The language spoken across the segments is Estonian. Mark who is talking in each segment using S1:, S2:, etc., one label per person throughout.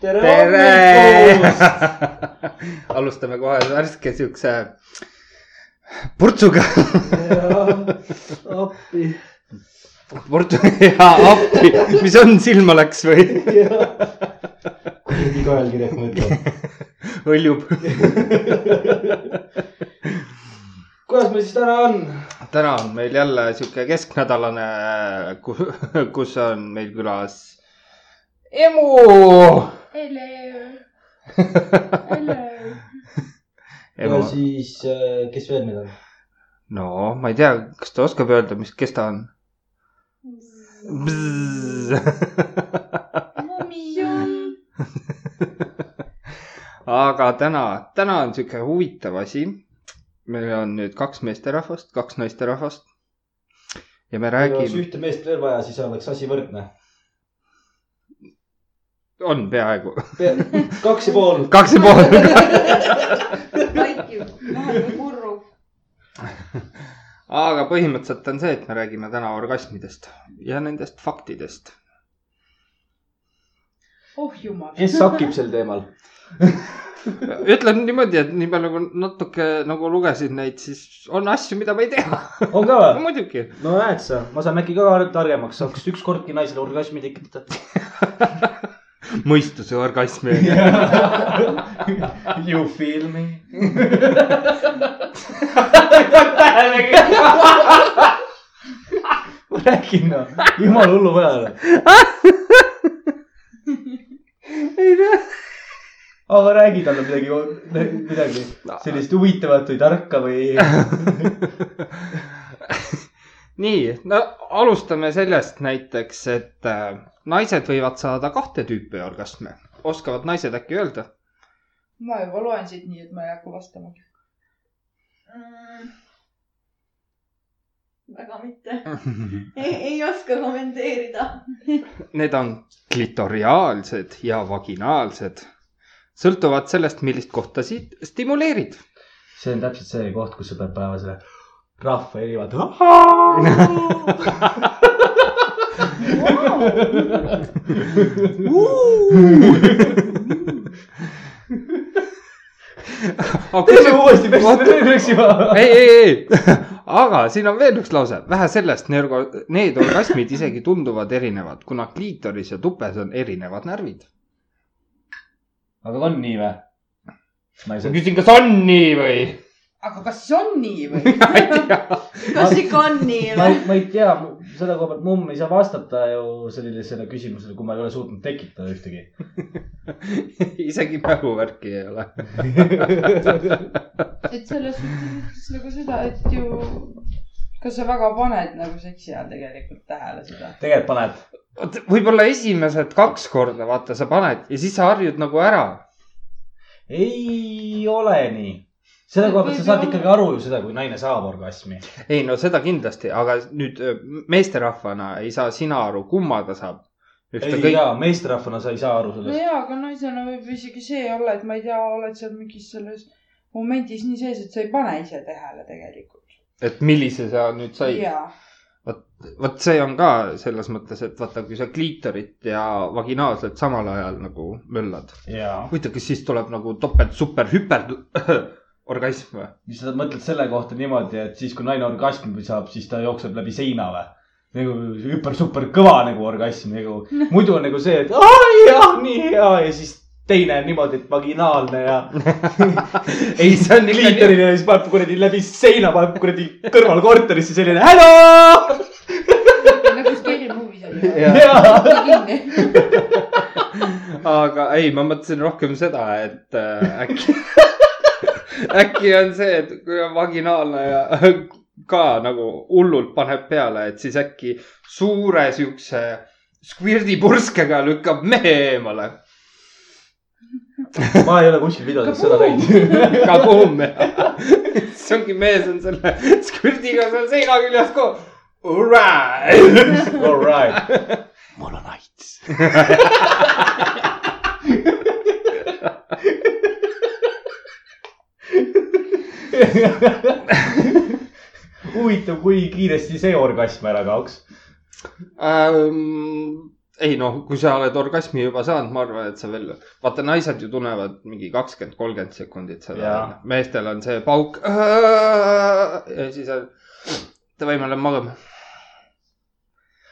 S1: tere, tere! hommikust !
S2: tere ! alustame kohe värske siukse purtsuga .
S1: appi .
S2: purtsu ja appi , mis on , silma läks või ?
S1: kuidagi kaelkirjaks mõtleb .
S2: hõljub .
S1: kuidas meil siis täna on ?
S2: täna on meil jälle sihuke kesknädalane , kus on meil külas emu .
S3: Hello , hello .
S1: ja
S2: emu ,
S1: siis , kes veel meil on ?
S2: no ma ei tea , kas ta oskab öelda , mis , kes ta on ?
S3: mummi on .
S2: aga täna , täna on sihuke huvitav asi . meil on nüüd kaks meesterahvast , kaks naisterahvast . ja me
S1: kui oleks
S2: räägime ,
S1: ühte meest veel vaja , siis oleks asi võrdne .
S2: on peaaegu
S1: kaks ja pool .
S2: kaks ja pool .
S3: vaikib , läheb murru .
S2: aga põhimõtteliselt on see , et me räägime täna orgasmidest ja nendest faktidest .
S3: oh jumal .
S1: kes sakib sel teemal ?
S2: ütlen niimoodi , et nii palju kui natuke nagu lugesin neid , siis on asju , mida ma ei tea .
S1: on ka või ?
S2: muidugi .
S1: no näed sa , ma saan äkki ka targemaks , saaks ükskordki naisele orgasmi tekitada .
S2: mõistuse orgasmi
S1: You feel me ? ma räägin noh , jumal hullu peale .
S2: ei tea .
S1: aga räägi talle midagi , midagi sellist huvitavat või tarka või .
S2: nii , no alustame sellest näiteks , et äh, naised võivad saada kahte tüüpi orgasme . oskavad naised äkki öelda ?
S3: ma juba loen siit nii , et ma ei hakka vastama
S4: Mm. väga mitte , ei, ei oska kommenteerida .
S2: Need on klitoriaalsed ja vaginaalsed . sõltuvad sellest , millist kohta siit stimuleerid .
S1: see on täpselt see koht , kus sa pead panema selle rahva erivad . teeme uuesti ,
S2: Oota.
S1: peaksime , peaksime .
S2: ei , ei , ei , aga siin on veel üks lause , vähe sellest , need orgasmid isegi tunduvad erinevad , kuna kliitoris ja tupes on erinevad närvid .
S1: aga on nii või ? naised .
S2: küsin , kas on nii või ?
S3: aga kas siis on nii või ?
S2: ma ei tea .
S4: kas ikka on nii
S1: ma
S4: või
S1: ei ,? ma ei tea , selle koha pealt mumm ei saa vastata ju sellisele küsimusele , kui ma ei ole suutnud tekitada ühtegi .
S2: isegi mäluvärki ei ole .
S3: et selles mõttes ütles nagu seda , et ju , kas sa väga paned nagu seksi ajal tegelikult tähele seda ?
S1: tegelikult paned .
S2: võib-olla esimesed kaks korda , vaata , sa paned ja siis sa harjud nagu ära .
S1: ei ole nii . selle koha pealt sa saad ikkagi aru ju seda , kui naine saab orgasmi .
S2: ei no seda kindlasti , aga nüüd öö, meesterahvana ei saa sina aru , kumma ta saab .
S1: ei
S2: ükskõik ,
S1: jaa , meesterahvana sa ei saa aru
S3: no
S1: sellest .
S3: jaa , aga naisena võib isegi see olla , et ma ei tea , oled seal mingis selles momendis nii sees , et sa ei pane ise tähele tegelikult .
S2: et millise sa nüüd said .
S3: jaa
S2: vot see on ka selles mõttes , et vaata , kui sa kliitorit ja vaginaalselt samal ajal nagu möllad .
S1: jaa .
S2: huvitav , kas siis tuleb nagu topelt super hüper orgasm või ?
S1: mis sa mõtled selle kohta niimoodi , et siis , kui naine orgasmi saab , siis ta jookseb läbi seina või ? nagu hüper-super kõva nagu orgasm nagu . muidu on nagu see , et aa jah , nii hea ja siis teine on niimoodi , et vaginaalne ja
S2: ei , see on ikka .
S1: kliitorile ja siis paneb kuradi läbi seina , paneb kuradi kõrval korterisse selline hello .
S3: nagu Scary Movies oli .
S2: jaa ,
S1: ja
S3: kinni .
S2: aga ei , ma mõtlesin rohkem seda , et äh, äkki , äkki on see , et kui on vaginaalne ja ka nagu hullult paneb peale , et siis äkki suure siukse skvirdipurskega lükkab mehe eemale .
S1: ma ei ole kuskil videotes seda näinud .
S2: kabuum . siis ongi mees on selle skvirdiga seal seina küljes koos . Alright .
S1: All right . mul on aits . huvitav , kui kiiresti see orgasm ära kaoks .
S2: Ähm, ei noh , kui sa oled orgasmi juba saanud , ma arvan , et sa veel , vaata naised ju tunnevad mingi kakskümmend , kolmkümmend sekundit seda
S1: Jaa. .
S2: meestel on see pauk . ja siis on , davai , ma lähen magama .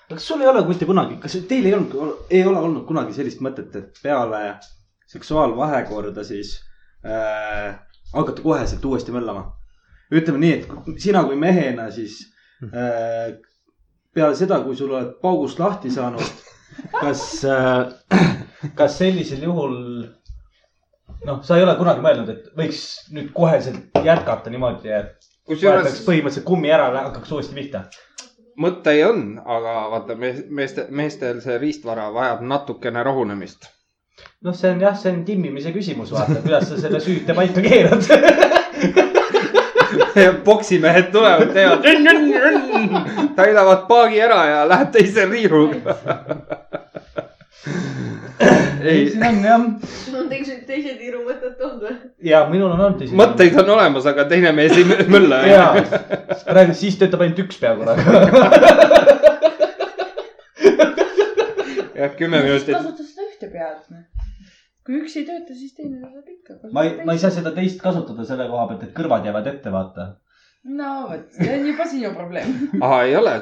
S1: aga kas sul ei ole mitte kunagi , kas teil ei olnud , ei ole olnud kunagi sellist mõtet , et peale seksuaalvahekorda siis äh, hakata koheselt uuesti möllama ? ütleme nii , et kui- sina kui mehena siis äh, peale seda , kui sul oled paugust lahti saanud , kas äh, , kas sellisel juhul noh , sa ei ole kunagi mõelnud , et võiks nüüd koheselt jätkata niimoodi , et vahetaks
S2: kusjuures
S1: põhimõtteliselt kummi ära , hakkaks uuesti pihta .
S2: mõte ei on , aga vaata mees , meeste , meestel see riistvara vajab natukene rahunemist .
S1: noh , see on jah , see on timmimise küsimus , vaata , kuidas sa selle süüte paika keerad .
S2: poksimehed tulevad , teevad rõnn-rõnn-rõnn , täidavad paagi ära ja läheb teise riiuga . ei ,
S1: siin on jah ,
S5: sul on teised , teise tiiru mõtet olnud või ?
S1: ja minul on olnud .
S2: mõtteid on olemas , aga teine mees ei mö- mölla .
S1: jaa , praegu siis töötab ainult üks pea korraga .
S2: jah , kümme minutit .
S3: kasuta seda ühte pead . kui üks ei tööta , siis teine töötab ikka .
S1: ma ei , ma ei saa seda teist kasutada selle koha pealt , et kõrvad jäävad ette , vaata .
S3: no vot , see on juba sinu probleem .
S2: aa , ei ole .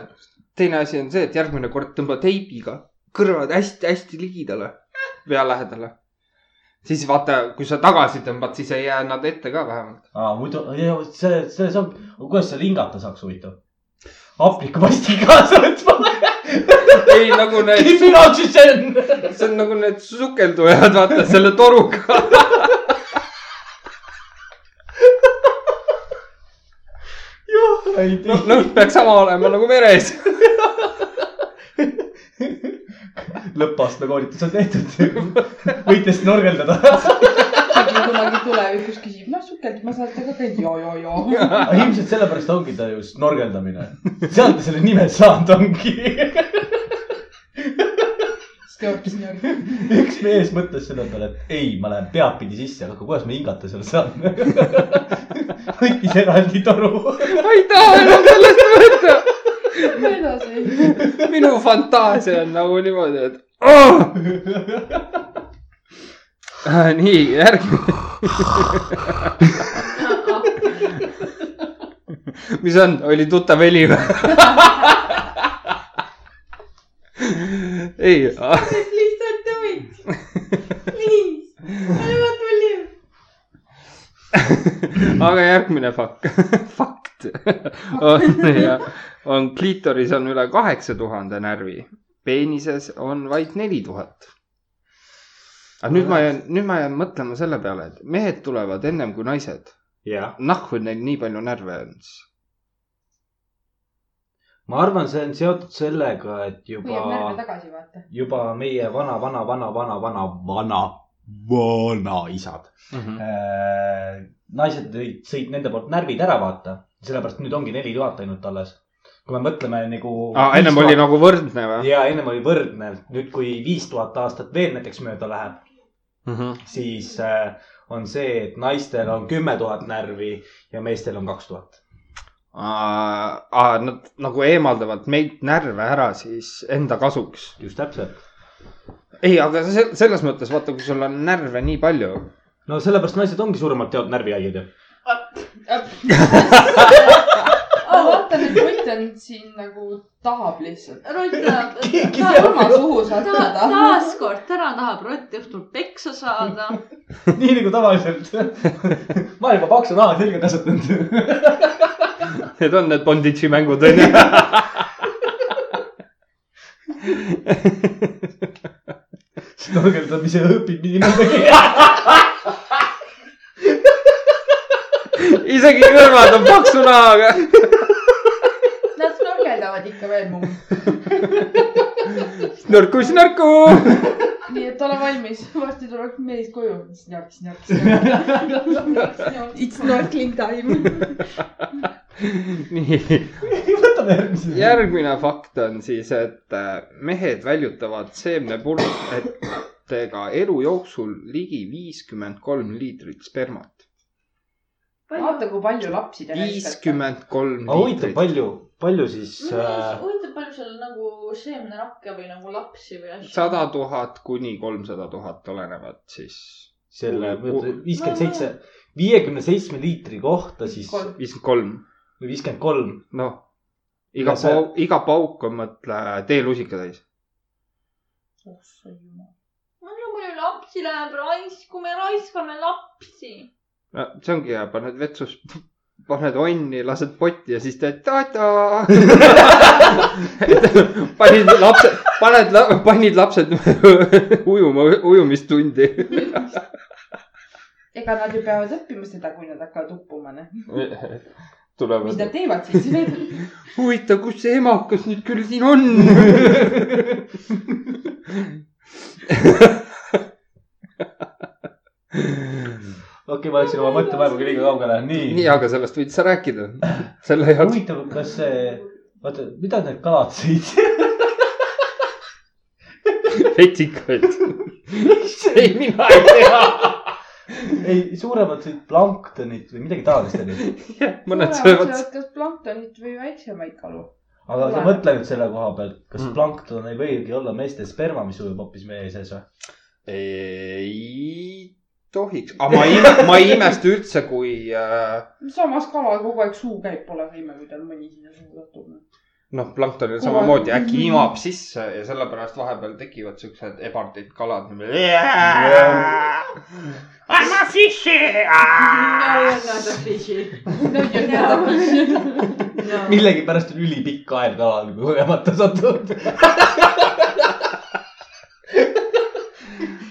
S2: teine asi on see , et järgmine kord tõmba teibiga kõrvad hästi-hästi ligidale , pea lähedale . siis vaata , kui sa tagasi tõmbad , siis ei jää nad ette ka vähemalt .
S1: aa , muidu , see , see saab , kuidas seal hingata saaks huvitav ? hapnikupasti kaasa võtma .
S2: ei , nagu need ,
S1: Give me oxygen .
S2: see on nagu need sukeldujad , vaata selle toruga . noh , nõud peaks sama olema nagu veres .
S1: lõppastme koolitus on tehtud . võite snorgeldada .
S3: äkki kunagi tulevikus küsib , noh sukeldud , ma saan seda ka käia , joo-joo-joo .
S1: aga ilmselt sellepärast ongi ta ju snorgeldamine . sealt ta selle nime saanud ongi .
S3: siis ta hoopis nii on .
S1: üks mees mõtles selle peale , et ei , ma lähen peadpidi sisse , aga kuidas ma hingata seal saan . võttis eraldi toru .
S2: ma ei taha enam sellest võtta .
S3: ma edasi .
S2: minu fantaasia on nagu niimoodi , et oh! . nii , järgmine , mis on , oli tuttav heli või ? ei , ah.
S5: lihtsalt do it . Please , ära tule .
S2: aga järgmine fakt , fakt on , on kliitoris on üle kaheksa tuhande närvi , peenises on vaid neli tuhat . aga nüüd ma jään , nüüd ma jään mõtlema selle peale , et mehed tulevad ennem kui naised ,
S1: jah ,
S2: nahku neil nii palju närve on siis .
S1: ma arvan , see on seotud sellega , et
S3: hoiab närve
S1: juba ,
S3: tagasi , vaata .
S1: juba meie vana , vana , vana , vana , vana , vana , vanaisad Mhm. Äh, naised tõid , sõid nende poolt närvid ära , vaata . sellepärast nüüd ongi neli tuhat ainult alles . kui me mõtleme nagu .
S2: Ah, ennem oli . nagu võrdne või ?
S1: ja ennem oli võrdne , nüüd kui viis tuhat aastat veel näiteks mööda läheb , siis äh, on see , et naistel on kümme tuhat närvi ja meestel on kaks tuhat .
S2: Nad nagu eemaldavad meilt närve ära siis enda kasuks .
S1: just täpselt .
S2: ei , aga se- selles mõttes vaata , kui sul on närve nii palju .
S1: no sellepärast naised ongi suuremalt jaolt närvihaiged ju .
S3: aga Ah, vaata , nüüd Rutt on siin nagu tahab lihtsalt .
S1: Keegi ei
S5: rutta .
S3: surma suhu sattuda .
S5: taaskord , täna tahab Rott õhtul peksa saada .
S1: nii nagu tavaliselt . ma olen juba paksu raha selga kasvatanud .
S2: Need on need Bonditši mängud onju .
S1: snorgeldamise õpib nii nagu mõndagi .
S2: isegi kõrvad on paksu nahaga .
S3: Nad snorgeldavad ikka veel muu .
S2: nõrku siis nõrku .
S3: nii et ole valmis , varsti tuleb mees koju . snork , snork , snork . It's snorkeling time .
S2: nii ,
S1: võtame järgmise .
S2: järgmine fakt on siis , et äh, mehed väljutavad seemnepurkidega elu jooksul ligi viiskümmend kolm liitrit spermat .
S3: vaata , kui palju lapsi te ..
S2: viiskümmend kolm
S1: aga huvitav ,
S2: liitrit .
S1: palju , palju siis äh,
S5: huvitav , palju seal nagu seemnerakke või nagu lapsi või asju ?
S2: sada tuhat kuni kolmsada tuhat olenevad siis
S1: selle viiskümmend
S5: No,
S1: seitse , viiekümne seitse liitri kohta siis
S3: Kolm.
S2: viiskümmend kolm ,
S1: või viiskümmend kolm .
S2: noh . iga
S1: Ja see-
S2: pauk , iga pauk on mõtle teelusika täis .
S5: väga palju lapsi läheb raisku , me raiskame lapsi .
S2: no see ongi hea , paned vetsus , paned onni , lased potti ja siis teed ta-ta . panid lapsed , paned , panid lapsed ujuma , ujumistundi .
S3: ega nad ju peavad õppima seda , kui nad hakkavad uppuma , noh . mis
S2: tulevad
S3: nad . teevad siis ?
S2: huvitav , kus see emakas nüüd küll siin on ?
S1: okei , ma läksin oma mõttevaevaga liiga kaugele ,
S2: nii ,
S1: nii .
S2: aga sellest võid sa rääkida . selle jaoks ,
S1: huvitav , kas see , oota , mida need kalad sõid ?
S2: vetsikad . ei , mina ei tea .
S1: ei , suuremad sõid planktonit või midagi taolist oli .
S2: mõned söövad .
S3: kas planktonit või väiksemaid kalu .
S1: aga sa
S3: Oleneb.
S1: mõtle nüüd selle koha pealt , kas
S2: Mm.
S1: plankton ei võigi olla meeste sperma , mis ujub hoopis meie sees või ?
S2: ei tohiks , aga ma ei , ma ei imesta üldse , kui äh,
S3: samas kalal kogu aeg suu käib , pole ka ime , kui tal mõni sinna suu satub .
S2: noh , planktonil samamoodi äkki imab sisse ja sellepärast vahepeal tekivad siuksed ebardid kalad . anna sisse .
S1: millegipärast on ülipikk aeg kalal , kui kogemata satud .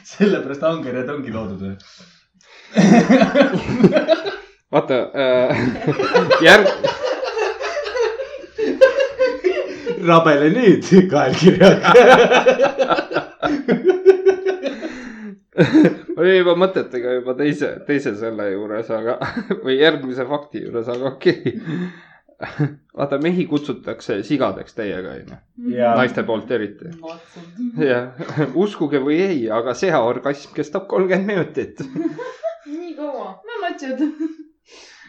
S1: sellepärast angerjad ongi loodud või ?
S2: vaata äh, , järg ,
S1: rabele nüüd kaelkirjaga .
S2: oli juba mõtetega juba teise , teise selle juures , aga või järgmise fakti juures , aga okei okay. . vaata , mehi kutsutakse sigadeks täiega , onju ,
S1: ja
S2: naiste poolt eriti . jah , uskuge või ei , aga sea orgasm kestab kolmkümmend minutit .
S5: nii kaua .
S3: no natsid .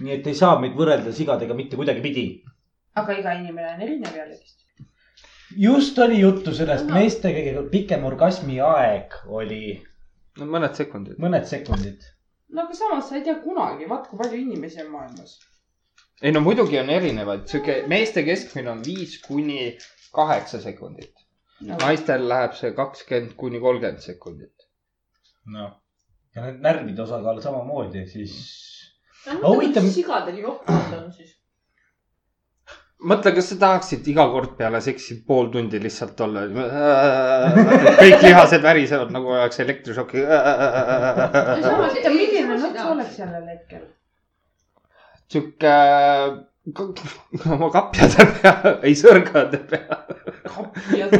S1: nii et ei saa meid võrrelda sigadega mitte kuidagipidi .
S3: aga iga inimene on erinev jällegi .
S1: just oli juttu sellest ,
S5: Ahah.
S1: meeste kõige pikem orgasmi aeg oli
S2: no mõned sekundid .
S1: mõned sekundid .
S3: no aga samas sa ei tea kunagi , vaat kui palju inimesi on maailmas .
S2: ei no muidugi on erinevaid , sihuke meeste keskmine on viis kuni kaheksa sekundit . naistel läheb see kakskümmend kuni kolmkümmend sekundit .
S1: noh , ja need närvide osakaal samamoodi , siis
S5: aga
S1: huvitav-
S5: huvitav . sigadel johtavad on siis .
S2: mõtle , kas sa tahaksid iga kord peale seksi pool tundi lihtsalt olla . kõik lihased värisevad nagu oleks elektrišoki .
S5: samas-
S3: huvitav , milline nuts oleks sellel hetkel ?
S2: sihuke ka- oma kapjade peal , ei sõrgade peal .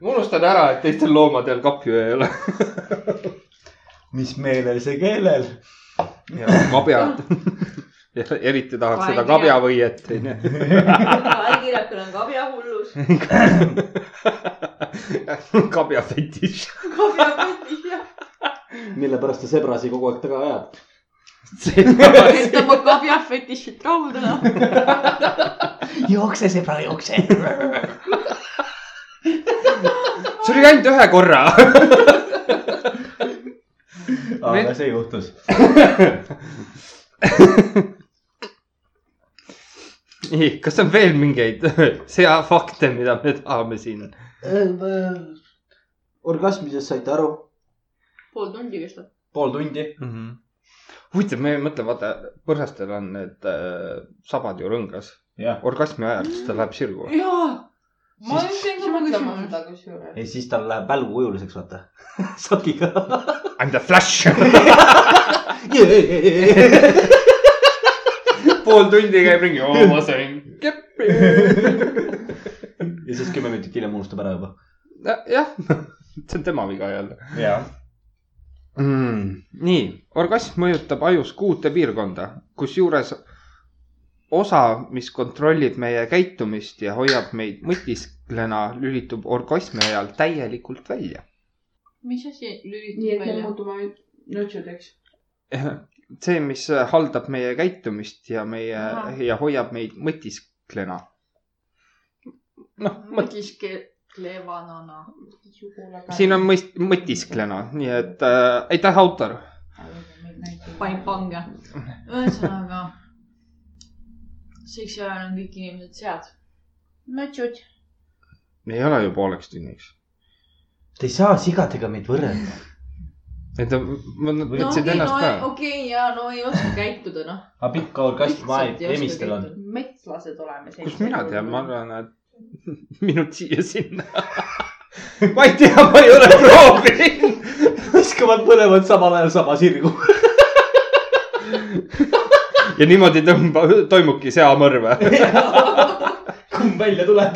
S2: ma unustan ära , et teistel loomadel kapju ei ole .
S1: mis meelel , see keelel .
S2: kabjad . eriti tahaks seda kabjavõiet , onju .
S5: allkirjakul on kabjahullus .
S2: kabjafetiš .
S5: kabjakotis jah .
S1: mille pärast ta sebrasi kogu aeg taga ajab .
S5: et oma kabjafetišit rahuldada .
S1: jookse , sebra , jookse .
S2: see oli ainult ühe korra .
S1: aga see juhtus .
S2: nii , kas on veel mingeid seafakte , mida me tahame siin ?
S1: Äh, orgasmisest saite aru ?
S5: pool tundi kestab .
S1: pool tundi .
S2: Mhm. huvitav , ma ei mõtle , vaata põrsastel on need äh, sabad ju rõngas .
S1: jah ,
S2: orgasmi ajal , siis ta läheb sirgu .
S5: jaa .
S3: ma
S1: Siis-
S3: just jäin ka
S5: Sama
S3: mõtlema
S5: küsimus.
S3: seda kusjuures .
S1: ja siis tal läheb välgu kujuliseks , vaata . sokiga .
S2: I m the flash . pool tundi käib ringi , oo ma sain keppi .
S1: ja siis kümme minutit hiljem unustab ära juba .
S2: jah , see on tema viga jälle
S1: jah .
S2: mm, . nii , orgasm mõjutab ajus kuute piirkonda , kusjuures osa , mis kontrollib meie käitumist ja hoiab meid mõtisklena , lülitub orgasmi ajal täielikult välja .
S5: mis asi
S3: nii
S5: lülitub
S3: et me
S5: välja ?
S3: muutume nutsudeks .
S2: see , mis haldab meie käitumist ja meie
S5: Ahah.
S2: ja hoiab meid mõtisklena . noh ,
S5: mõtiskle vanana .
S2: siin on mõist- , mõtisklena , nii et äh, aitäh , autor .
S5: panin pange . ühesõnaga , seks ajal on kõik inimesed sead .
S3: no tšutš .
S2: ei ole ju pooleks tunniks .
S1: Te ei saa sigadega meid võrrelda .
S2: et ta- ma
S5: no
S2: võtsin
S5: okei , no
S2: ennast ka .
S5: okei ja no ei oska käituda noh .
S1: aga pikka orgasmi aeg emistel on .
S3: metslased oleme .
S2: kust mina tean , ma arvan , et minut siia-sinna . ma ei tea , ma ei ole proovinud .
S1: viskavad mõlemad samal ajal sama sirgu .
S2: ja niimoodi tõmba , toimubki seamõrv .
S1: kumb välja tuleb ?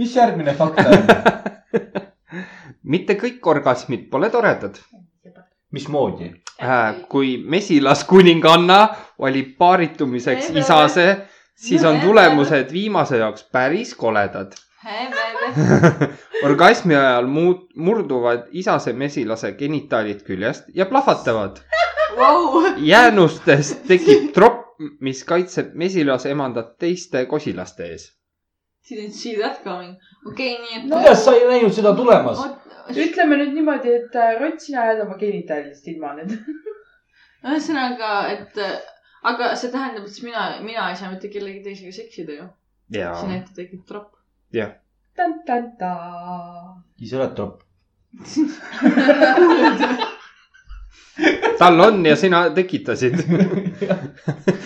S1: mis järgmine fakt on ?
S2: mitte kõik orgasmid pole toredad .
S1: mismoodi ?
S2: kui mesilaskuninganna oli paaritumiseks
S5: Ei,
S2: isase , siis on
S5: Ei,
S2: tulemused viimase jaoks päris koledad . orgasmi ajal muud , murduvad isase mesilase genitaalid küljest ja plahvatavad .
S5: Vau ,
S2: jäänustest tekib tropp , mis kaitseb mesilasemandat teiste kosilaste ees .
S5: didn't see that coming . okei , nii et .
S1: kuidas sa ei näinud seda tulemas ?
S3: ütleme nüüd niimoodi , et äh, Rott , sina jääd oma genitaalidest ilma nüüd .
S5: ühesõnaga , et äh, aga see tähendab , et siis mina , mina ei saa mitte kellegi teisega seksida ju .
S2: ja
S5: siin ette tekib tropp .
S3: tan-tan-taa .
S1: siis oled tropp .
S2: tal on ja sina tekitasid .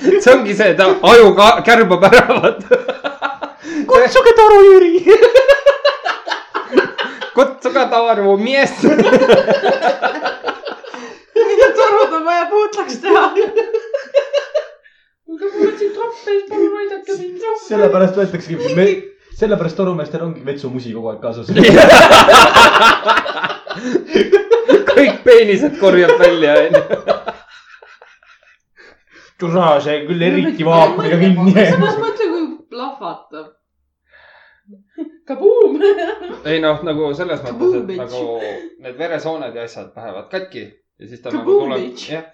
S2: see ongi see , ta aju ka- kärbab ära , vaata .
S1: kutsuge toru Jüri .
S2: kutsuga Taaru mees .
S5: torud on vaja puutlaks teha .
S3: kuulge , ma võtsin troppe , palun aidake mind .
S1: sellepärast võetaksegi me... , sellepärast torumeestel ongi vetsumusi kogu aeg kaasas .
S2: kõik peenised korjab välja , onju .
S1: türa , see küll eriti vaakuniga kinni
S5: samas
S1: jäi .
S5: mõtle , kui plahvatab .
S3: kabuum .
S2: ei noh , nagu selles mõttes ,
S5: Kaboom,
S2: et
S5: bitch.
S2: nagu need veresooned ja asjad lähevad katki ja siis ta nagu
S5: Kaboom,
S2: tuleb ,
S5: bitch.
S2: jah .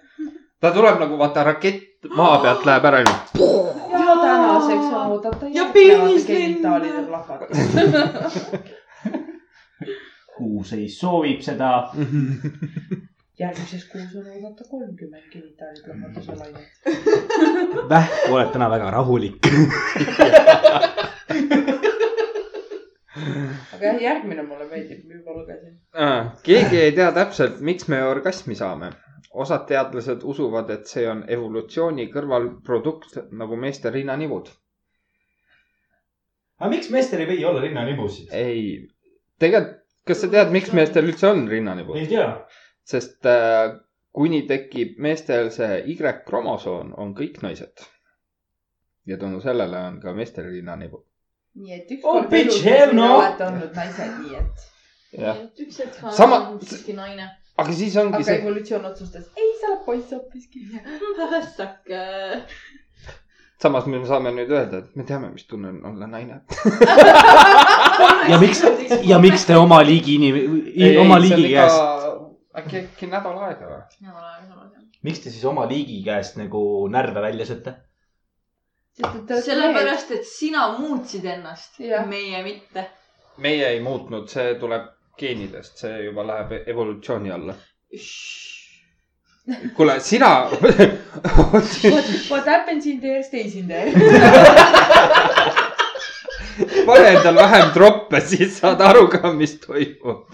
S2: ta tuleb nagu vaata rakett maa pealt läheb ära , onju .
S3: ja tänaseks on oodata .
S5: Ja peenis
S3: genitaalid
S5: lendab.
S3: on lahvad .
S1: kuus ei soovib seda .
S3: järgmises kuus on oodata kolmkümmend genitaalid lahvatuse lainet .
S1: Vähku oled täna väga rahulik .
S3: aga jah , järgmine mulle meeldib , ma juba lugesin .
S2: Aa, keegi ei tea täpselt , miks me orgasmi saame . osad teadlased usuvad , et see on evolutsiooni kõrvalprodukt nagu meeste rinnanivud .
S1: aga miks meestel ei või olla rinnanibusid ?
S2: ei , tegelikult , kas sa tead , miks meestel üldse on rinnanivud ?
S1: ei tea .
S2: sest äh, kuni tekib meestel see Y-kromosoon , on kõik naised . ja tänu sellele on ka meestel rinnanivud .
S3: nii et
S1: Oh,
S3: ükskord
S1: bitch, hell no.
S3: olete olnud naised , nii et .
S2: jah ,
S5: üks hetk
S2: Sama-
S5: on siiski naine .
S2: aga siis ongi
S3: aga
S2: see ,
S3: evolutsioon otsustas , ei , sa oled poiss hoopiski .
S5: Häsake .
S3: äh.
S2: samas me saame nüüd öelda , et me teame , mis tunne on olla naine .
S1: ja miks , ja miks te oma liigi inim- , oma liigi käest ,
S2: äkki , äkki nädal aega või ?
S1: miks te siis oma liigi käest nagu närve välja sööte ?
S3: sest , et te olete mehed .
S5: sellepärast , et sina muutsid ennast
S3: Jah. ,
S5: meie mitte .
S2: meie ei muutnud , see tuleb geenidest , see juba läheb evolutsiooni alla . kuule , sina
S3: What , what happens in there stays in there .
S2: pane endal vähem troppe , siis saad aru ka , mis toimub .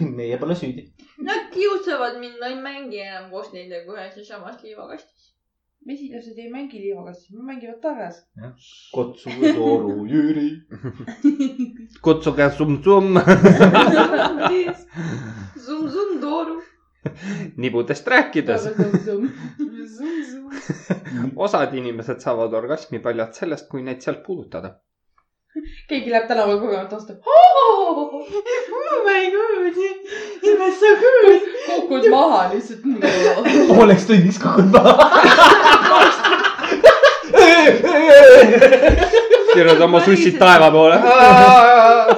S1: meie pole süüdi .
S5: Nad kiusavad mind , ma ei mängi enam koos nendega ühes ja samas liivakastis .
S3: mesilased ei mängi liivakastis , nad mängivad tarras .
S1: kutsuge toru Jüri .
S2: kutsuge sum-sum
S5: Zum-zum tooru .
S2: nibudest rääkides .
S5: Zum-zum .
S2: osad inimesed saavad orgasmi paljalt sellest , kui neid sealt puudutada .
S3: keegi läheb tänaval kogemata vastu .
S5: Oh my god , it was so good .
S3: kukud maha lihtsalt .
S1: pooleks tunniks kukun maha .
S2: keerad oma sussid taeva poole .
S5: Ah,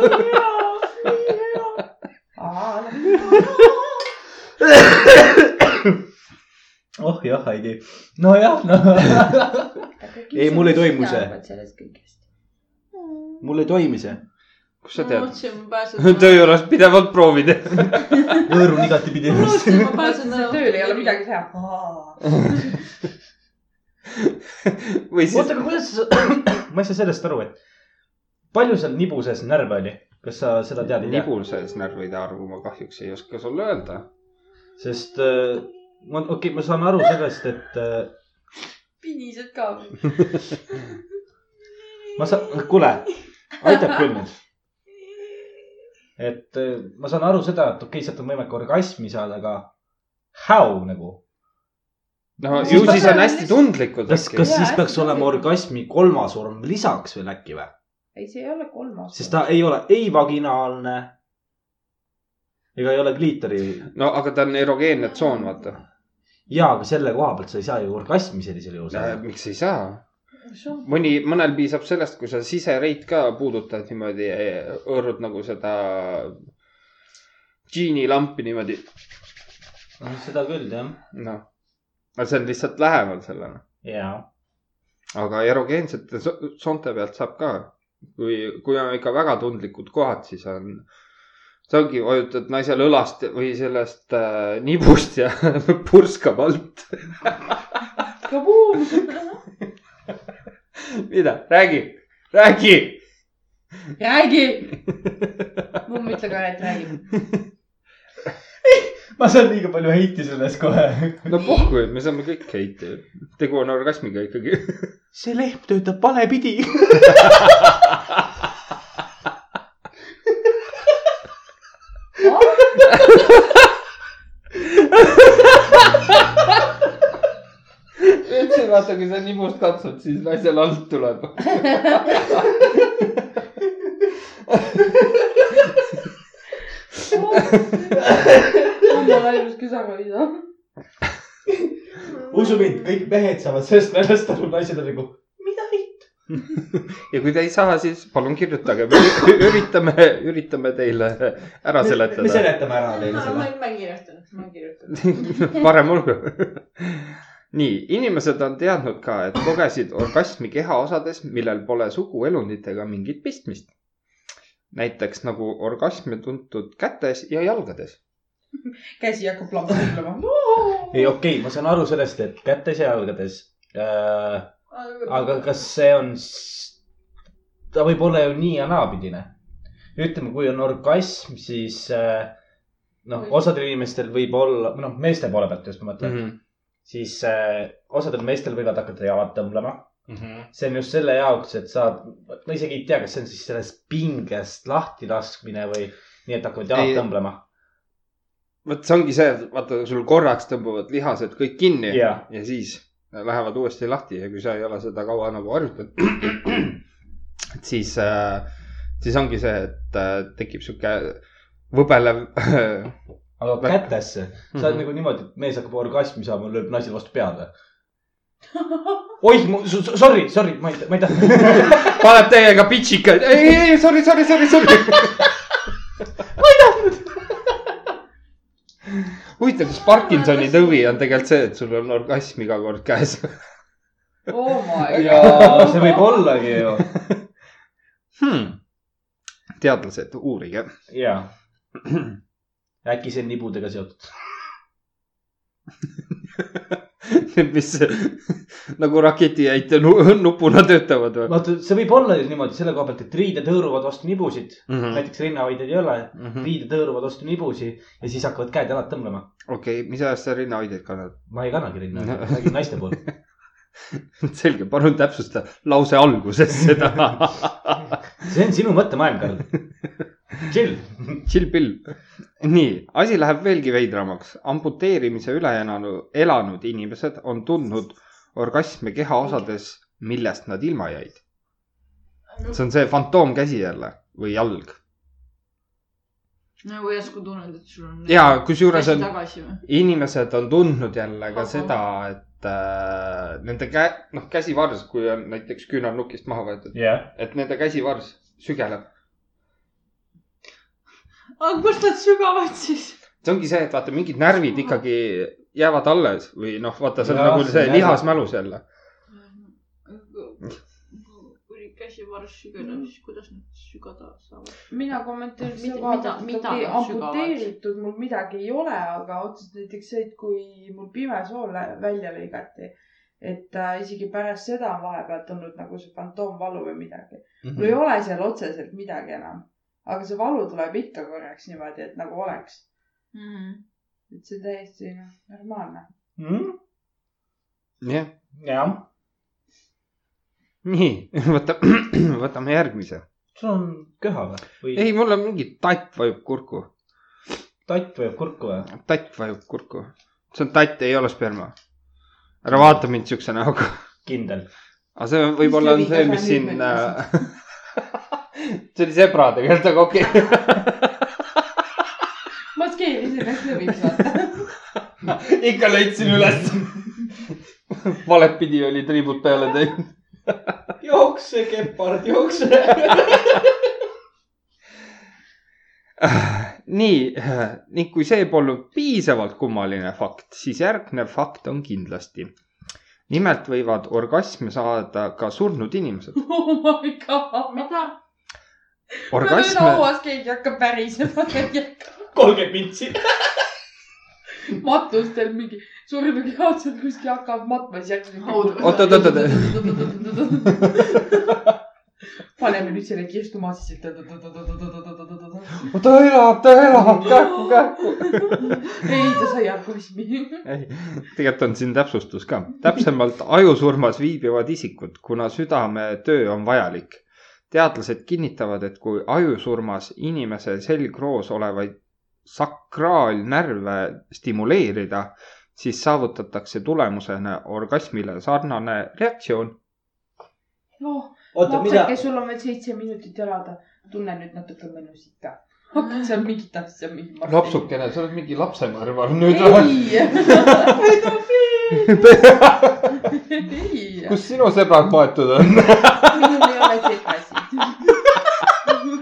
S3: aa ,
S1: oh jah , Heidi . nojah , no Ei, mul ei toimu see.
S3: sellest kõigest .
S1: mul ei toimi see .
S2: kust sa
S5: ma
S2: tead ?
S5: mõtlesin , et ma pääsen .
S2: töö juures pidevalt proovid .
S1: hõõrun igatipidi
S5: ma . mõtlesin , et ma pääsen täna .
S3: tööl ei ole midagi
S5: "Ah".
S3: teha .
S2: või siis
S1: oota , aga kuidas sa , ma ei saa sellest aru , et palju seal nibuses närve oli ? kas sa seda tead ?
S2: nibul sees närvide arvu ma kahjuks ei oska sulle öelda .
S1: sest äh, ma , okei okay, , ma saan aru sellest , et äh,
S3: pinised ka või ?
S1: ma saan , kuule , aitab küll nüüd . et äh, ma saan aru seda , et okei okay, , sealt on võimalik orgasmi saada , aga how nagu ?
S2: no
S1: Siis
S2: ju
S1: ta-
S2: siis on hästi tundlikud .
S1: kas , kas
S3: Jaa,
S1: siis
S3: hästi
S1: peaks olema
S3: tubli.
S1: orgasmi kolmas vorm lisaks veel äkki või ?
S3: ei , see ei ole kolmas .
S1: sest ta ei ole ei vaginaalne ega ei ole kliitori
S2: no aga ta on erogeenne tsoon , vaata .
S1: jaa , aga selle koha pealt sa ei saa ju orgasmi sellisel juhul saada .
S2: miks ei saa ? mõni , mõnel piisab sellest , kui sa sisereit ka puudutad niimoodi , hõõrud nagu seda džiinilampi niimoodi .
S1: seda küll jah .
S2: noh , aga see on lihtsalt lähemal sellele .
S1: jaa .
S2: aga erogeensete so- soonte pealt saab ka . kui , kui on ikka väga tundlikud kohad , siis on , see ongi , vajutad naisel õlast või sellest äh, nibust ja purskab alt .
S3: kabuum .
S2: mida , räägi , räägi .
S3: räägi . mumm , ütle ka , et räägi .
S1: ma saan liiga palju heiti sellest kohe .
S2: no puhku , me saame kõik heita ju . tegu on orgasmiga ikkagi .
S1: see lehm töötab valepidi .
S2: üldse vaata , kui sa nibust katsud , siis naisel alt tuleb .
S3: mul on ainult küsaga viisa .
S1: usu mind , kõik mehed saavad sellest naljast aru , naised on nagu .
S2: ja kui te ei saa , siis palun kirjutage , üritame , üritame teile ära
S1: me
S2: seletada .
S1: seletame ära teile
S5: ma
S1: selle .
S5: ei- ma ei kirjutanud , ma ei kirjutanud .
S2: parem olgu . nii , inimesed on teadnud ka , et kogesid orgasmi kehaosades , millel pole suguelundit ega mingit pistmist . näiteks nagu orgasm on tuntud kätes ja jalgades .
S3: käsi hakkab lambi ütlema .
S1: ei , okei okay, , ma saan aru sellest , et kätes ja jalgades äh, . aga kas see on , ta võib olla ju nii ja naapidine . ütleme , kui on orgasm , siis äh, noh , osadel inimestel võib olla , noh , meeste poole pealt just ma mõtlen
S2: Mhm.
S1: mm , -hmm. siis äh, osadel meestel võivad hakata jalad tõmblema . see on just selle jaoks , et saad , ma isegi ei tea , kas see on siis sellest pingest lahti laskmine või nii , et hakkavad jalad
S2: Ei.
S1: ei, tõmblema .
S2: vot see ongi see , et vaata , sul korraks tõmbavad lihased kõik kinni
S1: Jaa.
S2: ja siis lähevad uuesti lahti ja kui sa ei ole seda kaua nagu harjutanud , et siis , siis ongi see , et äh, tekib sihuke võbelev
S1: aga
S2: Väga-
S1: kätesse , sa oled mm
S2: Mhm.
S1: -hmm. nagu niimoodi , et mees hakkab orgasmi saama , lööb naisele vastu pead või ? oih , sorry , sorry , ma ei , ma ei tahtnud .
S2: paneb täiega pitsikaid , ei , ei , sorry , sorry , sorry , sorry . ma ei tahtnud . huvitav , kas Parkinsoni tõvi on tegelikult see , et sul on orgasm iga kord käes ?
S3: oh my
S1: jaa , see võib ollagi ju .
S2: Hmm. teadlased , uurige .
S1: jaa . äkki see on nibudega seotud ?
S2: mis nagu raketiäite nu- nupuna töötavad või ?
S1: vaata , see võib olla ju niimoodi selle koha pealt , et riided hõõruvad vastu nibusid ,
S2: Mhm.
S1: näiteks rinnahoidjaid ei ole , riided hõõruvad vastu nibusi ja siis hakkavad käed-jalad tõmblema .
S2: okei , mis ajast sa rinnahoidjaid kannad ?
S1: ma ei kannagi rinna
S2: No. ,
S1: räägin naiste poolt .
S2: selge , palun täpsusta lause alguses seda .
S1: see on sinu mõttemaailm , Karl . chill .
S2: chill pill . nii , asi läheb veelgi veidramaks . amputeerimise üle elanud , elanud inimesed on tundnud orgasme kehaosades , millest nad ilma jäid . see on see fantoomkäsi jälle või jalg
S5: nagu järsku tunned , et sul on .
S2: ja kusjuures
S5: on .
S2: on ,
S5: tagasi või ?
S2: inimesed on tundnud jälle ka
S5: Ahah.
S2: seda , et äh, nende käe , noh , käsivars , kui on näiteks küünal nukist maha võetud ,
S1: jah .
S2: et nende käsivars sügeleb .
S5: aga kust nad Ah, sügavad siis ?
S2: see ongi see , et vaata , mingid närvid ikkagi jäävad alles või noh , vaata , see on
S1: Jah,
S2: nagu
S1: see
S2: see
S1: on
S2: lihasmälus jälle .
S5: kui käsi varsti sügada , siis kuidas nad sügada saavad ?
S3: mina kommenteerisin
S5: Mida-
S3: seda vaadata , et
S5: mida- mida
S3: okei ,
S5: nad sügavad?
S3: amputeeritud mul midagi ei ole , aga otseselt näiteks see , et kui mul pime sool lä- välja lõigati , et äh, isegi pärast seda on vahepeal tulnud nagu see fantoomvalu või midagi . mul
S2: Mm.
S3: ei ole seal otseselt midagi enam , aga see valu tuleb ikka korraks niimoodi , et nagu oleks . Mhm. et see on täiesti noh , normaalne .
S1: Mhm.
S2: jah ,
S1: jah ,
S2: nii võta , võtame järgmise .
S1: sul on köha või ? või
S2: ei , mul on mingi tatt vajub kurku ,
S1: tatt vajab kurku või ?
S2: tatt vajub kurku , see on tatt , ei ole sperma . ära vaata mind siukse näoga ,
S1: kindel .
S2: aga see on- võib-olla on
S3: Mis
S2: see ,
S3: levi
S2: mis
S3: tasa
S2: siin äh,
S3: nüüd .
S2: see oli zebra tegelikult , aga okei okay. .
S3: maskeerisin ennast lõviks , vaata .
S2: ikka leidsin üles . valet pidi oli triibud peale teinud .
S1: jookse , kepard , jookse .
S2: nii , ning kui see polnud piisavalt kummaline fakt , siis järgnev fakt on kindlasti . nimelt võivad orgasme saada ka surnud inimesed .
S3: oh my god .
S5: mida ?
S3: mul on
S2: orgasme ,
S3: hauas , keegi hakkab värisema täiega .
S1: kolmkümmend pintsi .
S3: matustel mingi surnugi jaotusel kuskil hakkab matma , siis järgmine .
S2: Oot, oot, oot,
S3: paneme nüüd selle kirstu maha sisse .
S2: ta elab , ta elab , kähku , kähku .
S3: ei , ta sai alkoholismi .
S2: ei , tegelikult on siin täpsustus ka . täpsemalt ajusurmas viibivad isikud , kuna südametöö on vajalik . teadlased kinnitavad , et kui ajusurmas inimese selgroos olevaid sakraalnärve stimuleerida , siis saavutatakse tulemusena orgasmile sarnane reaktsioon .
S3: noh ,
S1: oota , mida ,
S3: lapsake , sul on veel seitse minutit elada , tunne nüüd natuke mõnusid ka . hakkad seal mingit asja .
S2: lapsukene , sa oled mingi lapsenõrval
S3: ei , pedofiil , ei .
S2: kus sinu sõbrad maetud on ?
S3: minul ei ole segasid .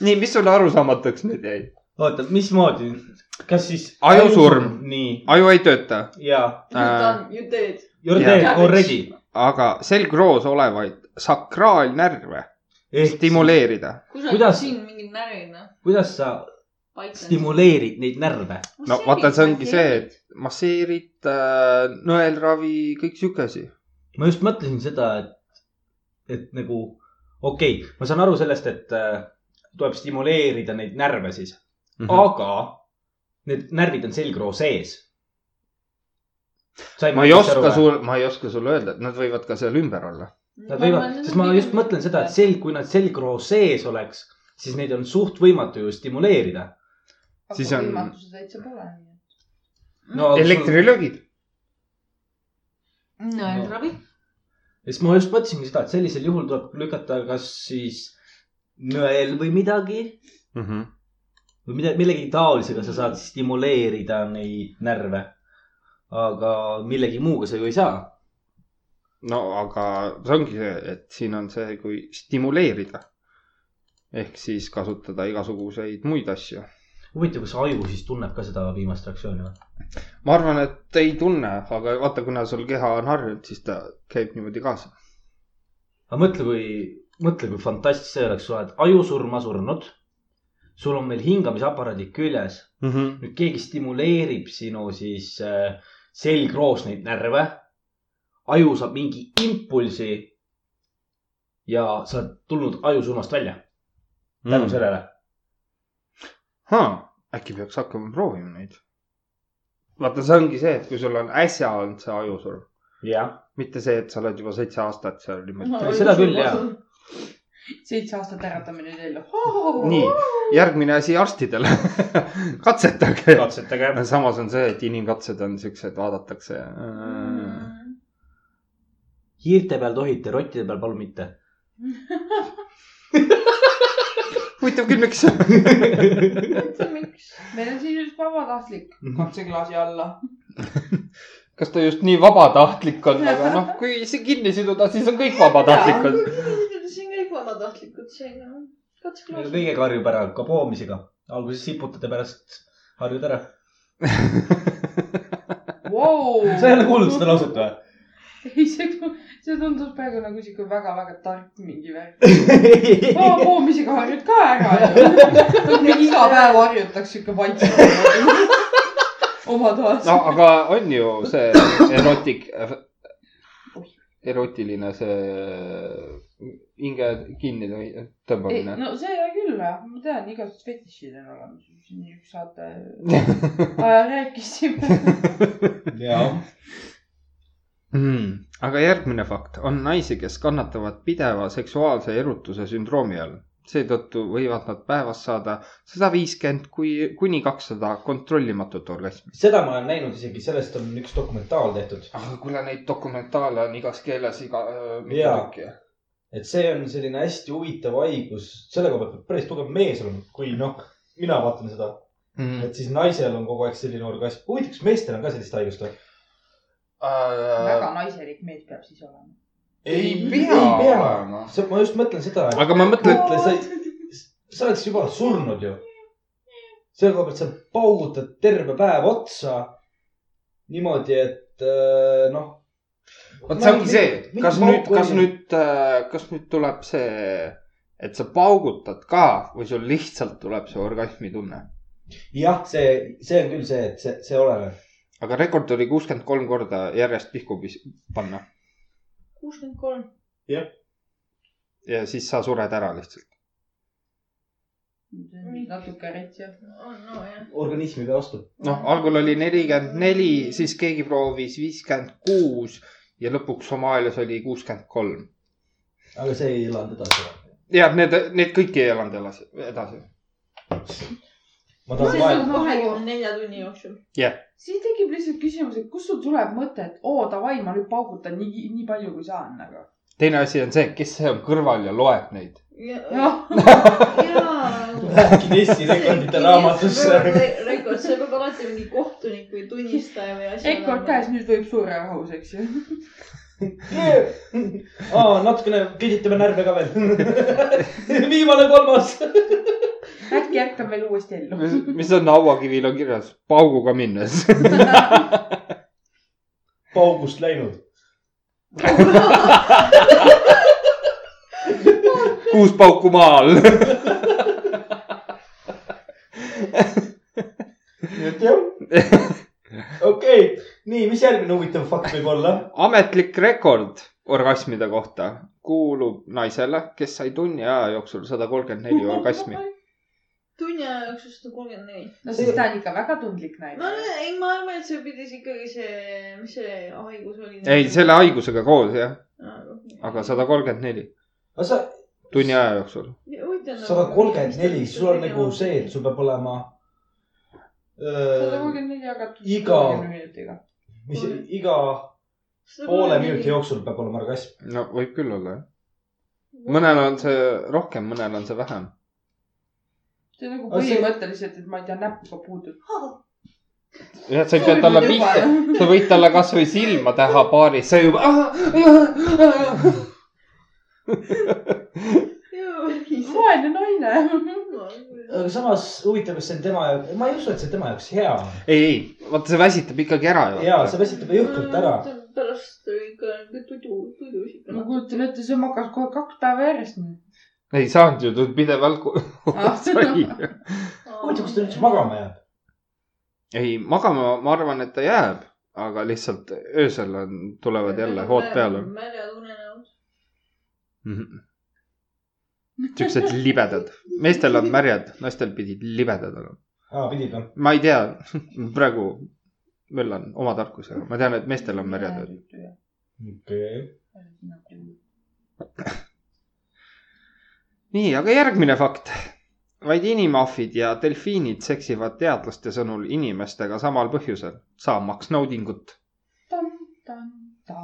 S2: nii , mis sulle arusaamatuks nüüd jäi ?
S1: oota , mismoodi , kas siis ?
S2: Ajusurm.
S1: nii ,
S2: aju ei tööta
S1: jaa .
S2: Äh,
S5: You did .
S1: You are
S2: Jaa.
S1: dead already .
S2: aga selgroos olevaid sakraalnärve stimuleerida .
S5: kusagil
S1: Kuidas-
S5: siin mingi närv , noh .
S1: kuidas sa stimuleerid neid närve ?
S2: no vaata , see ongi see , et masseerid äh, , nõelravi , kõik sihuke asi .
S1: ma just mõtlesin seda , et , et nagu okei okay, , ma saan aru sellest , et äh, tuleb stimuleerida neid närve siis ,
S2: Mhm. Oh,
S1: aga need närvid on selgroo sees .
S2: ma ei oska . sul , ma ei oska sulle öelda , et nad võivad ka seal ümber olla .
S1: Nad võivad , sest ma just mõtlen seda , et sel- , kui nad selgroo sees oleks , siis neid on suht võimatu ju stimuleerida .
S2: Siis on-
S3: võimatuse täitsa pole .
S1: no, aga sul-
S2: elektrilöögid .
S5: nõelravi .
S1: siis ma just mõtlesingi seda , et sellisel juhul tuleb lükata kas siis nõel või midagi Mhm. või mida , millegi taolisega sa saad stimuleerida neid närve . aga millegi muuga sa ju ei saa .
S2: no aga see ongi see , et siin on see , kui stimuleerida . ehk siis kasutada igasuguseid muid asju .
S1: huvitav , kas aju siis tunneb ka seda viimast reaktsiooni või ?
S2: ma arvan , et ei tunne , aga vaata , kuna sul keha on harjunud , siis ta käib niimoodi kaasa .
S1: aga mõtle , kui , mõtle , kui fantastiline see oleks , sa oled ajusurma surnud . sul on meil hingamisaparaadid küljes , nüüd keegi stimuleerib sinu siis äh, selgroos neid närve . aju saab mingi impulsi . ja sa oled tulnud ajusurmast välja tänu mm. . sellele .
S2: haa , äkki peaks hakkama proovima neid . vaata , see ongi see , et kui sul on äsja olnud see ajusurm ,
S1: jah ,
S2: mitte see , et sa oled juba seitse aastat seal niimoodi .
S1: seda küll, jaa. .
S3: seitse aastat äratame nüüd ellu .
S2: nii , järgmine asi arstidele . katsetage .
S1: katsetage .
S2: samas on see , et inimkatsed on siuksed , vaadatakse . Äh.
S1: hiirte peal tohite , rottide peal palun mitte .
S2: huvitav küll , miks .
S5: miks ?
S3: meil on siin üks vabatahtlik .
S2: Mhm.
S3: katseklaasi alla .
S2: kas ta just nii vabatahtlik on , aga noh , kui see kinni siduda , siis on kõik vabatahtlikud .
S5: noh, siin kõik vabatahtlikud , see on ju . katsuge
S1: kõige karjub ära ka poomisega . alguses siputad ja pärast harjud ära .
S3: wow.
S1: sa ei ole kuulnud seda lauset või ?
S3: ei , see , see tundus praegu nagu sihuke väga-väga tark mingi värk . ma poomisega harjud ka ära ju . iga päev harjutaks sihuke vaikselt oma toas
S2: no . aga on ju see erotik , erotiline see hinge kinni tõi-
S3: ei ,
S2: tõmbamine .
S3: no see küll jah , ma tean , igasugused fetišid on olemas . siin üks saate ajal rääkisime .
S1: jaa .
S2: mm. . aga järgmine fakt on naisi , kes kannatavad pideva seksuaalse erutuse sündroomi all . seetõttu võivad nad päevas saada sada viiskümmend kui , kuni kakssada kontrollimatut orgasmi .
S1: seda ma olen näinud isegi , sellest on üks dokumentaal tehtud .
S2: aga kuule , neid dokumentaale on igas keeles iga äh,
S1: Jaa. . et see on selline hästi huvitav haigus , selle koha pealt peab päris tugev mees olema , kui noh , mina vaatan seda ,
S2: Mm. Hmm.
S1: et siis naisel on kogu aeg selline orgasm . huvitav , kas meestel on ka sellist haigust või ?
S2: Äh,
S3: väga naiselik mees peab siis olema .
S2: ei pea olema .
S1: ma just mõtlen seda , et
S2: aga ma mõtlen ,
S1: mõtle , sa , sa oled siis juba surnud ju . selle koha pealt sa paugutad terve päev otsa niimoodi , et äh, noh .
S2: vot see ongi see , kas nüüd , kas nüüd , kas nüüd tuleb see , et sa paugutad ka või sul lihtsalt tuleb see orgasmi tunne ?
S1: jah , see , see on küll see , et see , see oleneb .
S2: aga rekord oli kuuskümmend kolm korda järjest pihku pis- panna
S5: kuuskümmend kolm .
S2: ja siis sa sured ära lihtsalt .
S3: natuke retsi .
S5: nojah .
S1: organism ei pea vastu .
S2: noh , algul oli nelikümmend neli , siis keegi proovis viiskümmend kuus ja lõpuks Somaalias oli kuuskümmend kolm .
S1: aga see ei elanud edasi .
S2: ja need , need kõik ei elanud elas- edasi .
S1: ma tahan vaeva .
S5: kahekümne nelja tunni jooksul .
S3: siis tekib lihtsalt küsimus , et kust sul tuleb mõte , et oo davai , ma nüüd paugutan nii , nii palju kui saan nagu .
S2: teine asi on see , kes on kõrval ja loeb neid .
S5: jaa .
S3: jah ,
S1: Guinessi rekordite raamatusse .
S5: rekord , see peab alati mingi kohtunik või tunnistaja või asi
S3: ekord . käes , nüüd võib suure rahus , eks ju .
S1: aa , natukene kõigitame närve ka veel . viimane kolmas .
S3: äkki ärkan veel uuesti ellu .
S2: mis on hauakivil on kirjas , pauguga minnes .
S1: paugust läinud .
S2: kuus pauku maa all .
S1: nii et jah . okei okay. , nii , mis järgmine huvitav fakt võib olla ?
S2: ametlik rekord orgasmide kohta kuulub naisele , kes sai tunni aja jooksul sada kolmkümmend neli orgasmi .
S5: tunni aja jooksul sada kolmkümmend neli .
S3: no siis ta on ikka väga tundlik
S5: no
S3: naine .
S5: ei , ma arvan , et see pidis ikkagi see , mis see haigus oli .
S2: ei , selle haigusega koos jah , aga . sada kolmkümmend neli
S1: aga sa ,
S2: tunni aja jooksul .
S1: sada
S5: nagu-
S1: kolmkümmend neli , sul on nagu see , et sul peab olema .
S3: sada kolmkümmend neli jagatud
S1: iga-
S3: kolmekümne minutiga .
S1: mis iga poole minuti . jooksul peab olema orgasm .
S2: no võib küll olla jah . mõnel on see rohkem , mõnel on see vähem .
S3: see on nagu
S1: Aga see-
S3: põhimõtteliselt , et ma ei tea , näpuga puudud .
S2: jah , sa ei pea talle pihta , sa võid talle kasvõi silma teha paari , see juba . Ah,
S3: vaene naine .
S1: aga samas huvitav , kas see on tema jaoks , ma ei usu , et see tema jaoks hea on .
S2: ei , ei , vaata see väsitab ikkagi ära ju .
S1: ja see väsitab jõhkralt ära .
S5: pärast ikka nagu tudu , tudusid .
S3: ma kujutan ette , see magas kohe kaks päeva järjest .
S2: ei saanud ju , ta pidevalt ku-
S3: Ah.
S2: sai .
S1: huvitav , kas ta üldse magama jääb ?
S2: ei , magama ma arvan , et ta jääb , aga lihtsalt öösel on , tulevad jälle hood peale .
S5: märjad unenäod .
S2: Siuksed libedad , meestel on märjad , naistel pidid libedad olema .
S1: aa , pidid või ?
S2: ma ei tea , praegu möllan oma tarkusega , ma tean , et meestel on märjad ööd .
S1: okei .
S2: nii , aga järgmine fakt . vaid inimahvid ja delfiinid seksivad teadlaste sõnul inimestega samal põhjusel , saamaks naudingut .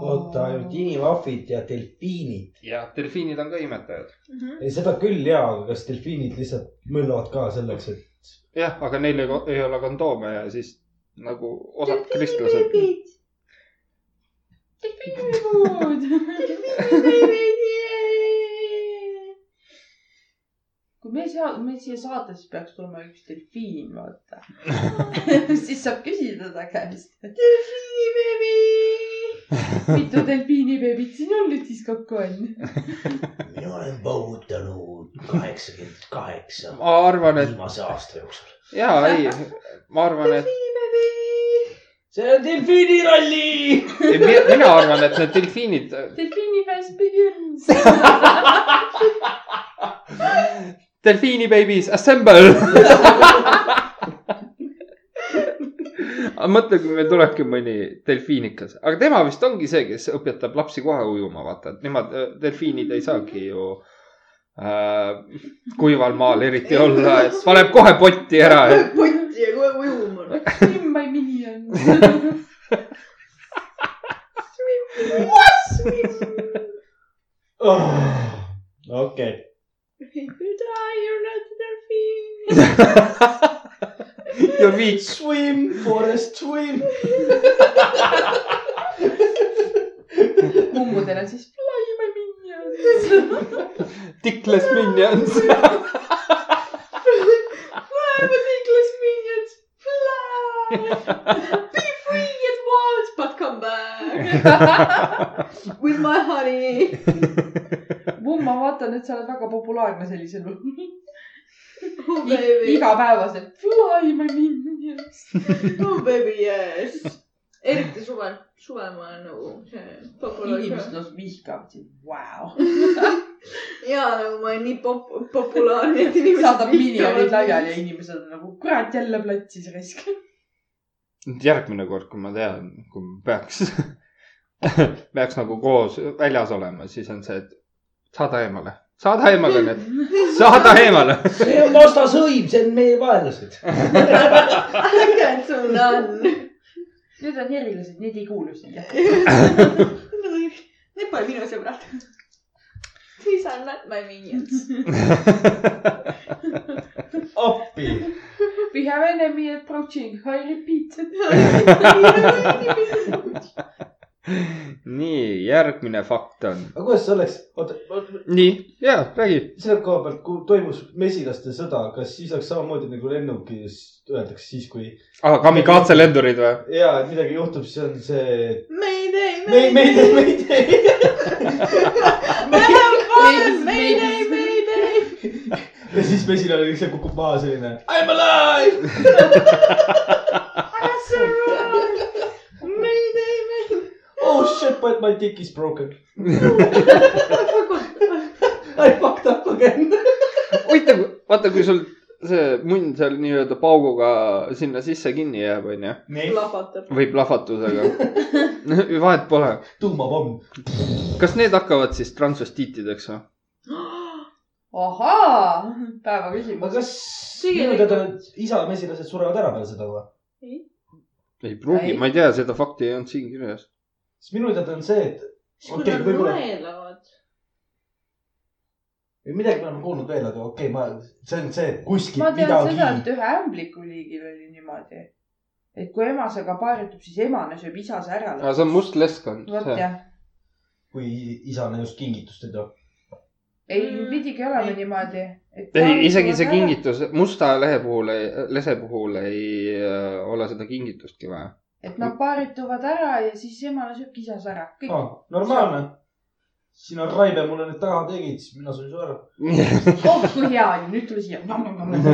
S1: oota , ainult inimahvid ja delfiinid .
S2: ja delfiinid on ka imetajad .
S1: ei , seda küll jaa , aga kas delfiinid lihtsalt möllavad ka selleks , et
S2: jah , aga neil ei, ei ole kondoome ja siis nagu osad kristlased .
S3: kui me seal , meil siia saatesse peaks tulema üks delfiin , vaata siis saab küsida ta käest . delfiini beebi . mitu delfiini beebit siin on nüüd siis kokku on ?
S1: mina olen põutanud kaheksakümmend kaheksa
S2: ma arvan , et
S1: viimase aasta jooksul .
S2: ja ei , ma arvan , et
S3: delfiini beebi .
S1: see on delfiini ralli .
S2: ei, mi- mina arvan , et need delfiinid ,
S3: delfiini fest begins .
S2: delfiini babies assemble . aga mõtle , kui meil tulebki mõni delfiinikas , aga tema vist ongi see , kes õpetab lapsi kohe ujuma , vaata , et nemad , delfiinid ei saagi ju äh, kuival maal eriti olla , et paneb kohe potti ära , et
S5: potti ja kohe ujuma .
S3: Swim by minions .
S1: okei .
S3: If you die , you are not a delfiin .
S2: you are weak .
S1: Swim , forest swim .
S3: kummudel on siis fly by minions .
S2: Dickless minions .
S3: I am a Nicholas minions fly .
S5: Be free at once but come back with my honey .
S3: Mumm , ma vaatan , et sa oled väga populaarne sellisel juhul .
S5: Oh baby ,
S3: igapäevaselt fly my minions .
S5: oh baby yes . eriti suvel , suvel ma olen nagu see
S3: inimesed
S5: populaarne .
S3: nos vihkavad sind , vau .
S5: ja nagu ma olen nii pop- , populaarne , et inimesed .
S3: saadab miljonid laiali ja . inimesed on nagu kurat jälle platsis raisk .
S2: järgmine kord , kui ma tean , kui peaks , peaks nagu koos väljas olema , siis on see , et saada eemale , saada eemale need , saada eemale .
S1: see on vastasõim , see on meie vaenlased .
S5: Look at sul on .
S3: Need on erilased , need ei kuulu sinna .
S5: Need pole minu sõbrad . These are not my minions .
S1: appi .
S3: We have enemy approaching , I repeat .
S2: nii , järgmine fakt on .
S1: aga kuidas see oleks , oota ,
S2: nii , ja räägi .
S1: selle koha pealt , kui toimus mesilaste sõda , kas siis oleks samamoodi nagu lennukis öeldakse siis , kui
S2: aa , kamikaatse Ah, lendurid või ?
S1: ja et midagi juhtub , siis on see .
S5: Mayday ,
S1: me ei , me ei
S5: mayday .,
S1: me ei tee .
S5: Fun, mayday , mayday .
S1: ja siis mesilane lihtsalt kukub maha selline . I m alive .
S5: Mayday , mayday .
S1: Oh shit , but my dick is broken .
S5: Fuck off.
S1: I fucked up again .
S2: huvitav , vaata , kui sul see munn seal nii-öelda pauguga sinna sisse kinni jääb , onju ,
S1: nii ,
S5: plahvatab .
S2: või plahvatusega . vahet pole .
S1: tuumapomm .
S2: kas need hakkavad siis transvestiitideks või ?
S3: ahaa , päeva küsimus .
S1: aga kas minu
S5: Tegelikult-
S1: teada need isa mesilased surevad ära peale seda või ?
S2: ei pruugi ,
S3: Ei.
S2: ma ei tea , seda fakti ei olnud siin kirjas .
S1: sest minu teada on see , et
S5: siis kui
S1: Okei,
S5: nad
S1: võib-olla-
S5: noelavad .
S1: või midagi me oleme kuulnud veel , aga okei okay, , ma , see on see , et kuskil
S3: ma tean
S1: midagi
S3: seda , et ühe ämblikuliigil oli niimoodi , et kui emasega paaritub , siis emane sööb isase ära .
S2: aga see on must leskkond .
S3: vot jah ,
S1: kui isane just kingitust ei too .
S3: ei
S5: Mm.
S3: pidigi olema niimoodi .
S2: ei , isegi see . kingitus , musta lehe puhul , lese puhul ei äh, ole seda kingitustki vaja .
S3: et nad paarituvad ära ja siis emane sööbki isase ära , kõik
S1: aa , normaalne . sina , Raive , mulle nüüd taha tegid , siis mina sain su ära .
S3: oh kui hea oli , nüüd tule siia .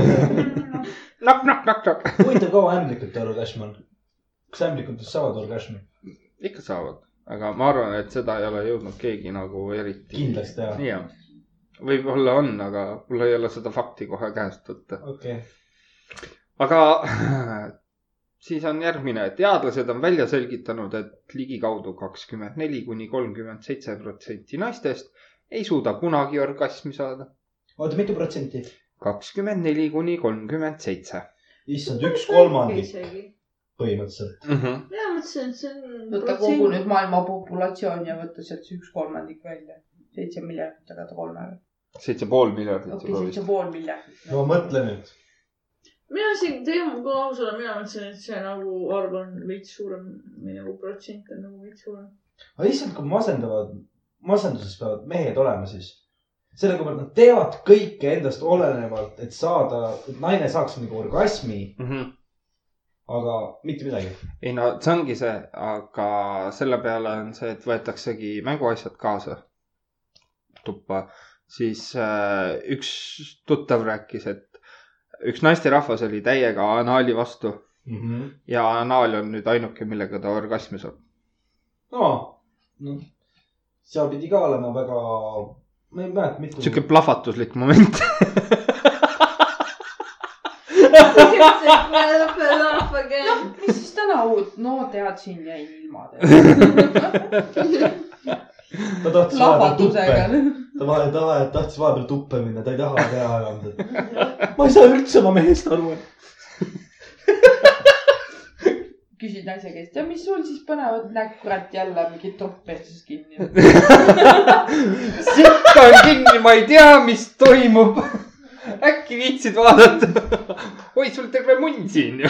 S2: nokk , nokk , nokk , nokk .
S1: huvitav , kaua ämblikute orgasm on ? kas ämblikutest saavad orgasmi ?
S2: ikka saavad , aga ma arvan , et seda ei ole jõudnud keegi nagu eriti .
S1: kindlasti jah ?
S2: jah . võib-olla on , aga mul ei ole seda fakti kohe käest võtta .
S1: okei okay. .
S2: aga siis on järgmine , teadlased on välja selgitanud , et ligikaudu kakskümmend neli kuni kolmkümmend seitse protsenti naistest ei suuda kunagi orgasmi saada .
S1: oota , mitu protsenti ?
S2: kakskümmend neli kuni kolmkümmend seitse .
S1: issand , üks kolmandik põhimõtteliselt .
S5: mina mõtlesin , et see on .
S3: võta kogu nüüd maailma populatsioon ja võta sealt see üks kolmandik välja . seitse miljardit jagada kolmega .
S2: seitse pool miljardit
S3: okei , seitse pool miljardit .
S1: no mõtle nüüd .
S5: mina isegi tean , kui aus olla , mina mõtlesin , et see nagu arv on veits suurem või nagu protsent on nagu veits suurem .
S1: aga issand , kui masendavad , masenduses peavad mehed olema siis .
S6: sellega võrd nad teevad kõike endast olenevalt , et saada , et naine saaks nagu orgasmi ,
S2: mm . -hmm.
S6: aga mitte midagi .
S2: ei no see ongi see , aga selle peale on see , et võetaksegi mänguasjad kaasa tuppa . siis äh, üks tuttav rääkis , et üks naisterahvas oli täiega anaali vastu ja anaal on nüüd ainuke , millega ta orgasmi saab .
S6: no,
S7: noh,
S6: no , seal pidi ka olema väga , ma ei mäleta , mitu .
S2: sihuke plahvatuslik moment .
S3: noh , mis siis täna uut , no tead , siin jäi ilma teha .
S6: ta tahtis vahepeal tuppe ,
S3: plahvatusega .
S6: ta vahe , ta vahe, tahtis vahepeal tuppe minna , ta ei taha teha enam . ma ei saa üldse oma mehest aru .
S3: küsid naise käest ja mis sul siis põnevat , näed , kurat jälle mingi topp pestis kinni .
S2: sitt on kinni , ma ei tea , mis toimub . äkki viitsid vaadata ? oi , sul terve munn siin ju .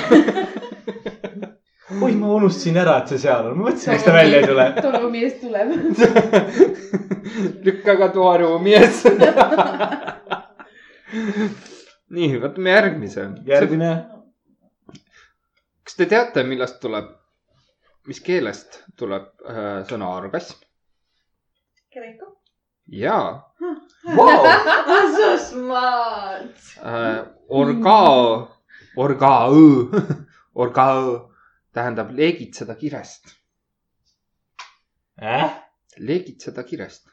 S7: oi , ma unustasin ära , et see seal on , ma mõtlesin , miks ta välja ei tule .
S3: tolu mees tuleb .
S2: lükka ka toaruumi ees . nii , võtame järgmise .
S7: järgmine .
S2: kas te teate , millest tuleb , mis keelest tuleb äh, sõna orgasm ?
S8: Kreeka .
S2: jaa
S5: So smart .
S2: äh, , orgao , orgao , orgao tähendab leegitseda kirest , leegitseda kirest .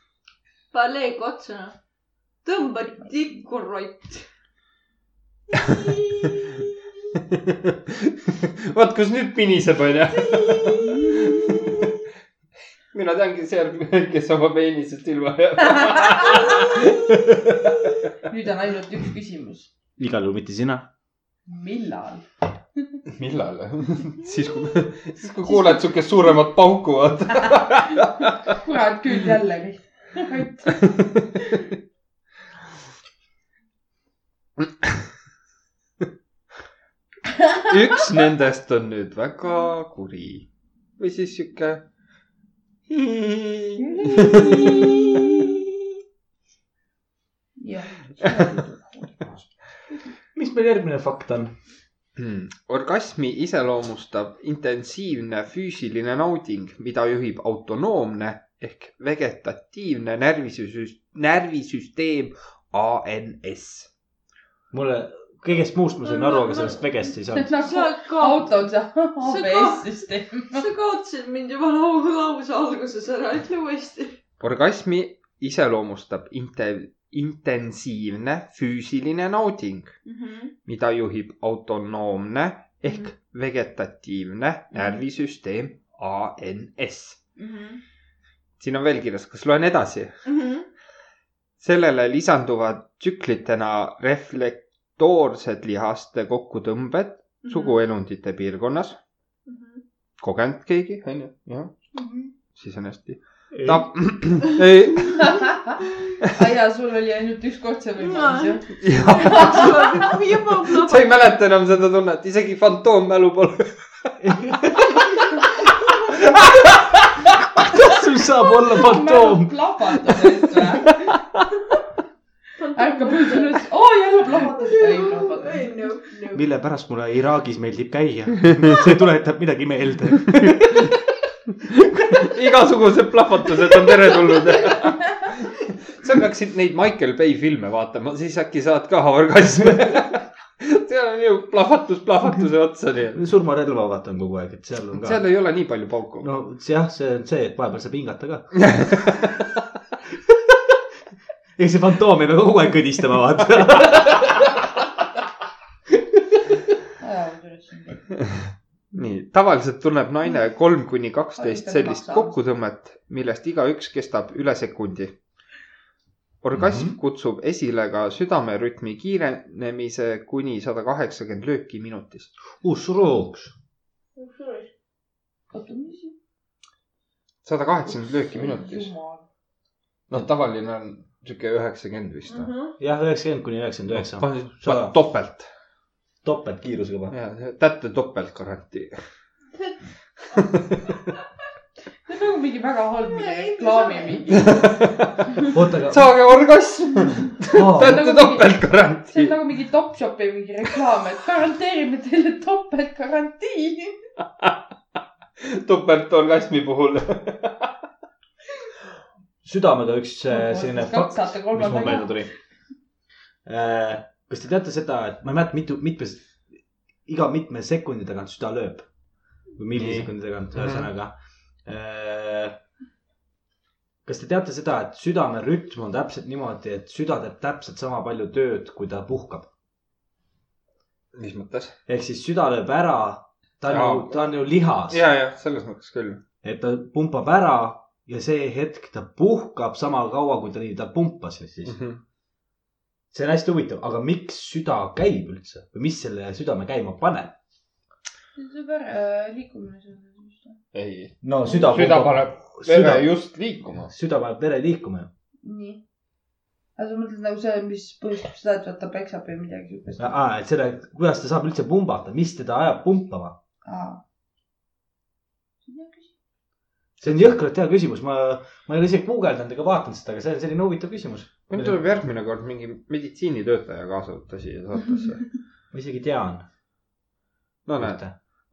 S5: paleeg otsa . tõmba tikku rott .
S2: vaat , kus nüüd piniseb , onju . mina teangi seal , kes oma peenisest ilma jääb .
S3: nüüd on ainult üks küsimus .
S7: igal juhul mitte sina .
S3: millal ?
S2: millal ? siis , kui , siis kui kuuled siukest suuremat pauku , vaata .
S3: kurat küll jälle .
S2: üks nendest on nüüd väga kuri või siis sihuke .
S3: jah .
S7: mis meil järgmine fakt on ?
S2: Hmm. orgasmi iseloomustab intensiivne füüsiline nauding , mida juhib autonoomne ehk vegetatiivne närvisüs- , närvisüsteem ANS .
S7: mulle kõigest muust ma sain aru , aga sellest vegest ei saanud .
S3: nagu
S5: sa kaot- ,
S3: auto on see
S5: See ka-
S3: ABS-süsteem .
S5: sa kaotasid mind juba lau- lause alguses ära , ütle uuesti .
S2: orgasmi iseloomustab inte- , intensiivne füüsiline nauding , mida juhib autonoomne ehk mm -hmm. vegetatiivne närvisüsteem ANS . siin on veel kirjas , kas loen edasi ?
S5: Mhm.
S2: sellele lisanduvad tsüklitena reflektoorsed lihaste kokkutõmbed
S7: Mhm.
S2: suguelundite piirkonnas .
S5: Mhm.
S2: kogenud keegi , onju , jah , siis on hästi . tap- , ei ,
S3: aa jaa , sul oli ainult üks kord see võimalus jah ?
S2: jah ,
S5: juba
S2: sa ei mäleta enam seda tunnet , isegi fantoommälu pole .
S7: kas sul saab olla fantoom ?
S3: plahvatusest või ? ärkab
S5: plahvatab .
S3: üldse üles , oo jälle plahvatas . ei plahvatanud .
S7: mille pärast mulle Iraagis meeldib käia ? see tuletab midagi meelde .
S2: igasugused plahvatused on teretulnud . sa peaksid neid Michael Bay filme vaatama , siis äkki saad ka orgasmi . seal on ju plahvatus plahvatuse otsa , nii et
S7: surmarelva vaatan kogu aeg , et seal on ka .
S2: seal ei ole nii palju pauku .
S7: no see jah , see on see , et vahepeal saab hingata ka . ega see fantoom ei pea kogu aeg kõdistama , vaata .
S2: nii , tavaliselt tunneb naine kolm kuni kaksteist
S3: Aitäh,
S2: sellist
S3: maksa.
S2: kokkutõmmet , millest igaüks kestab üle sekundi . orgasm mm -hmm. kutsub esile ka südamerütmi kiirenemise kuni sada kaheksakümmend lööki minutis .
S7: uus rooks .
S3: oota , mis see
S2: sada kaheksakümmend lööki minutis .
S3: jumal .
S2: noh , tavaline on sihuke üheksakümmend vist
S5: Mhm.
S2: mm .
S7: jah , üheksakümmend kuni üheksakümmend üheksa .
S2: -hmm.
S7: Sada.
S2: topelt ,
S7: topeltkiirusega või ?
S2: tätte topelt garantii .
S3: see on nagu mingi väga halb mingi
S5: Ei,
S3: reklaami
S5: ei saa.
S3: mingi .
S1: oota , aga
S2: saage orgasm , te
S1: aa,
S2: olete topeltgarantii
S3: see on . nagu mingi Topshopi mingi reklaam , et garanteerime teile topeltgarantii .
S2: topeltorgasmi puhul .
S1: südamega üks äh, selline
S3: kaks
S1: fakt ,
S3: saate
S1: mis mul
S3: kolmandaga
S1: meelde . tuli . Äh, kas te teate seda , et ma ei mäleta , mitu , mitmes , iga mitme sekundi tagant süda lööb või millisekundi tagant ,
S2: Mhm.
S1: ühesõnaga . kas te teate seda , et südame rütm on täpselt niimoodi , et süda teeb täpselt sama palju tööd , kui ta puhkab ?
S2: mis mõttes ?
S1: ehk siis süda lööb ära , ta on ju
S2: Jaa. ,
S1: ta on ju lihas ,
S2: ja , ja selles mõttes küll .
S1: et ta pumpab ära ja see hetk ta puhkab sama kaua , kui ta nii , ta pumpas ja
S2: Mhm.
S1: siis . see on hästi huvitav , aga miks süda käib üldse või mis selle südame käima paneb ?
S3: super äh, liikumine .
S2: ei ,
S1: no süda .
S2: süda paneb
S1: süda,
S2: vere just liikuma .
S1: süda paneb vere liikuma ju .
S3: nii . aga sa mõtled nagu see , mis põhjustab seda , et vaata peksab või midagi siukest ?
S1: Ah, et selle , kuidas ta saab üldse pumbata , mis teda ajab pumpama ? see on jõhkralt hea küsimus , ma , ma ei ole isegi guugeldanud ega vaadanud seda , aga see on selline huvitav küsimus .
S2: meil tuleb järgmine kord mingi meditsiinitöötaja kaasa võtta siia saatesse .
S1: ma isegi tean .
S2: no näed ,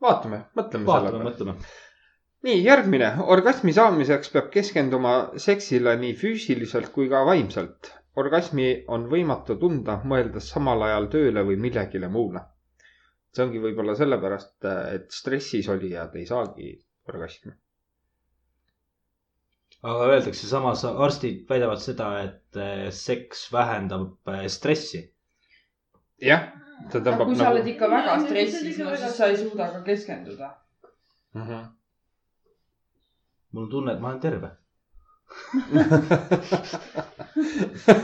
S2: vaatame , mõtleme selle
S1: vaatame ,
S2: peale .
S1: mõtleme .
S2: nii , järgmine . orgasmi saamiseks peab keskenduma seksile nii füüsiliselt kui ka vaimselt . orgasmi on võimatu tunda , mõeldes samal ajal tööle või millegile muule . see ongi võib-olla sellepärast , et stressis olijad ei saagi orgasmi .
S1: aga öeldakse samas , arstid väidavad seda , et eh, seks vähendab eh, stressi .
S2: jah , ta
S3: aga
S2: tõmbab
S3: kui sa oled
S2: nagu .
S3: ikka väga
S5: Jaa, kui sa oled
S3: stressis ,
S5: ikka
S3: no
S5: väga
S3: siis sa ei suuda ka keskenduda .
S2: Mhm.
S1: mul on tunne , et ma olen terve .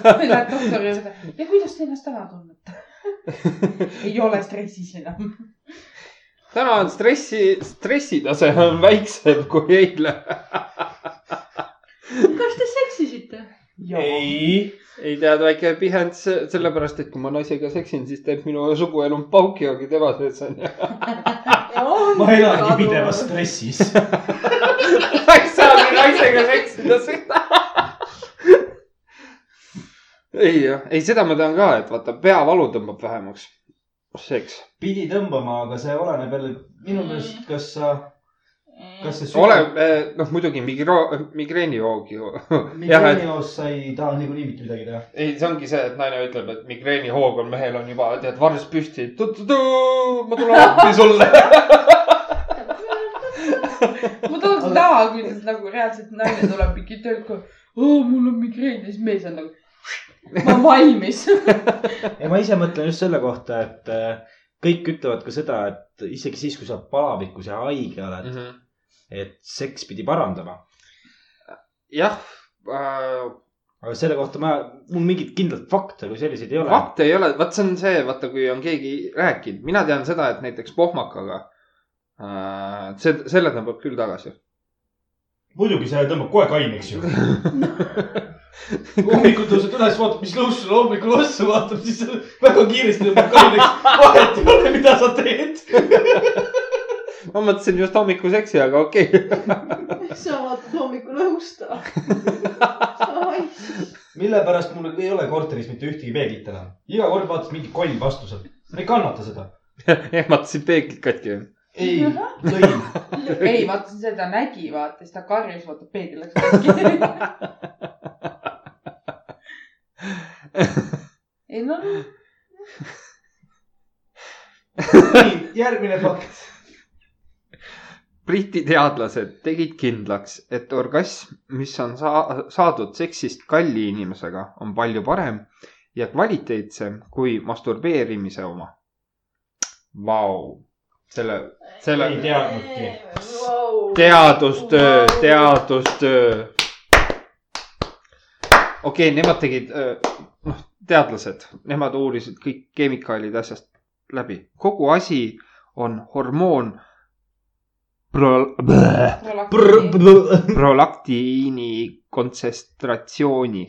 S3: või lähed doktori juurde ja kuidas te ennast ära tunnete ? ei ole stressis enam .
S2: täna on stressi , stressitase on väiksem kui eile .
S9: kas te seksisite ?
S1: ei .
S2: ei tead , väike pihens sellepärast , et kui ma naisega seksin , siis teeb minu suguelu paukijoogi tebases onju .
S1: ma elangi pidevas stressis .
S2: ma ei saagi naisega seksida seda . ei jah , ei seda ma tean ka , et vaata peavalu tõmbab vähemaks . seks .
S10: pidi tõmbama , aga see oleneb jälle minu meelest , kas sa , kas see
S2: ole , noh muidugi migro- , migreenijoog ju . jah , et
S10: migreenios sa ei taha niikuinii mitte midagi teha .
S2: ei , see ongi see , et naine ütleb , et migreenihoog on mehel on juba , tead , varjus püsti . ma tulen appi sulle .
S3: ma tahaks näha , kuidas nagu reaalselt naine tuleb mingi töölt , kui oo , mul on migreen ja siis mees on nagu , ma olen valmis .
S1: ei , ma ise mõtlen just selle kohta , et äh, kõik ütlevad ka seda , et isegi siis , kui sa palavikus ja haige oled mm ,
S2: Mhm.
S1: -hmm. et seks pidi parandama .
S2: jah äh, ,
S1: aga selle kohta ma , mul mingit kindlat fakte kui selliseid ei ole .
S2: fakte ei ole , vaat see on see , vaata , kui on keegi rääkinud , mina tean seda , et näiteks pohmakaga äh, , see , selle tõmbab küll tagasi .
S10: muidugi , see tõmbab kohe kaineks ju . hommikul tõused üles , vaatad , mis lõus sul hommikul ossa vaatab , siis väga kiiresti tõmbab kaineks . vahet ei ole , mida sa teed .
S2: ma mõtlesin just hommikuseksi , aga okei okay. .
S5: sa vaatad hommikul õhusta .
S10: mille pärast mul ei ole korteris mitte ühtegi peeglit enam . iga kord vaatad mingi koll vastu sealt . ma ei kannata seda .
S2: ehmatasid peeglid katki .
S10: ei , lõin .
S3: ei , vaata seda ta nägi , vaata , siis ta karjus , vaata peegel läks katki . ei no ,
S10: nii , järgmine fakt .
S2: Briti teadlased tegid kindlaks , et orgasm , mis on saa- , saadud seksist kalli inimesega , on palju parem ja kvaliteetsem kui masturbeerimise oma . Vau , selle , selle
S10: Ei teadnudki. .
S2: teadustöö , teadustöö . okei okay, , nemad tegid , noh , teadlased , nemad uurisid kõik kemikaalid asjast läbi , kogu asi on hormoon pro- , prolaktiini kontsentratsiooni ,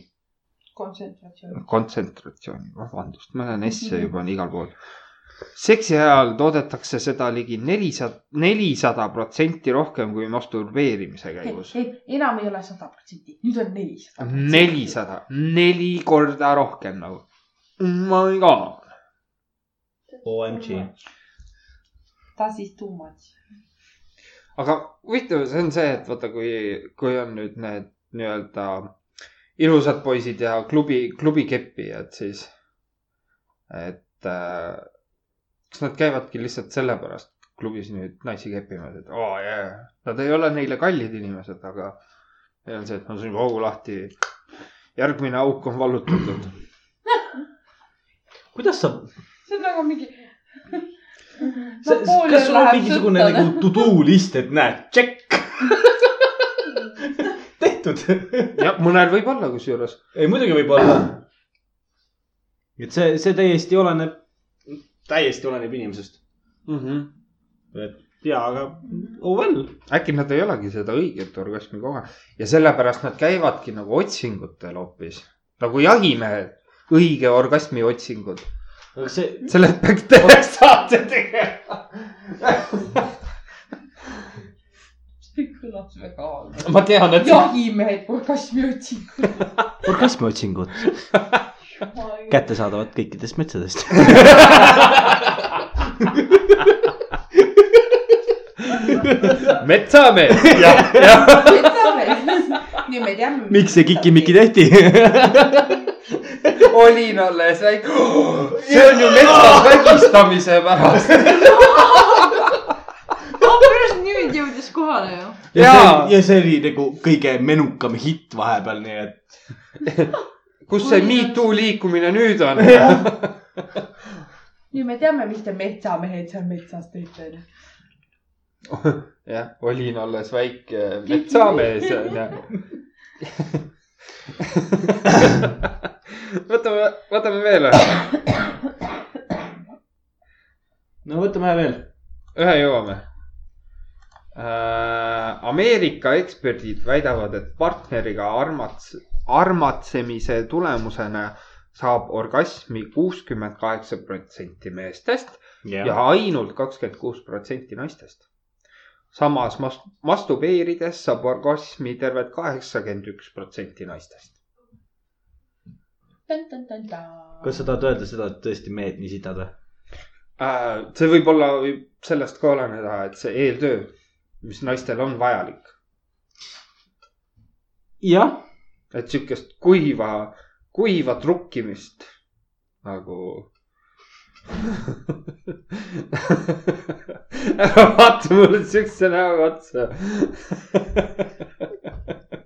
S3: kontsentratsioon .
S2: kontsentratsiooni , vabandust , ma olen S-e juba on igal pool . seksi ajal toodetakse seda ligi nelisada , nelisada protsenti rohkem kui masturbeerimise käigus .
S3: ei , enam ei ole sada protsenti , nüüd on nelisada .
S2: nelisada , neli korda rohkem nagu . my god .
S1: OMG .
S3: ta siis tuumats .
S2: aga huvitav , see on see , et vaata , kui , kui on nüüd need nii-öelda ilusad poisid ja klubi , klubikeppijad , siis , et äh, kas nad käivadki lihtsalt sellepärast klubis nüüd naisi keppimas , et oo oh, jaa , nad ei ole neile kallid inimesed , aga neil on see , et ma sõin hoogu lahti , järgmine auk on vallutatud .
S1: kuidas sa ,
S3: see on nagu mingi .
S1: kas sul on mingisugune nagu to do list , et näed , check . tehtud .
S2: jah , mõnel võib olla kusjuures .
S1: ei , muidugi võib olla . et see , see täiesti oleneb , täiesti oleneb inimesest .
S2: Mm -hmm.
S1: ja , aga oh well .
S2: äkki nad ei olegi seda õiget orgasmi kogenud ja sellepärast nad käivadki nagu otsingutel hoopis , nagu jahimehed , õige orgasmi otsingud .
S1: aga see ,
S2: sellest peaks teha saate tegema .
S3: see kõlab väga halvasti .
S2: ma tean , et see...
S3: jahimehed orgasmi otsingud .
S1: orgasmiotsingud kättesaadavad kõikidest metsadest .
S2: metsamees .
S3: nüüd me teame .
S1: miks see kikimiki ? tehti ?
S2: olin alles väike , see on ju metsas vägistamise pärast .
S5: pärast nüüd jõudis kohale ju .
S1: ja
S2: Jaa.
S1: see- ja see oli nagu kõige menukam hitt vahepeal , nii et
S2: kus see Me Too liikumine nüüd on ?
S3: nüüd me teame , mis te metsamehed seal metsas teete . noh.
S2: jah , olin alles väike metsamees onju . võtame , võtame veel ühe ,
S1: no võtame ühe veel .
S2: ühe jõuame äh, . Ameerika eksperdid väidavad , et partneriga armats- , armatsemise tulemusena saab orgasmi kuuskümmend kaheksa protsenti meestest ja ainult kakskümmend kuus protsenti naistest . samas mas- , masturbeerides saab orgasmi tervelt kaheksakümmend üks protsenti naistest .
S1: kas sa tahad öelda seda , et tõesti mehed nii sitad või ?
S2: Äh, see võib olla , võib sellest ka oleneda , et see eeltöö , mis naistel on vajalik ,
S1: jah ,
S2: et sihukest kuiva , kuiva trukkimist nagu ära vaata mulle siukse näoga otsa .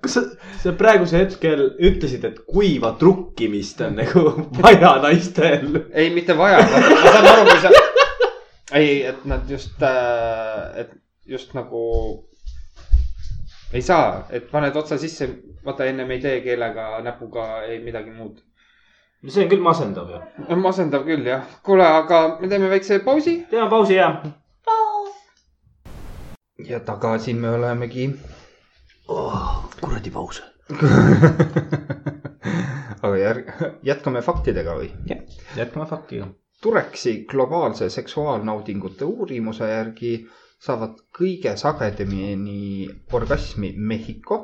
S1: kas sa , sa praegusel hetkel ütlesid , et kuiva trukkimist on nagu vaja naistel .
S2: ei , mitte vaja , ma saan aru , kui sa , ei , et nad just , et just nagu ei saa , et paned otsa sisse , vaata ennem ei tee keelega , näpuga ei midagi muud .
S1: see on küll masendav ju .
S2: masendav küll jah , kuule , aga me teeme väikse pausi .
S1: teeme pausi ja .
S2: ja tagasi me olemegi .
S1: Oh, kuradi paus .
S2: aga järg , jätkame faktidega või ?
S1: jätkame faktiga .
S2: Tureksi globaalse seksuaalnaudingute uurimuse järgi saavad kõige sagedamini orgasmi Mehhiko ,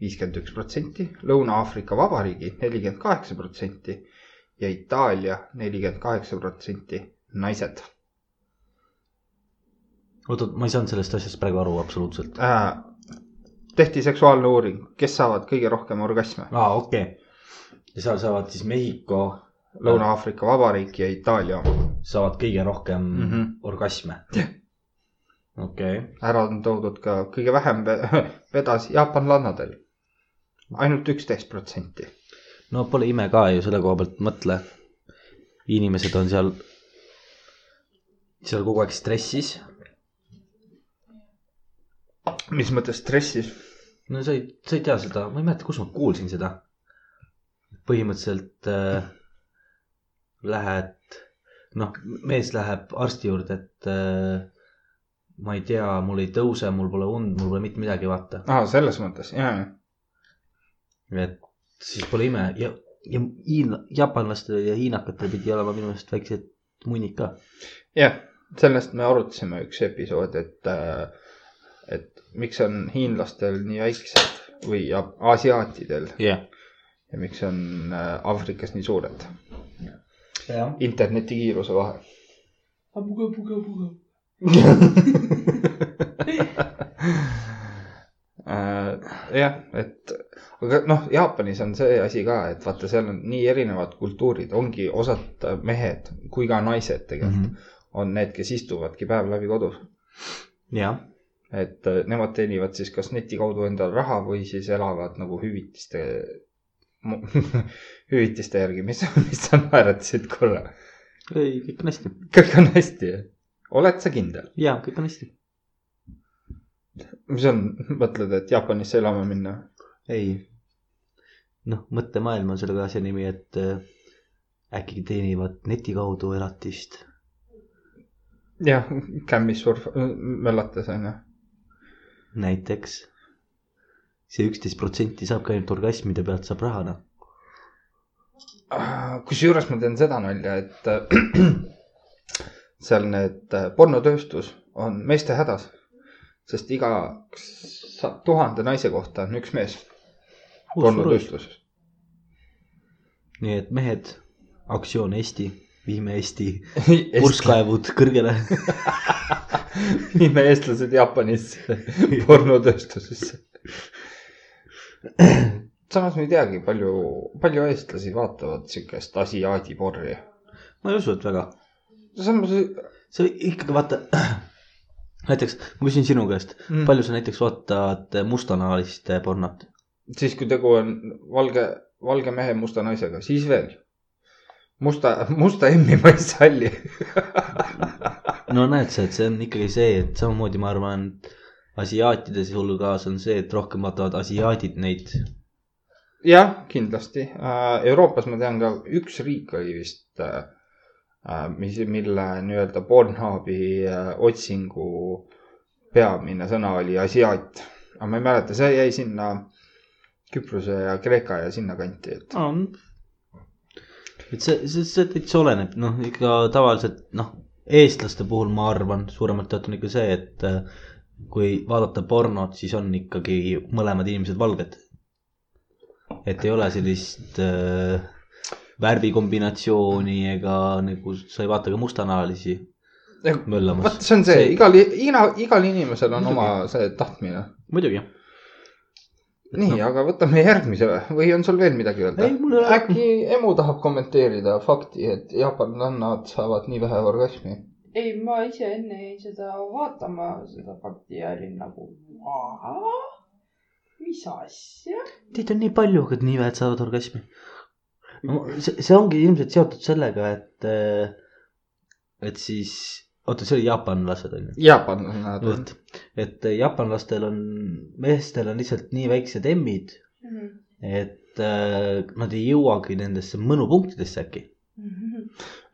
S2: viiskümmend üks protsenti , Lõuna-Aafrika Vabariigi nelikümmend kaheksa protsenti ja Itaalia nelikümmend kaheksa protsenti naised
S1: oota , ma ei saanud sellest asjast praegu aru absoluutselt .
S2: äh, . tehti seksuaalne uuring , kes saavad kõige rohkem orgasme ,
S1: aa , okei okay. . ja seal saavad siis Mehhiko ,
S2: Lõuna-Aafrika Vabariik ja Itaalia oma .
S1: saavad kõige rohkem mm -hmm.
S2: Mhm.
S1: orgasme . okei okay. ,
S2: ära on toodud ka kõige vähem ve- vedas jaapanlannadel , ainult üksteist protsenti .
S1: no pole ime ka ju selle koha pealt , mõtle . inimesed on seal , seal kogu aeg stressis .
S2: mis mõttes stressis ?
S1: no sa ei , sa ei tea seda , ma ei mäleta , kus ma kuulsin seda . põhimõtteliselt äh, lähed , noh , mees läheb arsti juurde , et äh, ma ei tea , mul ei tõuse , mul pole und , mul pole mitte midagi , vaata .
S2: aa , Ah, selles mõttes , jaa ,
S1: et siis pole ime ja , ja hiina , jaapanlastel ja hiinakatel pidi olema minu meelest väiksed munnik ka .
S2: jah , sellest me arutasime üks episood , et , et miks on hiinlastel nii väiksed või a- asiaatidel
S1: jah .
S2: ja miks on äh, Aafrikas nii suured .
S1: jah .
S2: interneti kiiruse vahe .
S3: Ah, puge , puge , puge .
S2: Äh, jah , et aga noh , Jaapanis on see asi ka , et vaata , seal on nii erinevad kultuurid , ongi osad mehed kui ka naised tegelikult
S1: Mhm.
S2: mm -hmm. on need , kes istuvadki päev läbi kodus .
S1: jah ,
S2: et äh, nemad teenivad siis kas neti kaudu endale raha või siis elavad nagu hüvitiste , hüvitiste järgi , mis , mis sa naeratasid korra .
S1: ei , kõik on hästi .
S2: kõik on hästi , oled sa kindel ?
S1: ja kõik on hästi .
S2: mis on , mõtled , et Jaapanisse elama minna ?
S1: ei . noh , mõttemaailm on selle ka see nimi , et äh, äkki teenivad neti kaudu elatist .
S2: jah , kämmis surf , möllates on ju .
S1: näiteks see üksteist protsenti saab ka ainult orgasmide pealt saab noh. rahana .
S2: Ah, kusjuures ma teen seda nalja , et äh, seal need äh, pornotööstus on meeste hädas , sest iga sa- tuhande naise kohta on üks mees pornotööstuses .
S1: nii et mehed , aktsioon Eesti , viime Eesti
S2: Purska .
S1: purskkaevud kõrgele .
S2: viime eestlased Jaapanisse pornotööstusesse . samas ma ei teagi , palju , palju eestlasi vaatavad siukest asiaadi porri .
S1: ma ei usu , et väga .
S2: samas ,
S1: see ikkagi vaata , näiteks ma küsin sinu käest
S2: Mm.
S1: mm. , palju sa näiteks vaatad mustanahaliste pornot ?
S2: siis kui tegu on valge , valge mehe musta naisega , siis veel . musta , musta emmi ma ei salli .
S1: no näed sa , et see on ikkagi see , et samamoodi ma arvan , asiaatide hulgas on see , et rohkem vaatavad asiaadid neid .
S2: jah , kindlasti . Euroopas ma tean ka , üks riik oli vist , mis , mille nii-öelda Pornhubi äh, otsingu peamine sõna oli asiaat . aga ma ei mäleta , see jäi sinna Küprose ja Kreeka ja sinnakanti , et
S1: on . et see , see , see täitsa oleneb , noh ikka tavaliselt noh , eestlaste puhul ma arvan , suuremalt jaolt on ikka see , et äh, kui vaadata pornot , siis on ikkagi mõlemad inimesed valged . et ei ole sellist äh, värvikombinatsiooni ega nagu sa ei vaata ka mustanahalisi
S2: Ega-
S1: möllamas
S2: vot . see on see
S1: See- ,
S2: igal , iga , igal inimesel on oma see tahtmine .
S1: muidugi .
S2: nii , aga võtame järgmise või , või on sul veel midagi öelda
S1: ei ,? mul ei ole .
S2: äkki Emu tahab kommenteerida fakti , et jaapanlannad saavad nii vähe orgasmi ?
S3: ei , ma ise enne jäin seda vaatama , seda fakti ja olin nagu , mis asja .
S1: Teid on nii palju , aga nii vähed saavad orgasmi . no see , see ongi ilmselt seotud sellega , et , et siis , oota , see oli jaapanlased on ju ?
S2: jaapanlannad on
S1: vot , et äh, jaapanlastel on , meestel on lihtsalt nii väiksed emmid , et äh, nad ei jõuagi nendesse mõnupunktidesse äkki .
S3: Mhm.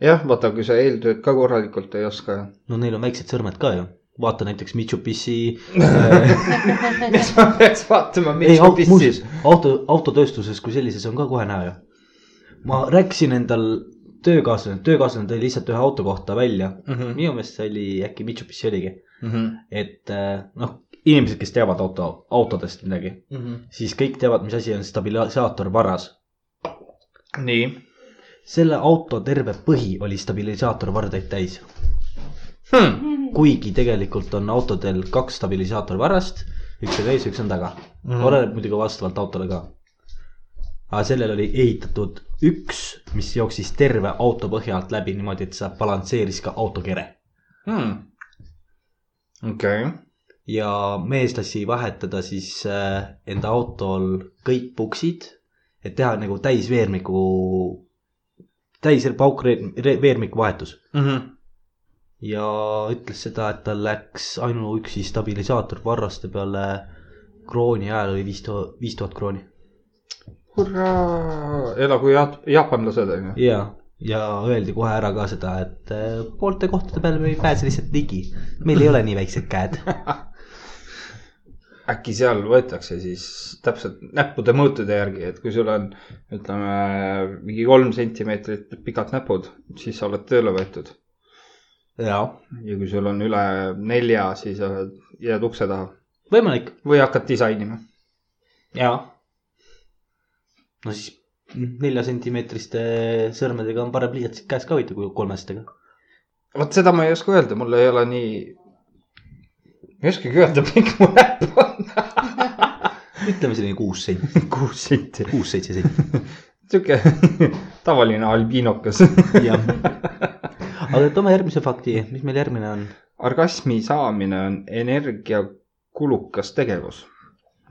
S2: jah , vaata , kui sa eeltööd ka korralikult ei oska .
S1: no neil on väiksed sõrmed ka ju , vaata näiteks Mitsubishi äh, .
S2: miks ma peaks vaatama ,
S1: ei
S2: mis ,
S1: muuseas , auto , autotööstuses kui sellises on ka kohe näha ju . ma rääkisin endal töökaaslane , töökaaslane tõi lihtsalt ühe auto kohta välja ,
S2: Mhm.
S1: minu meelest see oli äkki Mitsubishi oligi ,
S2: Mhm.
S1: et äh, noh , inimesed , kes teavad auto , autodest midagi ,
S2: Mhm.
S1: siis kõik teavad , mis asi on stabilisaator varas .
S2: nii ,
S1: selle auto terve põhi oli stabilisaator vardaid täis ,
S2: Hmm.
S1: kuigi tegelikult on autodel kaks stabilisaator varast , üks on ees , üks on taga
S2: Mhm.
S1: mm. . oleneb muidugi vastavalt autole ka . aga sellel oli ehitatud üks , mis jooksis terve auto põhja alt läbi niimoodi , et see balansseeris ka autokere
S2: Hmm. okei ,
S1: ja mees lasi vahetada siis äh, enda autol kõik puksid , et teha nagu täisveermiku , täis paukveermiku vahetus . ja ütles seda , et tal läks ainuüksi stabilisaator varraste peale krooni ajal oli viis tuhat , viis tuhat krooni .
S2: hurraa , elagu jaat- , jaapanlased on ju .
S1: ja , ja öeldi kohe ära ka seda , et äh, poolte kohtade peale me ei pääse lihtsalt ligi , meil ei ole nii väiksed käed .
S2: äkki seal võetakse siis täpselt näppude mõõtude järgi , et kui sul on , ütleme , mingi kolm sentimeetrit pikad näpud , siis sa oled tööle võetud .
S1: jaa ,
S2: ja kui sul on üle nelja , siis oled , jääd ukse taha
S1: võimalik ,
S2: või hakkad disainima .
S1: jaa . no siis nelja sentimeetriste sõrmedega on parem pliiatsit käes ka hoida kui kolmestega .
S2: vot seda ma ei oska öelda , mul ei ole nii , ei oskagi öelda , pikk mu näpp on .
S1: ütleme selline kuus senti ,
S2: kuus senti ,
S1: kuus-seitse senti ,
S2: sihuke tavaline albiinokas .
S1: jah . aga toome järgmise fakti , mis meil järgmine on ?
S2: orgasmi saamine on energiakulukas tegevus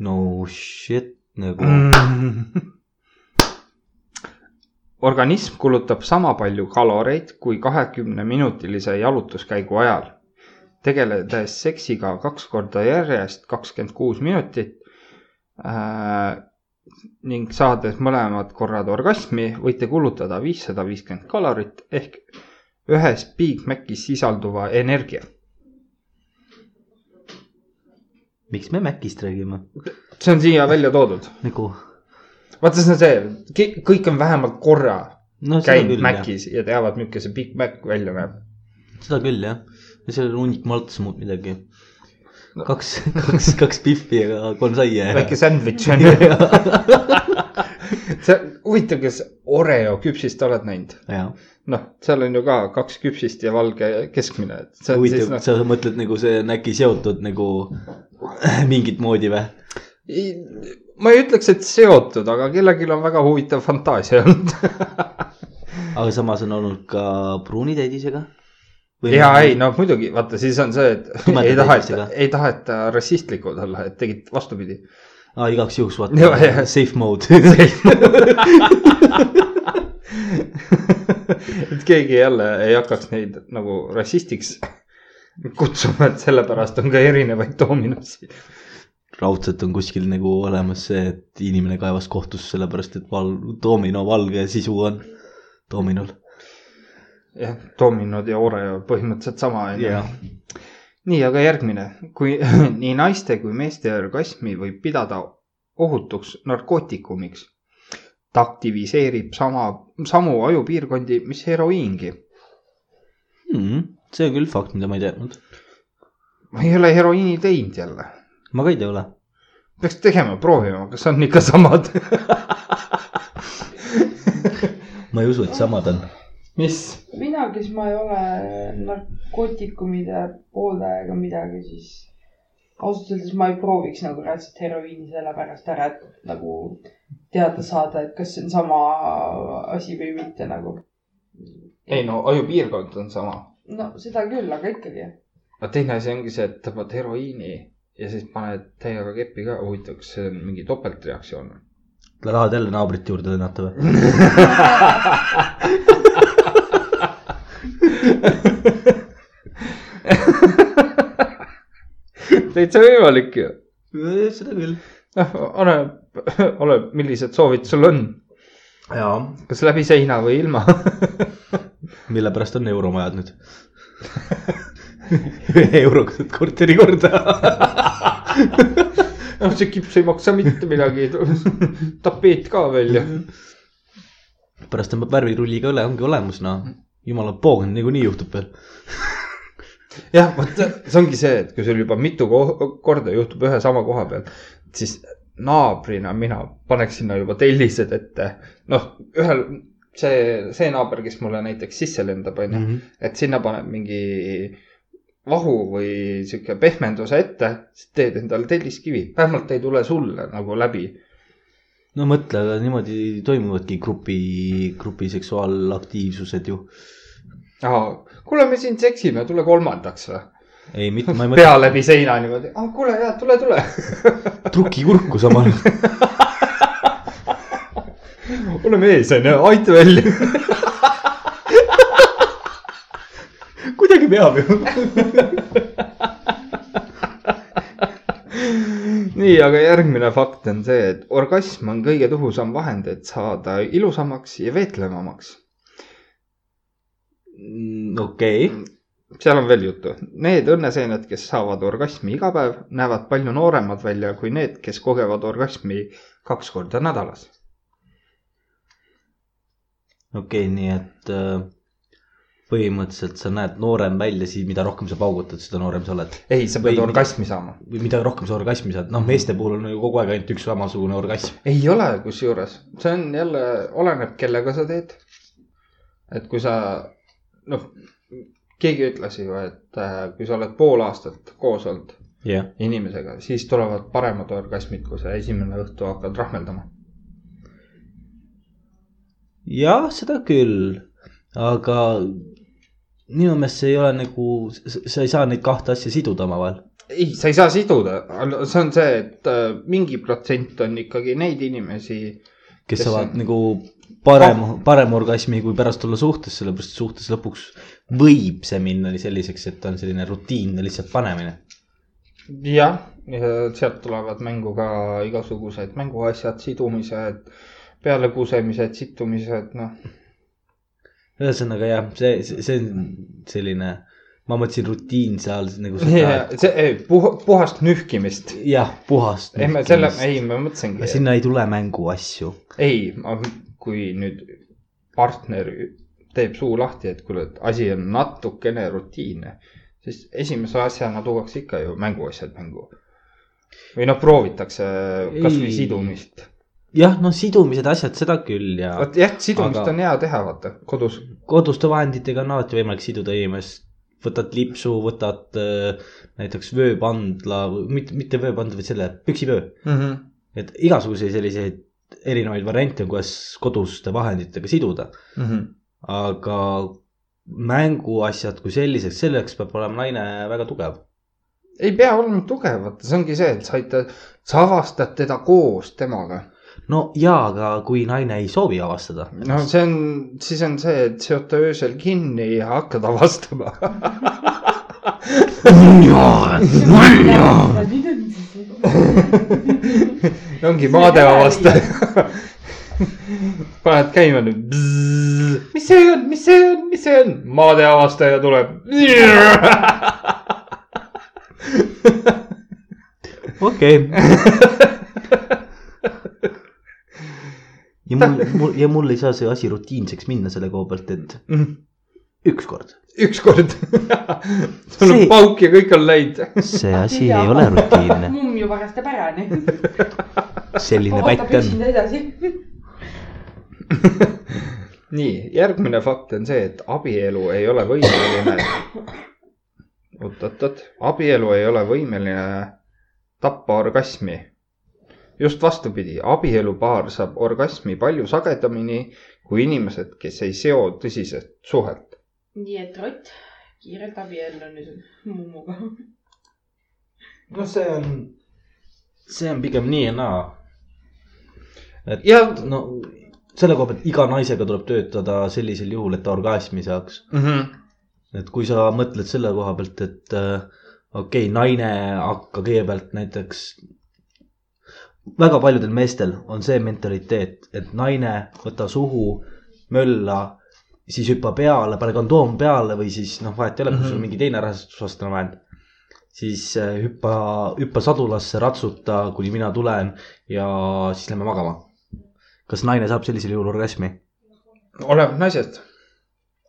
S1: no shit nagu mm. .
S2: mm. . organism kulutab sama palju kaloreid kui kahekümneminutilise jalutuskäigu ajal , tegeledes seksiga kaks korda järjest kakskümmend kuus minutit äh, ning saades mõlemad korrad orgasmi , võite kulutada viissada viiskümmend kalorit ehk ühes Big Macis sisalduva energia .
S1: miks me Mäkist räägime ?
S2: see on siia välja toodud .
S1: nagu .
S2: vaata , see on see , kõik on vähemalt korra
S1: no seda
S2: käinud
S1: küll jah ,
S2: Macis ja teavad , milline see Big Mac välja näeb .
S1: seda küll jah . ja seal on hunnik maltsu muud midagi . kaks , kaks , kaks pihvi ja kolm saia .
S2: väike sandwich on ju .
S1: jah ,
S2: see , huvitav , kas Oreo küpsist oled näinud ? noh , seal on ju ka kaks küpsist ja valge keskmine , et see on siis
S1: huvitav ,
S2: noh ,
S1: sa mõtled nagu see on äkki seotud nagu mingit moodi või ?
S2: ma ei ütleks , et seotud , aga kellelgi on väga huvitav fantaasia olnud .
S1: aga samas on olnud ka pruunitäidisega .
S2: ja ei , no muidugi , vaata siis on see , et
S1: Tumeda
S2: ei taheta
S1: täitmisega. ,
S2: ei taheta rassistlikud olla , et tegid vastupidi .
S1: ah, . igaks juhuks
S2: Jaa, jaa.
S1: vaata , safe mode .
S2: et keegi jälle ei hakkaks neid nagu rassistiks kutsuma , et sellepärast on ka erinevaid dominosid .
S1: raudselt on kuskil nagu olemas see , et inimene kaevas kohtusse sellepärast , et val- , domino valge sisu on dominol .
S2: jah , dominod ja Oreo põhimõtteliselt sama on ju
S1: Jah. .
S2: nii , aga järgmine , kui nii naiste kui meeste orgasmi võib pidada ohutuks narkootikumiks . ta aktiviseerib sama , samu ajupiirkondi , mis heroiingi .
S1: Hmm, see on küll fakt , mida ma ei teadnud .
S2: ma ei ole heroiini teinud jälle ,
S1: ma ka ei tea , ole .
S2: peaks tegema , proovima , kas on ikka samad .
S1: ma ei usu , et samad on .
S2: mis ?
S3: mina , kes ma ei ole narkootikumide pooldaja ega midagi , siis ausalt öeldes ma ei prooviks nagu reaalselt heroiini sellepärast ära , et nagu teada saada , et kas see on sama asi või mitte nagu .
S2: ei no ajupiirkond on sama
S3: no seda küll , aga ikkagi .
S2: no teine asi ongi see , et tõmbad heroiini ja siis paned täiega keppi ka , huvitav , kas see on mingi topeltreaktsioon ?
S1: tahad jälle naabrit juurde lennata või ?
S2: täitsa võimalik ju .
S1: seda küll .
S2: noh , oleneb , oleneb , millised soovid sul on ,
S1: jaa .
S2: kas läbi seina või ilma .
S1: mille pärast on euromajad nüüd ? ühe euroga saad korteri korda .
S2: noh , see kips ei maksa mitte midagi , tapeet ka veel ju .
S1: pärast tõmbab värvirulliga üle , ongi olemas , noh . jumala poog , niikuinii juhtub veel .
S2: jah , vot see ongi see , et kui sul juba mitu ko- korda juhtub ühe sama koha peal , siis naabrina mina paneks sinna juba tellised ette . noh , ühel see , see naaber , kes mulle näiteks sisse lendab , onju ,
S1: Mhm.
S2: et sinna paned mingi vahu või sihuke pehmenduse ette , siis teed endale telliskivi , vähemalt ei tule sulle nagu läbi .
S1: no mõtle , aga niimoodi toimuvadki grupi , grupi seksuaalaktiivsused ju .
S2: kuule , me siin seksime , tule kolmandaks või ?
S1: ei , mitte ma ei mõtle
S2: pea läbi seina niimoodi , kuule ja tule , tule .
S1: truki kurku samal .
S2: ole mees onju , aita välja .
S1: kuidagi peab ju .
S2: nii , aga järgmine fakt on see , et orgasm on kõige tõhusam vahend , et saada ilusamaks ja veetlevamaks .
S1: okei ,
S2: seal on veel juttu . Need õnneseened , kes saavad orgasmi iga päev , näevad palju nooremad välja kui need , kes kogevad orgasmi kaks korda nädalas .
S1: okei okay, , nii et äh, põhimõtteliselt sa näed noorem välja , siis mida rohkem sa paugutad , seda noorem sa oled .
S2: ei , sa pead
S1: Või-
S2: orgasmi saama .
S1: või mida rohkem sa orgasmi saad , noh , meeste puhul on ju kogu aeg ainult üks samasugune orgasm .
S2: ei ole , kusjuures , see on jälle , oleneb , kellega sa teed . et kui sa , noh , keegi ütles ju , et äh, kui sa oled pool aastat koos olnud
S1: jah ,
S2: inimesega , siis tulevad paremad orgasmid , kui sa esimene õhtu hakkad rahmeldama .
S1: jah , seda küll , aga minu meelest see ei ole nagu , sa ei saa neid kahte asja siduda omavahel .
S2: ei , sa ei saa siduda , see on see , et äh, mingi protsent on ikkagi neid inimesi ,
S1: kes
S2: Kes
S1: saavad
S2: on-
S1: nagu parem , parem orgasmi , kui pärast olla suhtes , sellepärast et suhtes lõpuks võib see minna nii selliseks , et on selline rutiinne lihtsalt panemine .
S2: jah , sealt tulevad mängu ka igasugused mänguasjad , sidumised , pealekusemised , situmised , noh .
S1: ühesõnaga jah , see , see on selline , ma mõtlesin rutiinse all nagu seda ,
S2: see ei, puh- , puhast nühkimist .
S1: jah , puhast .
S2: ei , ma selle , ei , ma mõtlesingi ,
S1: sinna ei tule mänguasju .
S2: ei , kui nüüd partner teeb suu lahti , et kuule , et asi on natukene rutiinne , siis esimese asjana tuuakse ikka ju mänguasjad mängu . või noh , proovitakse kasvõi
S1: Ei.
S2: sidumist .
S1: jah , no sidumised , asjad , seda küll ja
S2: vot jah ,
S1: Aga-
S2: sidumist Aga... on hea teha , vaata , kodus .
S1: koduste vahenditega on alati võimalik siduda inimest , võtad lipsu , võtad äh, näiteks vööpandla , mitte , mitte vööpandla , vaid selle püksivöö .
S2: Mm -hmm.
S1: et igasuguseid selliseid erinevaid variante on , kuidas koduste vahenditega siduda ,
S2: Mm -hmm.
S1: aga mänguasjad kui selliseks , selleks peab olema naine väga tugev .
S2: ei pea olema tugev , vaata , see ongi see , et sa aitad , sa avastad teda koos temaga .
S1: no jaa , aga kui naine ei soovi avastada ,
S2: no Noh, see on , siis on see , et seota öösel kinni ja hakkad avastama .
S3: nüüd on siis .
S2: ongi
S3: See
S2: maade
S3: ei ole
S2: avastaja . paned käima nüüd . mis see on , mis see on , mis see on ? maade avastaja tuleb .
S1: okei okay. . ja mul , mul ja mul ei saa see asi rutiinseks minna selle koha pealt , et ükskord .
S2: Mm. ükskord . sul on
S1: See-
S2: pauk ja kõik on läinud .
S1: see asi ei ole rutiinne ,
S3: mumm juba kästab ära , nii .
S1: selline
S3: ootab
S1: pätt on .
S3: üksinda edasi .
S2: nii , järgmine fakt on see , et abielu ei ole võimeline . oot-oot-oot , abielu ei ole võimeline tappa orgasmi . just vastupidi , abielupaar saab orgasmi palju sagedamini kui inimesed , kes ei seo tõsiselt suhet .
S3: nii et Rott , kiirelt abiellu nüüd mummuga .
S7: no see on
S1: see on pigem nii ja naa . et
S2: ja
S1: no selle koha pealt iga naisega tuleb töötada sellisel juhul , et ta orgasmi saaks .
S2: mm , -hmm.
S1: et kui sa mõtled selle koha pealt , et äh, okei okay, , naine hakka kõigepealt näiteks . väga paljudel meestel on see mentaliteet , et naine võta suhu , mölla , siis hüppa peale , pane kondoom peale või siis noh , vahet ei ole , kui sul
S2: Mhm.
S1: on mingi teine rahastusvastane vahend . siis äh, hüppa , hüppa sadulasse , ratsuta , kuni mina tulen ja siis lähme magama . kas naine saab sellisel juhul orgasmi ?
S2: oleneb naisest .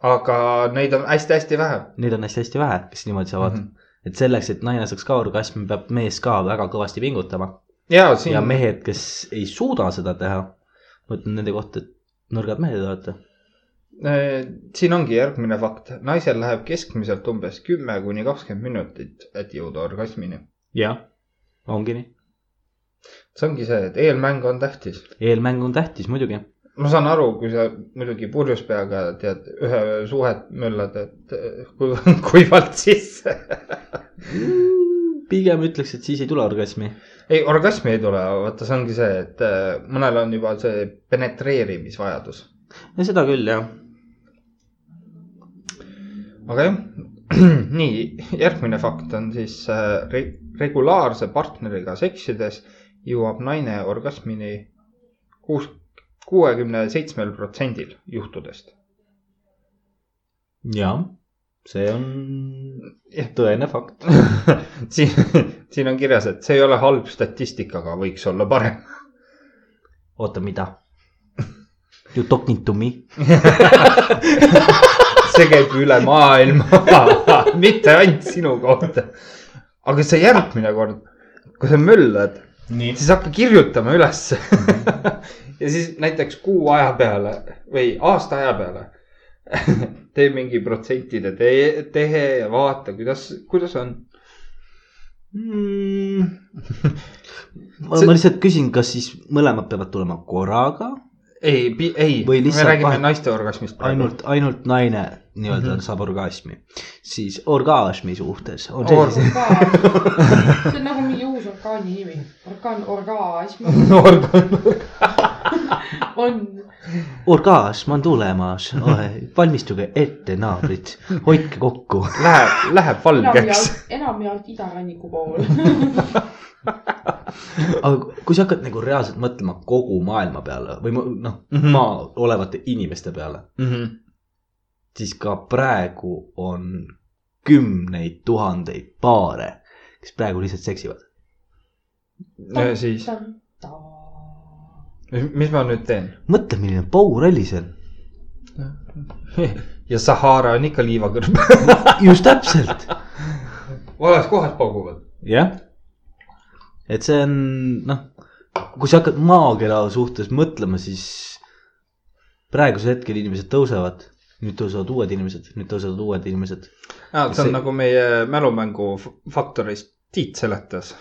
S2: aga neid on hästi-hästi vähe .
S1: Neid on hästi-hästi vähe , kes niimoodi saavad mm .
S2: Mhm.
S1: -hmm. et selleks , et naine saaks ka orgasmi , peab mees ka väga kõvasti pingutama .
S2: ja siin
S1: ja . mehed , kes ei suuda seda teha , ma ütlen nende kohta , et nõrgad mehed olete .
S2: Äh, siin ongi järgmine fakt , naisel läheb keskmiselt umbes kümme kuni kakskümmend minutit , et jõuda orgasmini .
S1: jah , ongi nii .
S2: see ongi see , et eelmäng on tähtis .
S1: eelmäng on tähtis muidugi .
S2: ma saan aru , kui sa muidugi purjus peaga tead ühe suhet möllad , et eh, kuiv- kuivalt sisse .
S1: pigem ütleks , et siis ei tule orgasmi .
S2: ei , orgasmi ei tule , vaata , see ongi see , et eh, mõnel on juba see penetreerimisvajadus .
S1: no seda küll jah .
S2: aga jah , nii järgmine fakt on siis äh, re- regulaarse partneriga seksides jõuab naine orgasmini kuus , kuuekümne seitsmel protsendil juhtudest .
S1: jaa , see on tõene fakt .
S2: siin , siin on kirjas , et see ei ole halb statistika , aga võiks olla parem .
S1: oota , mida ? You talking to me ?
S2: see käib üle maailma , mitte ainult sinu kohta . aga see järgmine kord , kui sa möllad ,
S7: nii .
S2: siis hakka kirjutama ülesse .
S1: Mhm.
S2: ja siis näiteks kuu aja peale või aasta aja peale tee mingi protsentide tee , tehe ja vaata , kuidas , kuidas on .
S1: Hmm. ma ma lihtsalt küsin , kas siis mõlemad peavad tulema korraga ,
S2: ei , ei ,
S1: Või
S2: me
S1: lihtsalt
S2: räägime
S1: vahet-
S2: naiste orgasmist .
S1: ainult , ainult naine nii-öelda mm
S2: Mhm.
S1: -hmm. saab orgasmi , siis orgasmi suhtes on
S2: Or-
S1: sellise ,
S3: see on nagu mingi uus orkaani nimi . orkaan , orgaasm on .
S1: orgasm on tulemas , valmistuge ette , naabrid , hoidke kokku .
S2: Läheb , läheb valgeks .
S3: enamjaolt , enamjaolt idaranniku pool .
S1: aga kui sa hakkad nagu reaalselt mõtlema kogu maailma peale või mu- noh , maa olevate inimeste peale ,
S2: Mhm.
S1: siis ka praegu on kümneid tuhandeid paare , kes praegu lihtsalt seksivad .
S2: ja siis , mis ma nüüd teen ?
S1: mõtle , milline pauralli see on .
S2: ja Sahara on ikka liivakõrb .
S1: just täpselt .
S2: vales kohas pauguvad .
S1: jah . et see on , noh , kui sa hakkad maakera suhtes mõtlema , siis praegusel hetkel inimesed tõusevad , nüüd tõusevad uued inimesed , nüüd tõusevad uued inimesed .
S2: see on see...
S1: See-
S2: nagu meie mälumängu f- Faktoris Tiit seletas .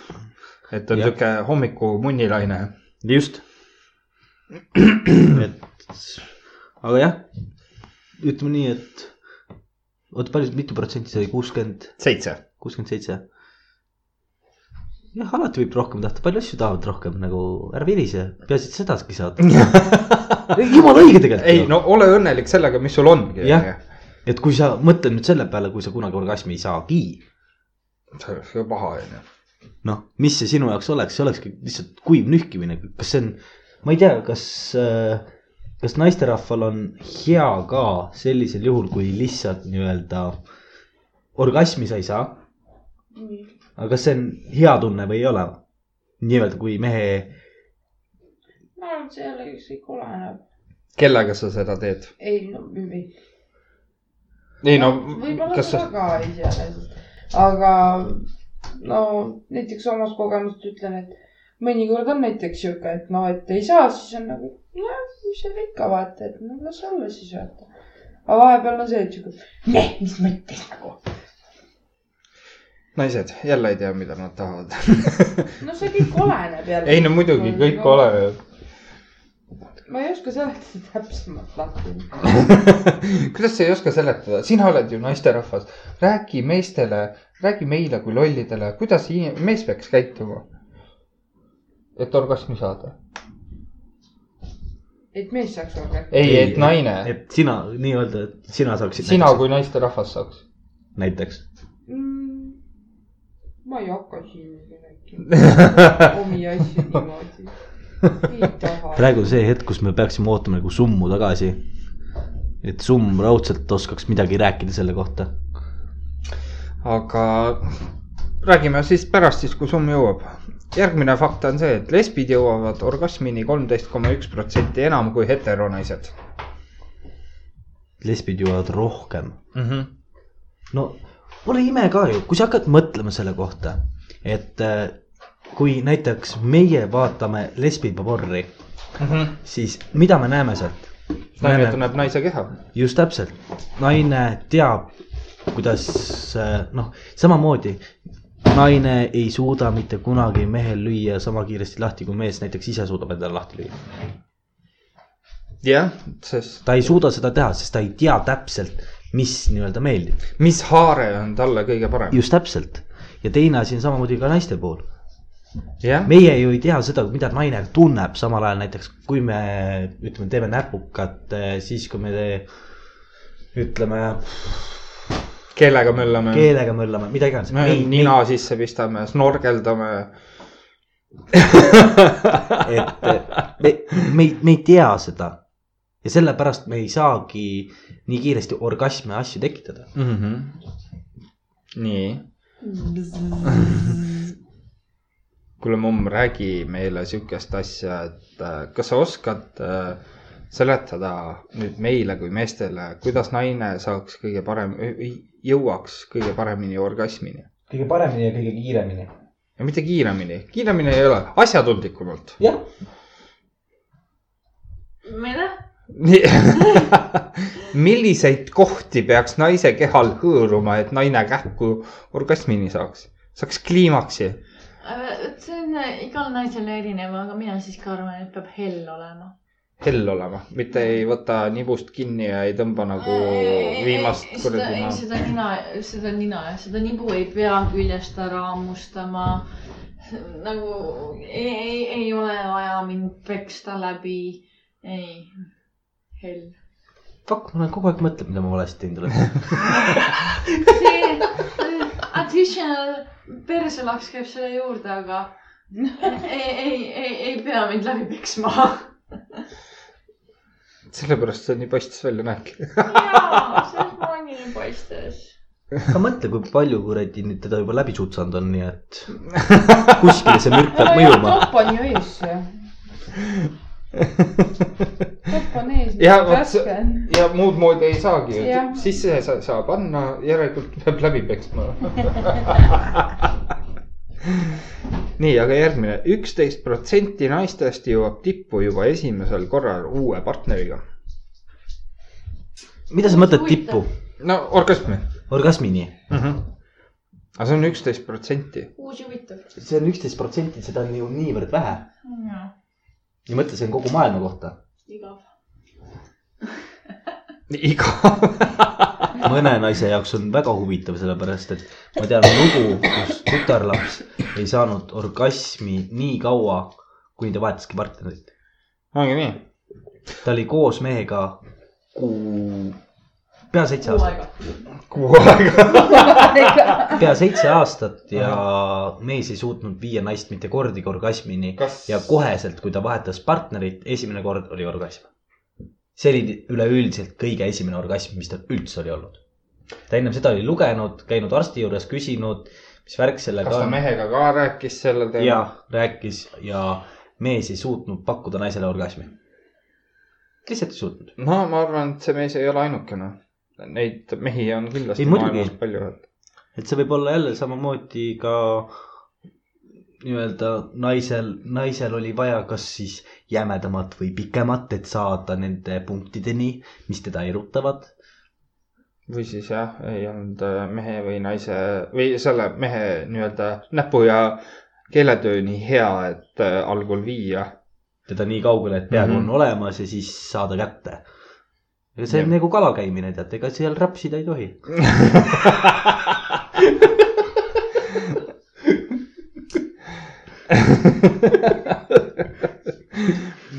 S2: et on
S1: Jah.
S2: sihuke hommiku munnilaine .
S1: just . et , aga jah , ütleme nii , et oota , palju , mitu protsenti see oli , kuuskümmend ,
S2: seitse .
S1: kuuskümmend seitse ? jah , alati võib rohkem tahta , palju asju tahavad rohkem nagu , ära virise , peaasi , et sedagi saad . jumala õige tegelikult .
S2: ei , no ole õnnelik sellega , mis sul on .
S1: Jah. et kui sa mõtled nüüd selle peale , kui sa kunagi orgasmi ei saagi ,
S2: see oleks ju paha , onju .
S1: noh , mis see sinu jaoks oleks , see olekski lihtsalt kuiv nühkimine , kas see on , ma ei tea , kas , kas naisterahval on hea ka sellisel juhul , kui lihtsalt nii-öelda orgasmi sa ei saa , aga kas see on hea tunne või ei ole ? nii-öelda kui mehe ,
S3: ma arvan , et see jälle ükskõik oleneb .
S2: kellega sa seda teed ?
S3: ei , no või ,
S2: ei no ,
S3: võib-olla
S2: kas sa
S3: seda , ka iseenesest , aga no näiteks omast kogemust ütlen , et mõnikord on näiteks sihuke , et no , et ei saa , siis on nagu , nojah , mis seal ikka vaata , et no las olla siis vaata . aga vahepeal on see , et sihuke , neh , mis mõttes nagu .
S2: naised jälle ei tea , mida nad tahavad .
S3: no see kõik oleneb jälle .
S2: ei no muidugi , kõik . oleneb .
S3: ma ei oska seletada täpsemalt lahti .
S2: kuidas sa ei oska seletada , sina oled ju naisterahvas , räägi meestele , räägi meile kui lollidele , kuidas inim- mees peaks käituma ? et orgasmi saada .
S3: et mees saaks orgasmi .
S2: ei ,
S1: Ei,
S2: et naine ,
S1: et sina nii-öelda , et sina saaksid .
S2: sina kui naisterahvas saaks .
S1: näiteks .
S3: Mm, ma ei hakka siin rääkima omi asju niimoodi . ei taha .
S1: praegu on see hetk , kus me peaksime ootama nagu summu tagasi . et summ raudselt oskaks midagi rääkida selle kohta .
S2: aga räägime siis pärast , siis kui summ jõuab . järgmine fakt on see , et lesbid jõuavad orgasmini kolmteist koma üks protsenti enam kui heteronaised
S1: lesbid jõuavad rohkem .
S2: mm . -hmm.
S1: no pole ime ka ju , kui sa hakkad mõtlema selle kohta , et äh, kui näiteks meie vaatame lesbiporri ,
S2: Mm -hmm.
S1: siis mida me näeme sealt ?
S2: naine tunneb naise keha .
S1: just täpselt , naine teab , kuidas äh, noh , samamoodi naine ei suuda mitte kunagi mehel lüüa sama kiiresti lahti , kui mees näiteks ise suudab endale lahti lüüa .
S2: jah , sest
S1: ta ei suuda seda teha , sest ta ei tea täpselt , mis nii-öelda meeldib .
S2: mis haare on talle kõige parem .
S1: just täpselt ja teine asi on samamoodi ka naiste puhul .
S2: jah ,
S1: meie ju ei tea seda , mida naine tunneb , samal ajal näiteks kui me ütleme , teeme näpukat , siis kui me tee, ütleme
S2: keelega möllame Keel... ,
S1: keelega möllame , mida iganes .
S2: nina sisse pistame , snorkeldame .
S1: et me , me , me ei tea seda , ja sellepärast me ei saagi nii kiiresti orgasme ja asju tekitada .
S2: mm . -hmm. nii .
S3: Mm.
S2: kuule , mumm , räägi meile sihukest asja , et äh, kas sa oskad äh, seletada nüüd meile kui meestele , kuidas naine saaks kõige parem , jõuaks kõige paremini orgasmini
S7: kõige paremini ja kõige kiiremini .
S2: ja mitte kiiremini , kiiremini ei ole , asjatundlikumalt .
S7: jah ,
S5: mida ?
S2: nii , milliseid kohti peaks naise kehal hõõruma , et naine kähku orgasmini saaks , saaks kliimaksi ?
S5: see on äh, igal naisel erinev , aga mina siiski arvan , et peab hell olema .
S2: hell olema , mitte ei võta nibust kinni ja ei tõmba nagu viimast kuradi
S5: ei ,
S2: maha .
S5: seda nina , seda nina jah , seda nibu ei pea küljest ära hammustama . nagu ei , ei , ei ole vaja mind peksta läbi . ei , hell .
S1: fuck , ma olen kogu aeg mõtlen , mida ma valesti teinud olen .
S5: see äh, additional perse laks käib selle juurde , aga ei , ei , ei , ei pea mind läbi peksma .
S2: sellepärast see nii paistis välja näebki .
S5: jaa , selles plaanil paistes .
S1: aga mõtle , kui palju kuradi nüüd teda juba läbi sutsanud on , nii et kuskil see mürk peab mõjuma .
S3: topp on ju ees ju . topp on ees .
S2: Jah, vot see-
S3: raske on .
S2: ja muud moodi ei saagi ju
S3: Jah. ,
S2: sisse sa- saab panna , järelikult peab läbi peksma . nii , aga järgmine , üksteist protsenti naistest jõuab tippu juba esimesel korral uue partneriga .
S1: mida sa mõtled tippu ,
S2: no orgasmi
S1: orgasmini ?
S2: mm . -hmm. aga see on üksteist protsenti .
S5: uus ja huvitav .
S1: see on üksteist protsenti , seda on ju niivõrd vähe .
S5: jaa ,
S1: ja mõtle , see on kogu maailma kohta .
S5: igav .
S2: igav .
S1: mõne naise jaoks on väga huvitav , sellepärast et ma tean lugu , kus tütarlaps ei saanud orgasmi nii kaua , kuni ta vahetaski partnerit .
S2: ongi nii .
S1: ta oli koos mehega kuu , pea seitse
S5: kuu
S1: aastat ,
S5: aega .
S2: kuu aega .
S1: pea seitse aastat ja mees ei suutnud viia naist mitte kordagi orgasmini
S2: Kas-
S1: ja koheselt , kui ta vahetas partnerit , esimene kord oli orgasm . see oli üleüldiselt kõige esimene orgasm , mis tal üldse oli olnud . ta ennem seda oli lugenud , käinud arsti juures , küsinud , mis värk sellega
S2: kas ta
S1: on
S2: mehega ka rääkis sellel
S1: ja
S2: teemal ?
S1: rääkis ja mees ei suutnud pakkuda naisele orgasmi . lihtsalt ei suutnud .
S2: no ma arvan , et see mees ei ole ainukene . Neid mehi on kindlasti
S1: Ei, muidugi.
S2: maailmas palju .
S1: et see võib olla jälle samamoodi ka nii-öelda naisel , naisel oli vaja kas siis jämedamat või pikemat , et saada nende punktideni , mis teda erutavad .
S2: või siis jah , ei olnud äh, mehe või naise või selle mehe nii-öelda näpu ja keeletöö nii hea , et äh, algul viia .
S1: teda nii kaugele , et peaaegu mm
S2: Mhm.
S1: -hmm. on olemas ja siis saada kätte . ega see on
S2: Jah.
S1: nagu kalal käimine , tead , ega seal rapsida ei tohi .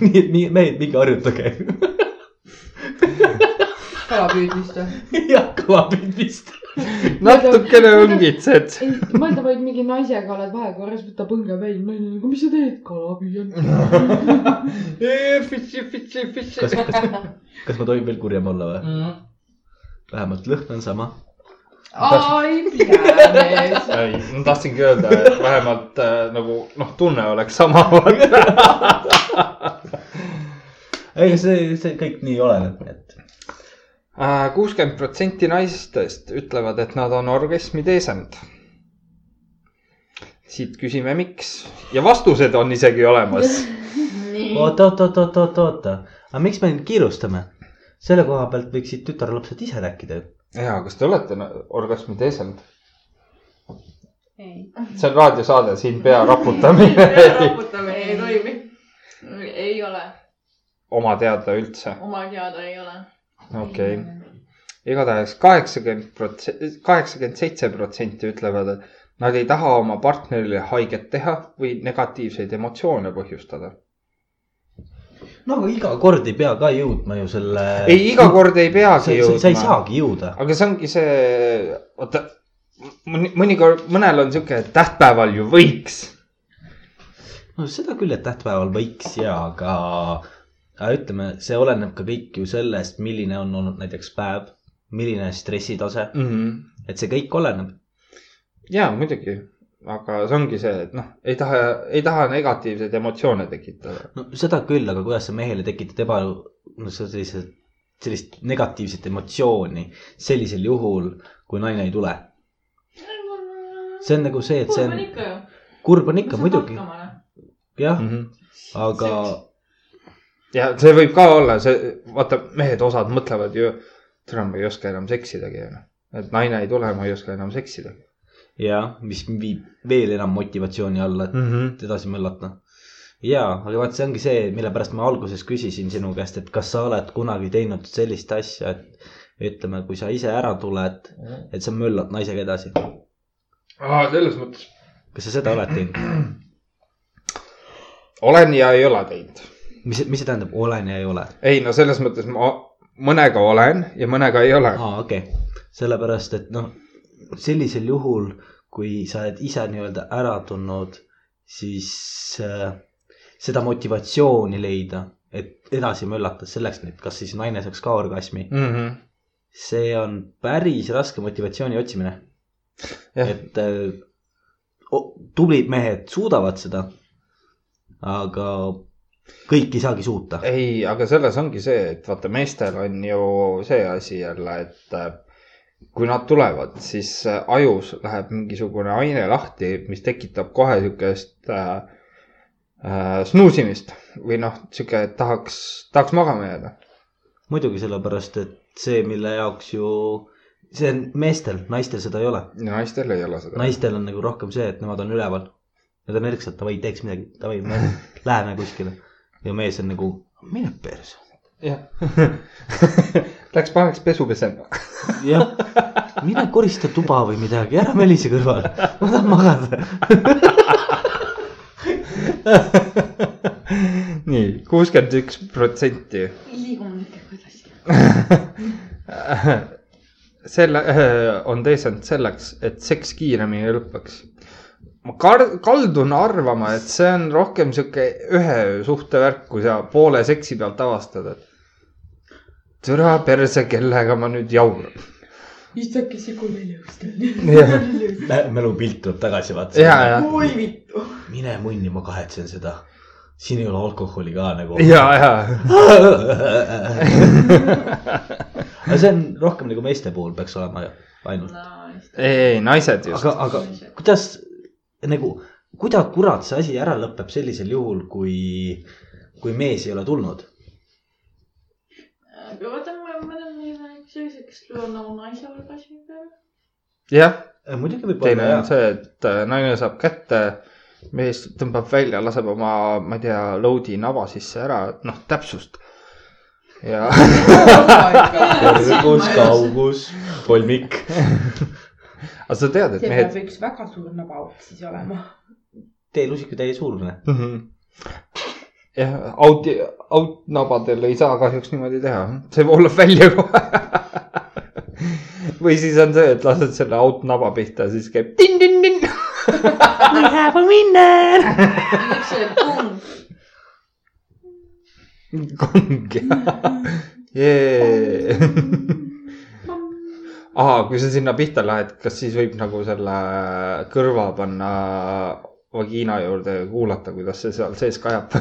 S1: nii , nii , mehed , minge harjutage .
S3: kalapüüdmist või ?
S1: jah , kalapüüdmist .
S2: natukene õngitsed .
S3: ei , mõelda vaid mingi naisega oled vahekorras , võtab õnge välja , naine , aga mis sa teed , kalapüüan .
S2: Fitsi , fitsi , fitsi .
S1: kas , kas , kas ma tohin veel kurjem olla või ?
S2: Mm.
S1: vähemalt lõhn on sama .
S3: ai , pea mees .
S2: ei , ma tahtsingi öelda , et vähemalt äh, nagu noh , tunne oleks sama .
S1: ei , see , see kõik nii oleneb , et
S2: Äh, kuuskümmend protsenti naistest ütlevad , et nad on orgasmi teesenud . siit küsime , miks ja vastused on isegi olemas .
S5: nii .
S1: oota , oota , oota , oota , oota , oota , aga miks me nüüd kiirustame ? selle koha pealt võiksid tütarlapsed ise rääkida ju .
S2: ja kas te olete na- orgasmi teesenud ?
S3: ei .
S2: see on raadiosaade , siin pea raputamine
S5: raputamine ei toimi . ei ole ,
S2: oma teada üldse .
S5: oma teada ei ole .
S2: okei okay. , igatahes kaheksakümmend protsenti , kaheksakümmend seitse protsenti ütlevad , et nad ei taha oma partnerile haiget teha või negatiivseid emotsioone põhjustada .
S1: no aga iga kord ei pea ka jõudma ju selle .
S2: ei , iga kord ei
S1: sa, sa,
S2: peagi
S1: sa ei
S2: jõudma .
S1: saagi jõuda .
S2: aga see ongi see , oota , mõni , mõnikord , mõnel on sihuke , et tähtpäeval ju võiks .
S1: no seda küll , et tähtpäeval võiks ja , aga aga ütleme , see oleneb ka kõik ju sellest , milline on olnud näiteks päev , milline stressitase ,
S2: mm . -hmm.
S1: et see kõik oleneb .
S2: ja muidugi , aga see ongi see , et noh , ei taha , ei taha negatiivseid emotsioone tekitada .
S1: no seda küll , aga kuidas sa mehele tekitad eba , no sellise , sellist negatiivset emotsiooni sellisel juhul , kui naine ei tule . see on nagu see , et see
S5: kurb
S1: on
S5: on , ikka ju .
S1: kurb on ikka muidugi , jah ,
S2: Mm.
S1: aga
S2: ja see võib ka olla see , vaata , mehed osad mõtlevad ju , täna ma ei oska enam seksidagi , et naine ei tule , ma ei oska enam seksidagi
S1: jah , mis viib veel enam motivatsiooni alla ,
S2: mm . -hmm.
S1: et edasi möllata . ja , aga vaat see ongi see , mille pärast ma alguses küsisin sinu käest , et kas sa oled kunagi teinud sellist asja , et ütleme , kui sa ise ära tuled , et sa möllad naisega edasi .
S2: aa , selles mõttes .
S1: kas sa seda oled teinud ?
S2: olen ja ei ole teinud .
S1: mis , mis see tähendab , olen ja ei ole ?
S2: ei no selles mõttes ma mõnega olen ja mõnega ei ole .
S1: aa , okei okay. , sellepärast et noh , sellisel juhul , kui sa oled ise nii-öelda ära tulnud , siis äh, seda motivatsiooni leida , et edasi möllata selleks , et kas siis naine saaks ka orgasmi ,
S2: Mm -hmm.
S1: see on päris raske motivatsiooni otsimine .
S2: Jah.
S1: et äh, o- tublid mehed suudavad seda , aga kõik ei saagi suuta .
S2: ei , aga selles ongi see , et vaata , meestel on ju see asi jälle , et äh, kui nad tulevad , siis äh, ajus läheb mingisugune aine lahti , mis tekitab kohe siukest äh, äh, snuusimist või noh , sihuke , et tahaks , tahaks magama jääda .
S1: muidugi sellepärast , et see , mille jaoks ju , see on meestel , naistel seda ei ole .
S2: naistel ei ole seda .
S1: naistel on nagu rohkem see , et nemad on üleval . Nad on erksad , davai , teeks midagi , davai , me läheme kuskile . ja mees on nagu , mine perse .
S2: jah Läks paneks pesu pesema .
S1: jah , mine korista tuba või midagi , ära melise kõrval , ma tahan magada .
S2: nii , kuuskümmend üks protsenti
S5: liigume ikka kuidagi .
S2: selle , on teisend selleks , et seks kiiremini lõpeks . ma kar- , kaldun arvama , et see on rohkem sihuke ühe öö suhtevärk , kui sa poole seksi pealt avastad , et türa perse , kellega ma nüüd jauran .
S3: istuke sigu neljast .
S2: ja ,
S1: mälupilt tuleb tagasi , vaata
S2: ja , ja ,
S3: oi vittu .
S1: mine munni , ma kahetsen seda . siin ei ole alkoholi ka nagu .
S2: ja , ja ,
S1: aga see on rohkem nagu meeste puhul peaks olema ju, ainult .
S2: ei , ei naised just .
S1: aga , aga kuidas nagu , kuidas kurat see asi ära lõpeb sellisel juhul , kui , kui mees ei ole tulnud ?
S5: aga vaata , ma , ma olen nii sellised , kes tulevad nagu naise orgasmi peale .
S2: jah ,
S1: muidugi võib
S2: teine
S1: olla
S2: on
S1: jah ,
S2: see , et äh, naine saab kätte , mees tõmbab välja , laseb oma , ma ei tea , load'i naba sisse ära , noh , täpsust . ja
S1: kus kaugus , kolmik .
S2: aga sa tead , et
S3: see
S2: mehed
S3: peab üks väga suur nabaoht siis olema .
S1: tee lusikatäie suurune .
S2: mm . -hmm. jah , out'i , out nabadel ei saa kahjuks niimoodi teha , see voolab välja kohe . või siis on see , et lased selle out naba pihta , siis käib tin-tin-tin .
S5: üks see pumm ,
S2: kong jee . aa , kui sa sinna pihta lähed , kas siis võib nagu selle kõrva panna vagiina juurde ja kuulata , kuidas see seal sees kajab ?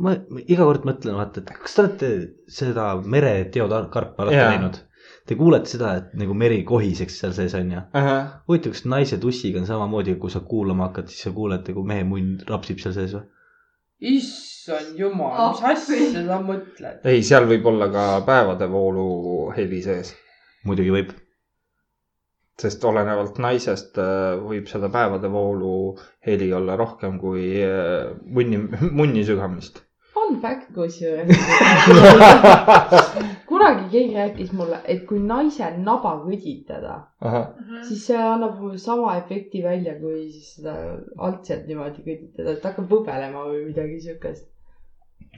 S1: ma ma iga kord mõtlen , vaata , et kas te olete seda mereteokarpa olete
S2: Jaa.
S1: näinud ? Te kuulete seda , et nagu meri kohiseks seal sees on ju . huvitav , kas naise tussiga on samamoodi , kui sa kuulama hakkad , siis sa kuuled nagu mehe munn rapsib seal sees või ?
S3: issand jumal , mis asja sa mõtled ?
S2: ei , seal võib olla ka päevade voolu heli sees ,
S1: muidugi võib .
S2: sest olenevalt naisest äh, võib seda päevade voolu heli olla rohkem kui äh, munni , munni sügamist .
S8: Fun fact kusjuures kunagi keegi rääkis mulle , et kui naise naba kõditada , siis see annab mulle sama efekti välja , kui siis seda alt sealt niimoodi kõditada , et hakkab võbelema või midagi siukest .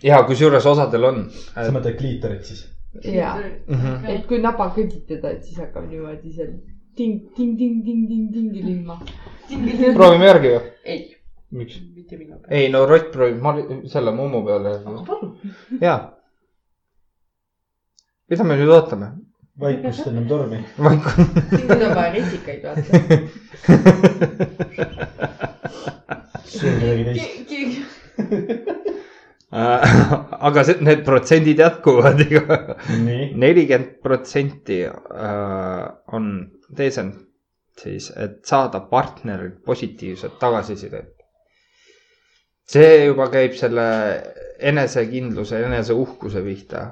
S2: ja kusjuures osadel on . Mhm.
S1: mõtled kliitorit siis ?
S8: ja , et kui naba kõditada , et siis hakkab niimoodi seal ting , ting , ting , ting , ting , ting ilma .
S2: proovime järgi või ?
S8: ei ,
S2: miks ?
S3: mitte minu peale .
S2: ei no rott proovib mari- , selle mummu peale .
S3: aga palun .
S2: jaa . mida me nüüd ootame ?
S1: vaikust ennem tormi .
S8: siin nüüd on vaja rusikaid vaata .
S1: söö midagi teist .
S5: keegi ,
S2: aga see , need protsendid jätkuvad iga
S1: nii .
S2: nelikümmend protsenti äh, on teisend siis , et saada partnerilt positiivset tagasisidet . see juba käib selle enesekindluse , eneseuhkuse pihta .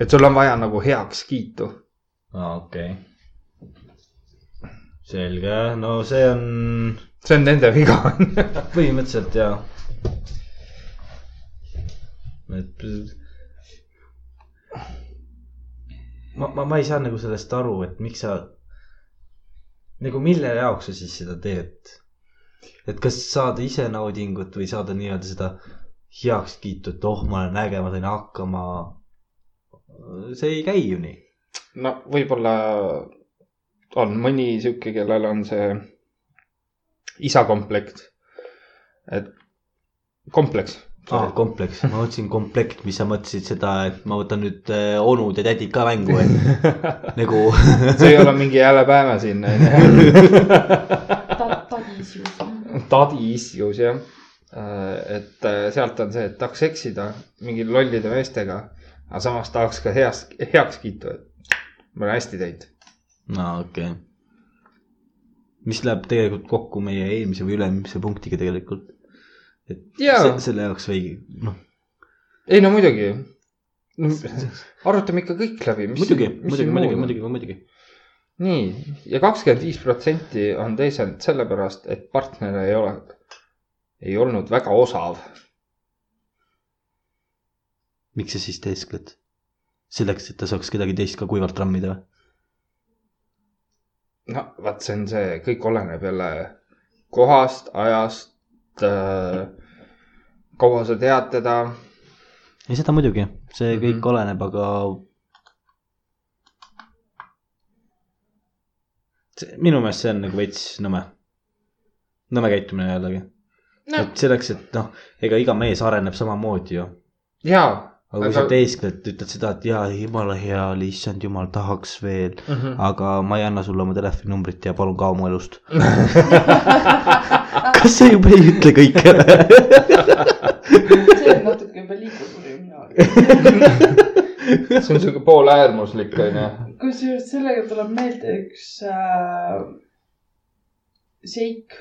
S2: et sul on vaja nagu heakskiitu .
S1: aa , okei okay. . selge , no see on
S2: see on nende viga .
S1: põhimõtteliselt jaa . et . ma , ma , ma ei saa nagu sellest aru , et miks sa , nagu mille jaoks sa siis seda teed ? et kas saada ise naudingut või saada nii-öelda seda heakskiitu , et oh , ma olen äge , ma sain hakkama . see ei käi ju nii .
S2: no võib-olla on mõni sihuke , kellel on see isakomplekt . et kompleks .
S1: aa , kompleks , ma mõtlesin komplekt , mis sa mõtlesid seda , et ma võtan nüüd eh, onud ja tädid ka mängu , et nagu
S2: see ei ole mingi hääle päeva siin , onju .
S8: tadis just .
S2: Daddy issues jah . et äh, sealt on see , et tahaks eksida mingi lollide meestega , aga samas tahaks ka heast , heakskiitu , et ma olen hästi teinud .
S1: no okei okay. . mis läheb tegelikult kokku meie eelmise või ülemise punktiga tegelikult . et
S2: Jaa.
S1: se- selle jaoks või noh ,
S2: ei no muidugi . arutame ikka kõik läbi .
S1: muidugi , muidugi , muidugi , muidugi , muidugi .
S2: nii , ja kakskümmend viis protsenti on teisalt sellepärast , et partner ei ole , ei olnud väga osav .
S1: miks sa siis teeskled ? selleks , et ta saaks kedagi teist ka kuivalt trammida või ?
S2: no vaat see on see , kõik oleneb jälle kohast , ajast äh, , kaua sa tead teda .
S1: ei , seda muidugi , see kõik mm
S2: Mhm.
S1: -hmm. oleneb , aga . minu meelest see on nagu veits nõme , nõme käitumine jällegi no. . et selleks , et noh , ega iga mees areneb samamoodi ju .
S2: jaa .
S1: aga kui sa teeskled , ütled seda , et jaa , jumala hea oli , issand jumal , tahaks veel ,
S2: Mhm.
S1: aga ma ei anna sulle oma telefoninumbrit ja palun kao mu elust . kas see juba ei ütle kõike või ?
S3: see on natuke juba liiga kuri minu arvates .
S2: see on siuke pooläärmuslik onju .
S3: kusjuures sellega tuleb meelde üks äh, seik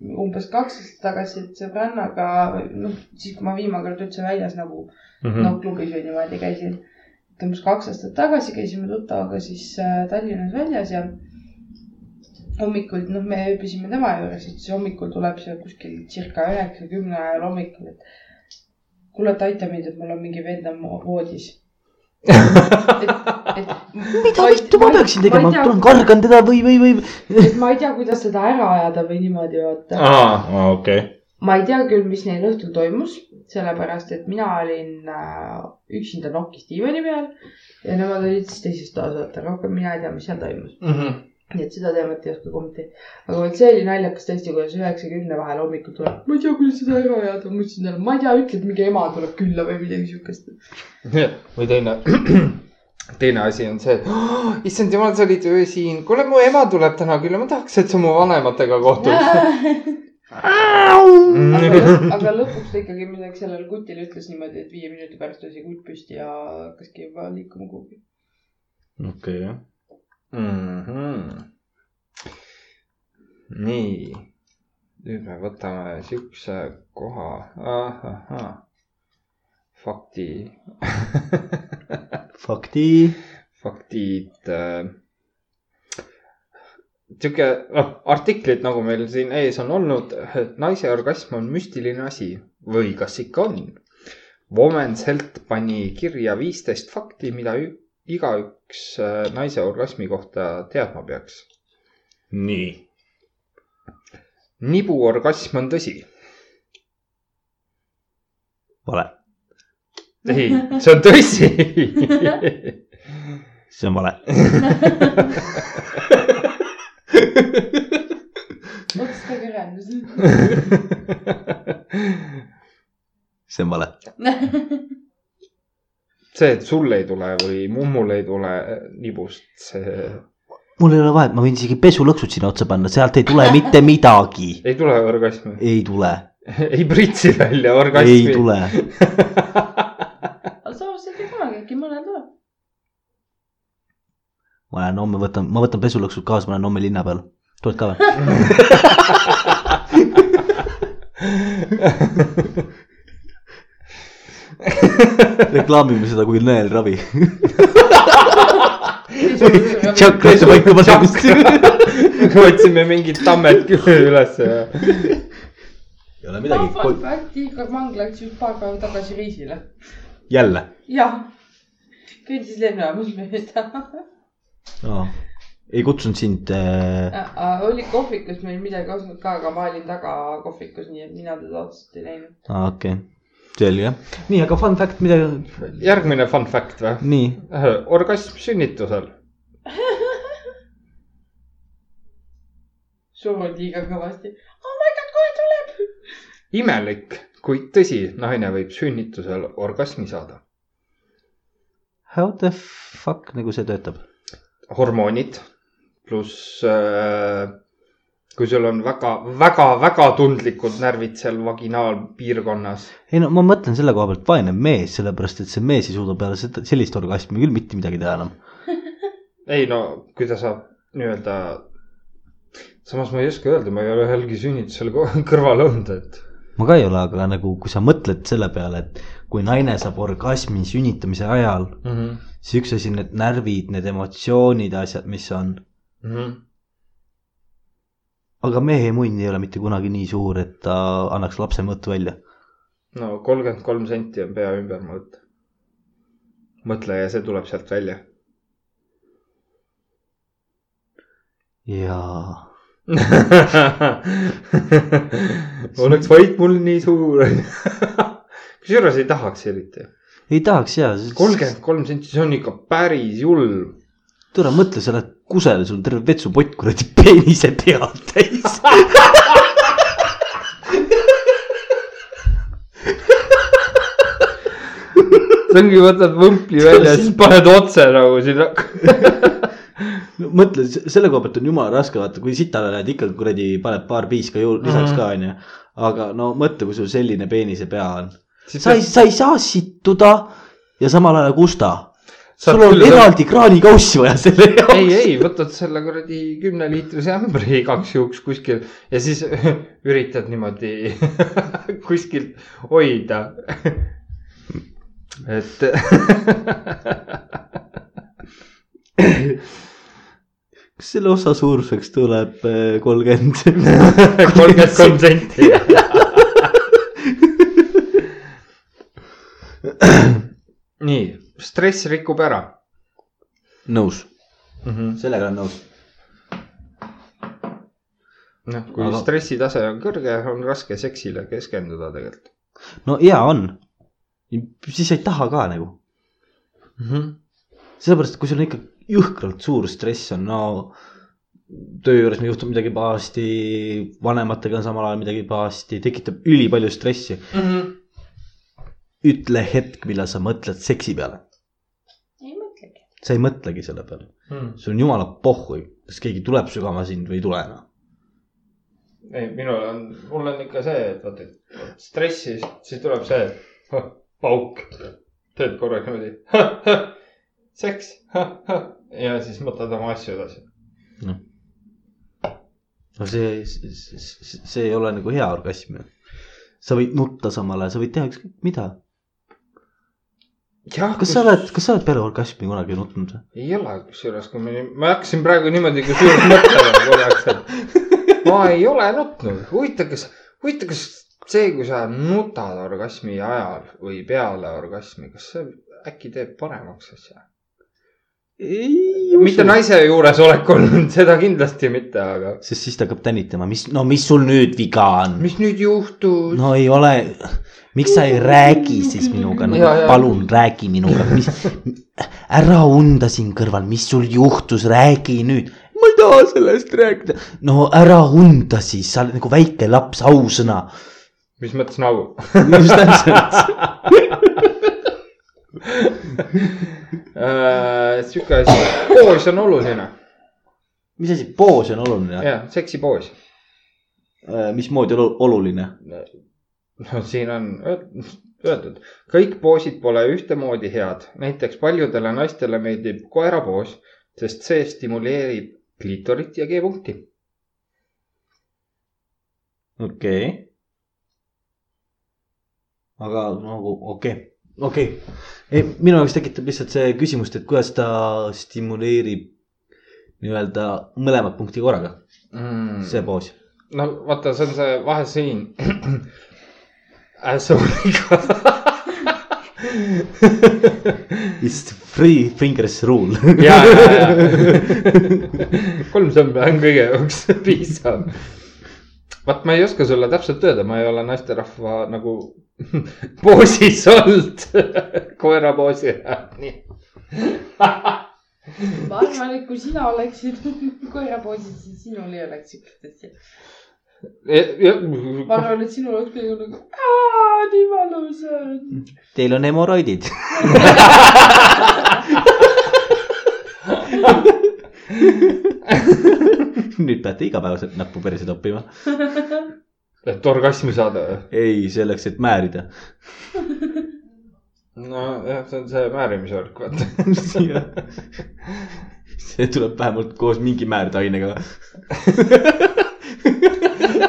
S3: umbes kaks aastat tagasi , et sõbrannaga , noh , siis kui ma viimane kord üldse väljas nagu
S2: Mhm.
S3: noh , klubis või niimoodi käisin . et umbes kaks aastat tagasi käisime tuttavaga siis äh, Tallinnas väljas ja hommikul , noh , me ööbisime tema juures , et siis hommikul tuleb see kuskil circa üheksa , kümne ajal hommikul , et kuule , et aita mind , et mul on mingi vend on mu voodis . mida
S1: mida vittu ma peaksin tegema , ma tulen kargan teda või , või , või
S8: et ma ei tea , kuidas seda ära ajada või niimoodi vaata .
S2: aa , okei .
S8: ma ei tea küll , mis neil õhtul toimus , sellepärast et mina olin äh, üksinda nokis diivani peal ja nemad olid siis teises toas , vaata rohkem mina ei tea , mis seal toimus .
S2: Mhm.
S8: nii et seda teemat ei oska kommenteerida . aga vot see oli naljakas tõesti , kuidas üheksakümne vahel hommikul tuleb , ma ei tea , kuidas seda ära ajada , ma ütlesin talle , ma ei tea , ütle , et mingi ema tuleb külla või midagi siukest .
S2: või teine , teine asi on see , et issand jumal , sa olid ju siin , kuule , mu ema tuleb täna külla , ma tahaks , et sa mu vanematega
S1: Mm.
S2: kohtud .
S3: aga aga lõpuks ta ikkagi midagi sellele kutile ütles niimoodi , et viie minuti pärast oli see kutt püsti ja hakkaski juba liikuma kuhugi .
S1: okei , jah .
S2: Mm-hmm. nii , nüüd me võtame siukse koha , ahahah , fakti
S1: fakti .
S2: faktid äh, . sihuke , noh , artiklid nagu meil siin ees on olnud , et naise orgasm on müstiline asi või kas ikka on ? Women's Health pani kirja viisteist fakti , mida ü- igaüks äh, naise orgasmi kohta teadma peaks .
S1: nii .
S2: nibuorgasm on tõsi .
S1: vale ,
S2: ei , see on tõsi .
S1: see on vale .
S3: otsustage ühendus .
S1: see on vale .
S2: see , et sul ei tule või mummul ei tule nibust , see
S1: mul ei ole vahet , ma võin isegi pesulõksud sinna otsa panna , sealt ei tule mitte midagi .
S2: ei tule orgasmi ,
S1: ei tule ,
S2: ei pritsi välja orgasmi .
S1: ei . tule .
S3: aga samas ei tea kunagi , äkki mõnel tuleb .
S1: ma lähen homme võtan , ma võtan pesulõksud kaasa , ma lähen homme linna peale . tuled ka või ? reklaamime seda kui nõelravi . tšakrasse paika panemist .
S2: otsime mingit tammet ülesse ja
S1: ei ole
S3: Fun
S1: midagi ,
S3: fact , Igor Mang läks just paar päeva tagasi reisile .
S1: jälle
S3: jah , kõndis lennujaamas mööda .
S1: no. . ei kutsunud sind äh, ,
S3: oli kohvikus meil midagi ostnud ka , aga ma olin taga kohvikus , nii et mina teda otseselt ei näinud .
S1: aa okei okay. , selge . nii , aga fun fact , mida ,
S2: järgmine fun fact või ?
S1: nii ,
S2: orgasm sünnitusel .
S3: surun liiga kõvasti . oh my god , kohe tuleb .
S2: imelik , kuid tõsi , naine võib sünnitusel orgasmi saada .
S1: how the fuck nagu see töötab ?
S2: hormoonid pluss äh, kui sul on väga-väga-väga tundlikud närvid seal vaginaalpiirkonnas .
S1: ei no ma mõtlen selle koha pealt , vaene mees , sellepärast et see mees ei suuda peale seda , sellist orgasmi küll mitte midagi teha enam .
S2: ei no , kui ta saab nii-öelda , samas ma ei oska öelda , ma ei ole ühelgi sünnitusel ko- kõrval olnud , et
S1: ma ka ei ole , aga nagu , kui sa mõtled selle peale , et kui naine saab orgasmi sünnitamise ajal ,
S2: mm . -hmm.
S1: siis üks asi on need närvid , need emotsioonid , asjad , mis on .
S2: Mm -hmm.
S1: aga mehe munn ei ole mitte kunagi nii suur , et ta annaks lapse mõõtu välja .
S2: no kolmkümmend kolm senti on pea ümber mõõt . mõtle ja see tuleb sealt välja .
S1: jaa .
S2: oleks vaid mul nii suur . kusjuures ei tahaks eriti .
S1: ei tahaks jaa .
S2: kolmkümmend kolm senti , see on ikka päris julm .
S1: tule mõtle , sa oled kusel , sul on terve vetsupott kuradi peenise peal täis .
S2: see ongi , võtad võmpli välja , siis paned otse nagu sinna .
S1: mõtle , selle koha pealt on jumala raske , vaata kui sitale lähed ikka kuradi paned paar piiska juurde ,
S2: Mhm.
S1: lisaks ka onju . aga no mõtle , kui sul selline peenise pea on . sa ei , sa ei saa sittuda ja samal ajal kusta .
S2: Saad
S1: sul on
S2: küll, jah.
S1: eraldi kraanikaussi vaja selle
S2: ei ,
S1: jaoks .
S2: ei , võtad selle kuradi kümneliitrise ämbri igaks juhuks kuskil ja siis üritad niimoodi kuskilt hoida . et
S1: kas selle osa suuruseks tuleb äh, kolmkümmend ?
S2: kolmkümmend kolm senti . nii , stress rikub ära
S1: nõus ,
S2: mm . -hmm.
S1: sellega olen nõus .
S2: noh , kui
S1: Aga-
S2: Aga... stressitase on kõrge , on raske seksile keskenduda tegelikult
S1: no hea on . siis sa ei taha ka nagu ,
S2: mm . -hmm.
S1: sellepärast , et kui sul on ikka jõhkralt suur stress on , no töö juures juhtub midagi pahasti , vanematega on samal ajal midagi pahasti , tekitab ülipalju stressi .
S2: Mm -hmm.
S1: ütle hetk , millal sa mõtled seksi peale ,
S3: ei mõtlegi .
S1: sa ei mõtlegi selle peale ,
S2: Mm.
S1: sul on jumala pohhui , kas keegi tuleb sügama sind või ei tule enam .
S2: ei , minul on , mul on ikka see , et vaata , et stressi , siis tuleb see huh, pauk , teed korraks niimoodi seks ja siis mõtled oma asju edasi .
S1: no see , see ei ole nagu hea orgasm ju . sa võid nutta samal ajal , sa võid teha ükskõik mida . kas sa oled , kas sa oled peale orgasmi kunagi nutnud või ?
S2: ei ole , kusjuures , kui me , ma hakkasin praegu niimoodi kusjuures mõtlema korraks , et ma ei ole nutnud . huvitav , kas , huvitav , kas see , kui sa nutad orgasmi ajal või peale orgasmi , kas see äkki teeb paremaks asja ?
S1: ei
S2: mitte . naise juuresolekul , seda kindlasti mitte , aga
S1: sest siis ta hakkab tänitama , mis , no mis sul nüüd viga on ?
S2: mis nüüd juhtus no. ?
S1: no ei ole , miks sa ei räägi siis minuga no,
S2: Jaa, , jaa.
S1: palun räägi minuga , mis , ära unda siin kõrval , mis sul juhtus , räägi nüüd . ma ei taha sellest rääkida . no ära unda siis , sa oled nagu väike laps , ausõna .
S2: mis mõttes nagu ?
S1: just täpselt .
S2: Äh, sihuke asi , poos on oluline .
S1: mis asi , poos on oluline ?
S2: jah , seksipoos .
S1: Äh, mismoodi olu- oluline ?
S2: no siin on öel- öeldud , kõik poosid pole ühtemoodi head , näiteks paljudele naistele meeldib koerapoos , sest see stimuleerib klitorit ja G-punkti .
S1: okei okay. . aga nagu okei okay. , okei okay. . ei , minu jaoks tekitab lihtsalt see küsimust , et kuidas ta stimuleerib nii-öelda mõlemat punkti korraga , see poos .
S2: Mm. no vaata , see on see vahe siin . Äh, Asshole'iga .
S1: It's three fingers rule .
S2: ja , ja , ja . kolm sõmbe on kõige jaoks piisav . vaat ma ei oska sulle täpselt öelda , ma ei ole naisterahva nagu poosis olnud , koerapoosi ajal , nii .
S3: ma arvan , et kui sina oleksid koerapoisid , siis sinul ei oleks siukest asja .
S2: E,
S3: ma
S2: ja ,
S3: arvan , et sinul oleks kõige nagu , aa , nii valus on .
S1: Teil on hemoroidid . nüüd peate igapäevaselt näppu perse toppima .
S2: et orgasmi saada .
S1: ei , selleks , et määrida .
S2: nojah , see on see määrimise värk , vaata .
S1: see tuleb vähemalt koos mingi määrdeainega .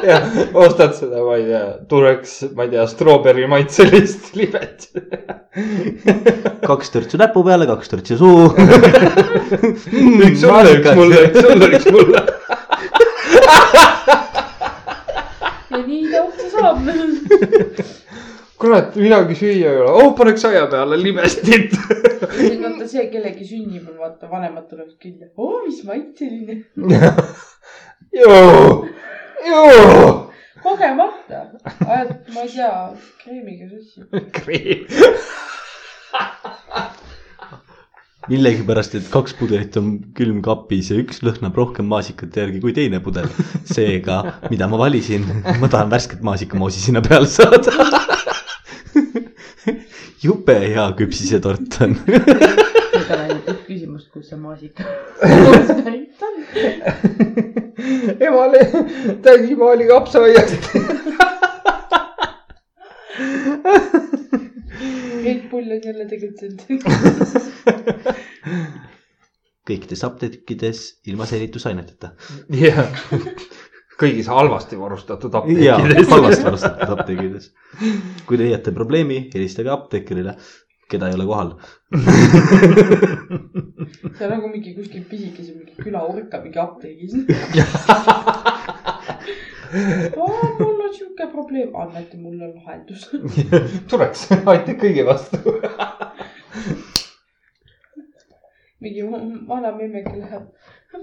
S2: jah , ostad seda , ma ei tea , tuleks , ma ei tea , strawberry maitselist libet .
S1: kaks törtsu näpu peale , kaks törtsu suhu .
S2: üks sulle , üks mulle , üks sulle , üks mulle .
S3: ja nii ta otsa saab .
S2: kurat , midagi süüa ei ole , oh paneks aia peale libestit .
S3: vaata see kellegi sünnib , vaata vanemad tulevad külla , oo , mis maitseline ,
S2: joo , joo .
S3: kogemata , ajad , ma ei tea , kreemiga sassi .
S2: kriim .
S1: millegipärast , et kaks pudelit on külmkapis ja üks lõhnab rohkem maasikate järgi kui teine pudel . seega , mida ma valisin , ma tahan värsket maasikamoosi sinna peale saada . jube hea küpsisetort on .
S8: nüüd on ainult üks küsimus , kus see maasikas pärit on .
S2: ema oli , tädimaa oli kapsaaiast .
S3: Red Bull on jälle tegutsenud .
S1: kõikides apteekides ilma selitusaineteta .
S2: jah , kõigis halvasti varustatud
S1: ja
S2: apteekides .
S1: halvasti varustatud apteekides . kui te leiate probleemi , helistage apteekrile , keda ei ole kohal .
S3: see on nagu mingi kuskil pisikese mingi külaurka mingi apteegis . aa , Oh, mul on siuke probleem , annate mulle lahendus .
S2: tuleks , aitäh kõigi vastu .
S3: mingi va- vana memmeke läheb .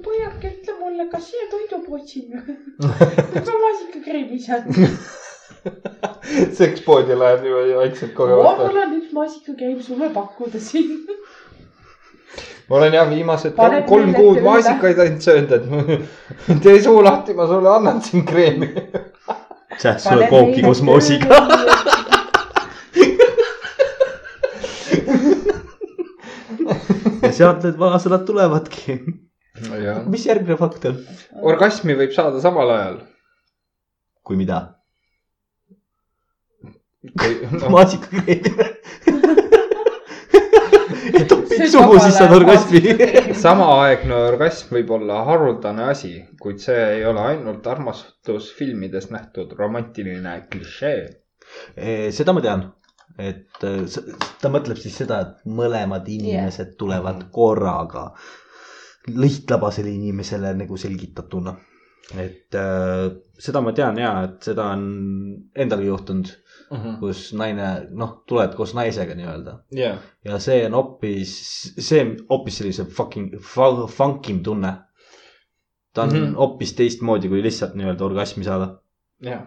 S3: pojake , ütle mulle , kas siia toidupood siin või ? kas ma maasikakreemi saan ?
S2: sekspoodi läheb niimoodi vaikselt kohe vastu .
S3: mul on üks maasikakreem sulle pakkuda siin .
S2: ma olen jah viimased
S3: Paneb
S2: kolm, kolm
S3: meile
S2: kuud
S3: ette
S2: maasikaid ainult söönud , et tee suu lahti , ma sulle annan siin kreemi .
S1: sulle kooki koos moosiga .. ja sealt need vanasõnad tulevadki . mis järgmine fakt on ?
S2: orgasmi võib saada samal ajal .
S1: kui mida ?
S2: No,
S1: maasikakreemi . et topid suhu , siis saad orgasmi .
S2: samaaegne orgasm võib olla haruldane asi , kuid see ei ole ainult armastusfilmides nähtud romantiline klišee .
S1: Eh, seda ma tean , et eh, s- ta mõtleb siis seda , et mõlemad inimesed tulevad korraga . lihtlabasele inimesele nagu selgitatuna . et eh, seda ma tean ja , et seda on endalgi juhtunud , kus naine , noh , tuled koos naisega nii-öelda
S2: jah ,
S1: ja see on hoopis , see on hoopis sellise fucking fu- funkim tunne . ta on mm
S2: Mhm.
S1: -hmm. hoopis teistmoodi kui lihtsalt nii-öelda orgasmi saada .
S2: jah .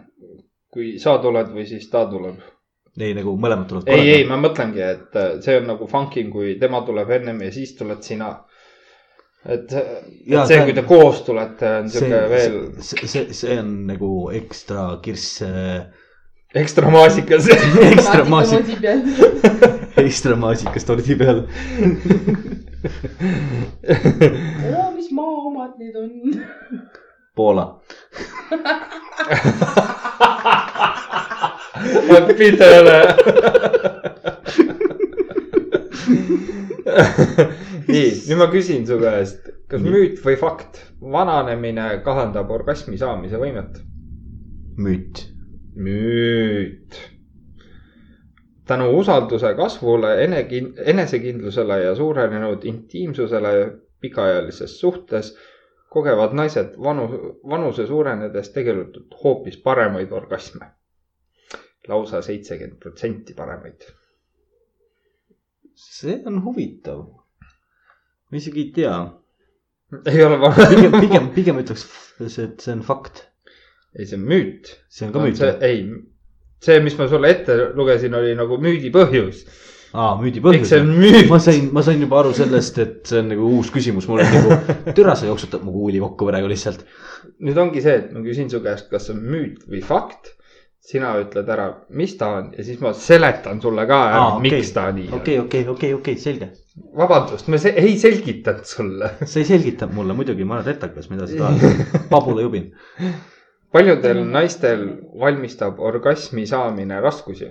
S2: kui sa tuled või siis ta tuleb .
S1: ei nagu mõlemad tulevad
S2: ei , ei , äh, ma mõtlengi , et see on nagu funking , kui tema tuleb ennem ja siis tuled sina . et , et
S1: Jaa,
S2: see
S1: see , on-
S2: kui te koos tulete , on siuke veel
S1: see , see, see , see on nagu ekstra kirss ,
S2: ekstra maasikas .
S1: ekstra maasikas , ekstra maasikas tordi peal .
S3: oo , mis maa omad need on ?
S1: Poola .
S2: Pidele . nii , nüüd ma küsin su käest , kas müüt või fakt , vananemine kahandab orgasmi saamise võimet ?
S1: müüt .
S2: müüt . tänu usalduse kasvule , enekin- , enesekindlusele ja suurenenud intiimsusele pikaajalises suhtes kogevad naised vanu , vanuse suurenedes tegelikult hoopis paremaid orgasme . lausa seitsekümmend protsenti paremaid .
S1: see on huvitav . ma isegi ei tea .
S2: ei ole vaja ,
S1: pigem , pigem , pigem ütleks , et see on fakt .
S2: ei see on müüt .
S1: see on ka müüt .
S2: ei , see , mis ma sulle ette lugesin , oli nagu müüdi põhjus .
S1: aa , müüdi
S2: eks
S1: põhjus
S2: see . on müüt .
S1: ma sain , ma sain juba aru sellest , et see on nagu uus küsimus mulle nagu , türa sa jooksutad mu kuuli kokku praegu lihtsalt .
S2: nüüd ongi see , et ma küsin su käest , kas see on müüt või fakt . sina ütled ära , mis ta on ja siis ma seletan sulle ka ära
S1: Aa,
S2: ah, ,
S1: okei.
S2: okay. miks ta nii okay.
S1: okei , okei , okei , okei , selge .
S2: on . vabandust , ma se ei selgitanud sulle .
S1: sa ei selgita mulle muidugi , ma olen retakas , mida sa tahad . pabula jubin .
S2: paljudel naistel valmistab orgasmi saamine raskusi ?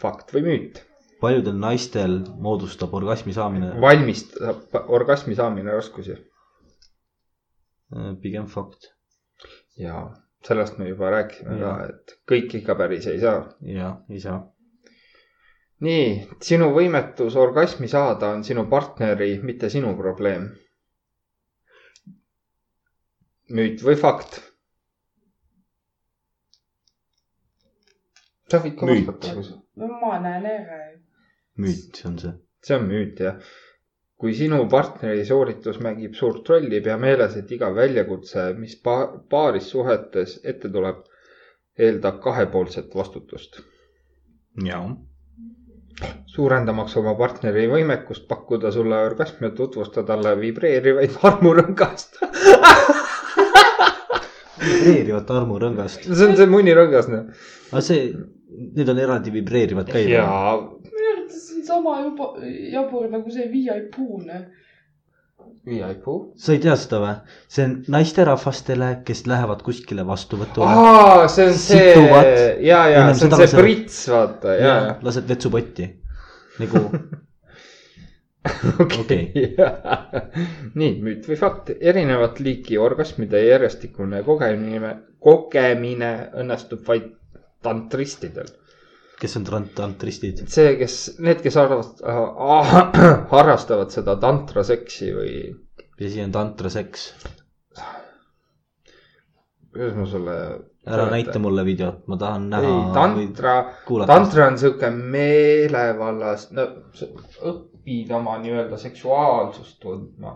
S2: fakt või müüt ?
S1: paljudel naistel moodustab orgasmi saamine
S2: valmistab orgasmi saamine raskusi .
S1: äh, pigem fakt
S2: ja sellest me juba rääkisime ka
S1: Jaa. ,
S2: et kõik ikka päris ei saa .
S1: ja ei saa .
S2: nii , sinu võimetus orgasmi saada on sinu partneri , mitte sinu probleem . müüt või fakt ? sa võid ka
S1: Müüt.
S2: vastata , kui sa .
S3: no ma näen ära ju .
S1: müüt on see .
S2: see on müüt jah . kui sinu partneri sooritus mängib suurt rolli , pea meeles , et iga väljakutse , mis pa- , paaris suhetes ette tuleb , eeldab kahepoolset vastutust .
S1: ja ,
S2: suurendamaks oma partneri võimekust pakkuda sulle orgasmi ja tutvustada talle vibreerivaid armurõngast .
S1: vibreerivat armurõngast .
S2: see on see munirõngas , noh .
S1: aga see , need on eraldi vibreerivad ka ju .
S2: ja
S3: minu arvates see on sama juba , jabur nagu see VIP-ne .
S2: viiaipu .
S1: sa ei tea seda või ? see on naisterahvastele , kes lähevad kuskile vastuvõtule .
S2: aa , see on see
S1: Situvad. ,
S2: ja , ja
S1: Ennem
S2: see
S1: seda
S2: on see
S1: lasevad.
S2: prits , vaata , ja ,
S1: lased vetsupotti nagu
S2: ja .
S1: Okei.
S2: nii , müüt või fakt , erinevat liiki orgasmide järjestikune kogemine , kogemine õnnestub vaid tantristidel .
S1: kes on trant- , tantristid .
S2: see , kes , need , kes arvavad , harrastavad seda tantraseksi või
S1: vesi on tantraseks .
S2: kuidas ma sulle .
S1: ära näita mulle videot , ma tahan näha .
S2: ei , tantra ,
S1: kuulata .
S2: tantra on sihuke meelevallas , no sa õpid oma nii-öelda seksuaalsust tundma .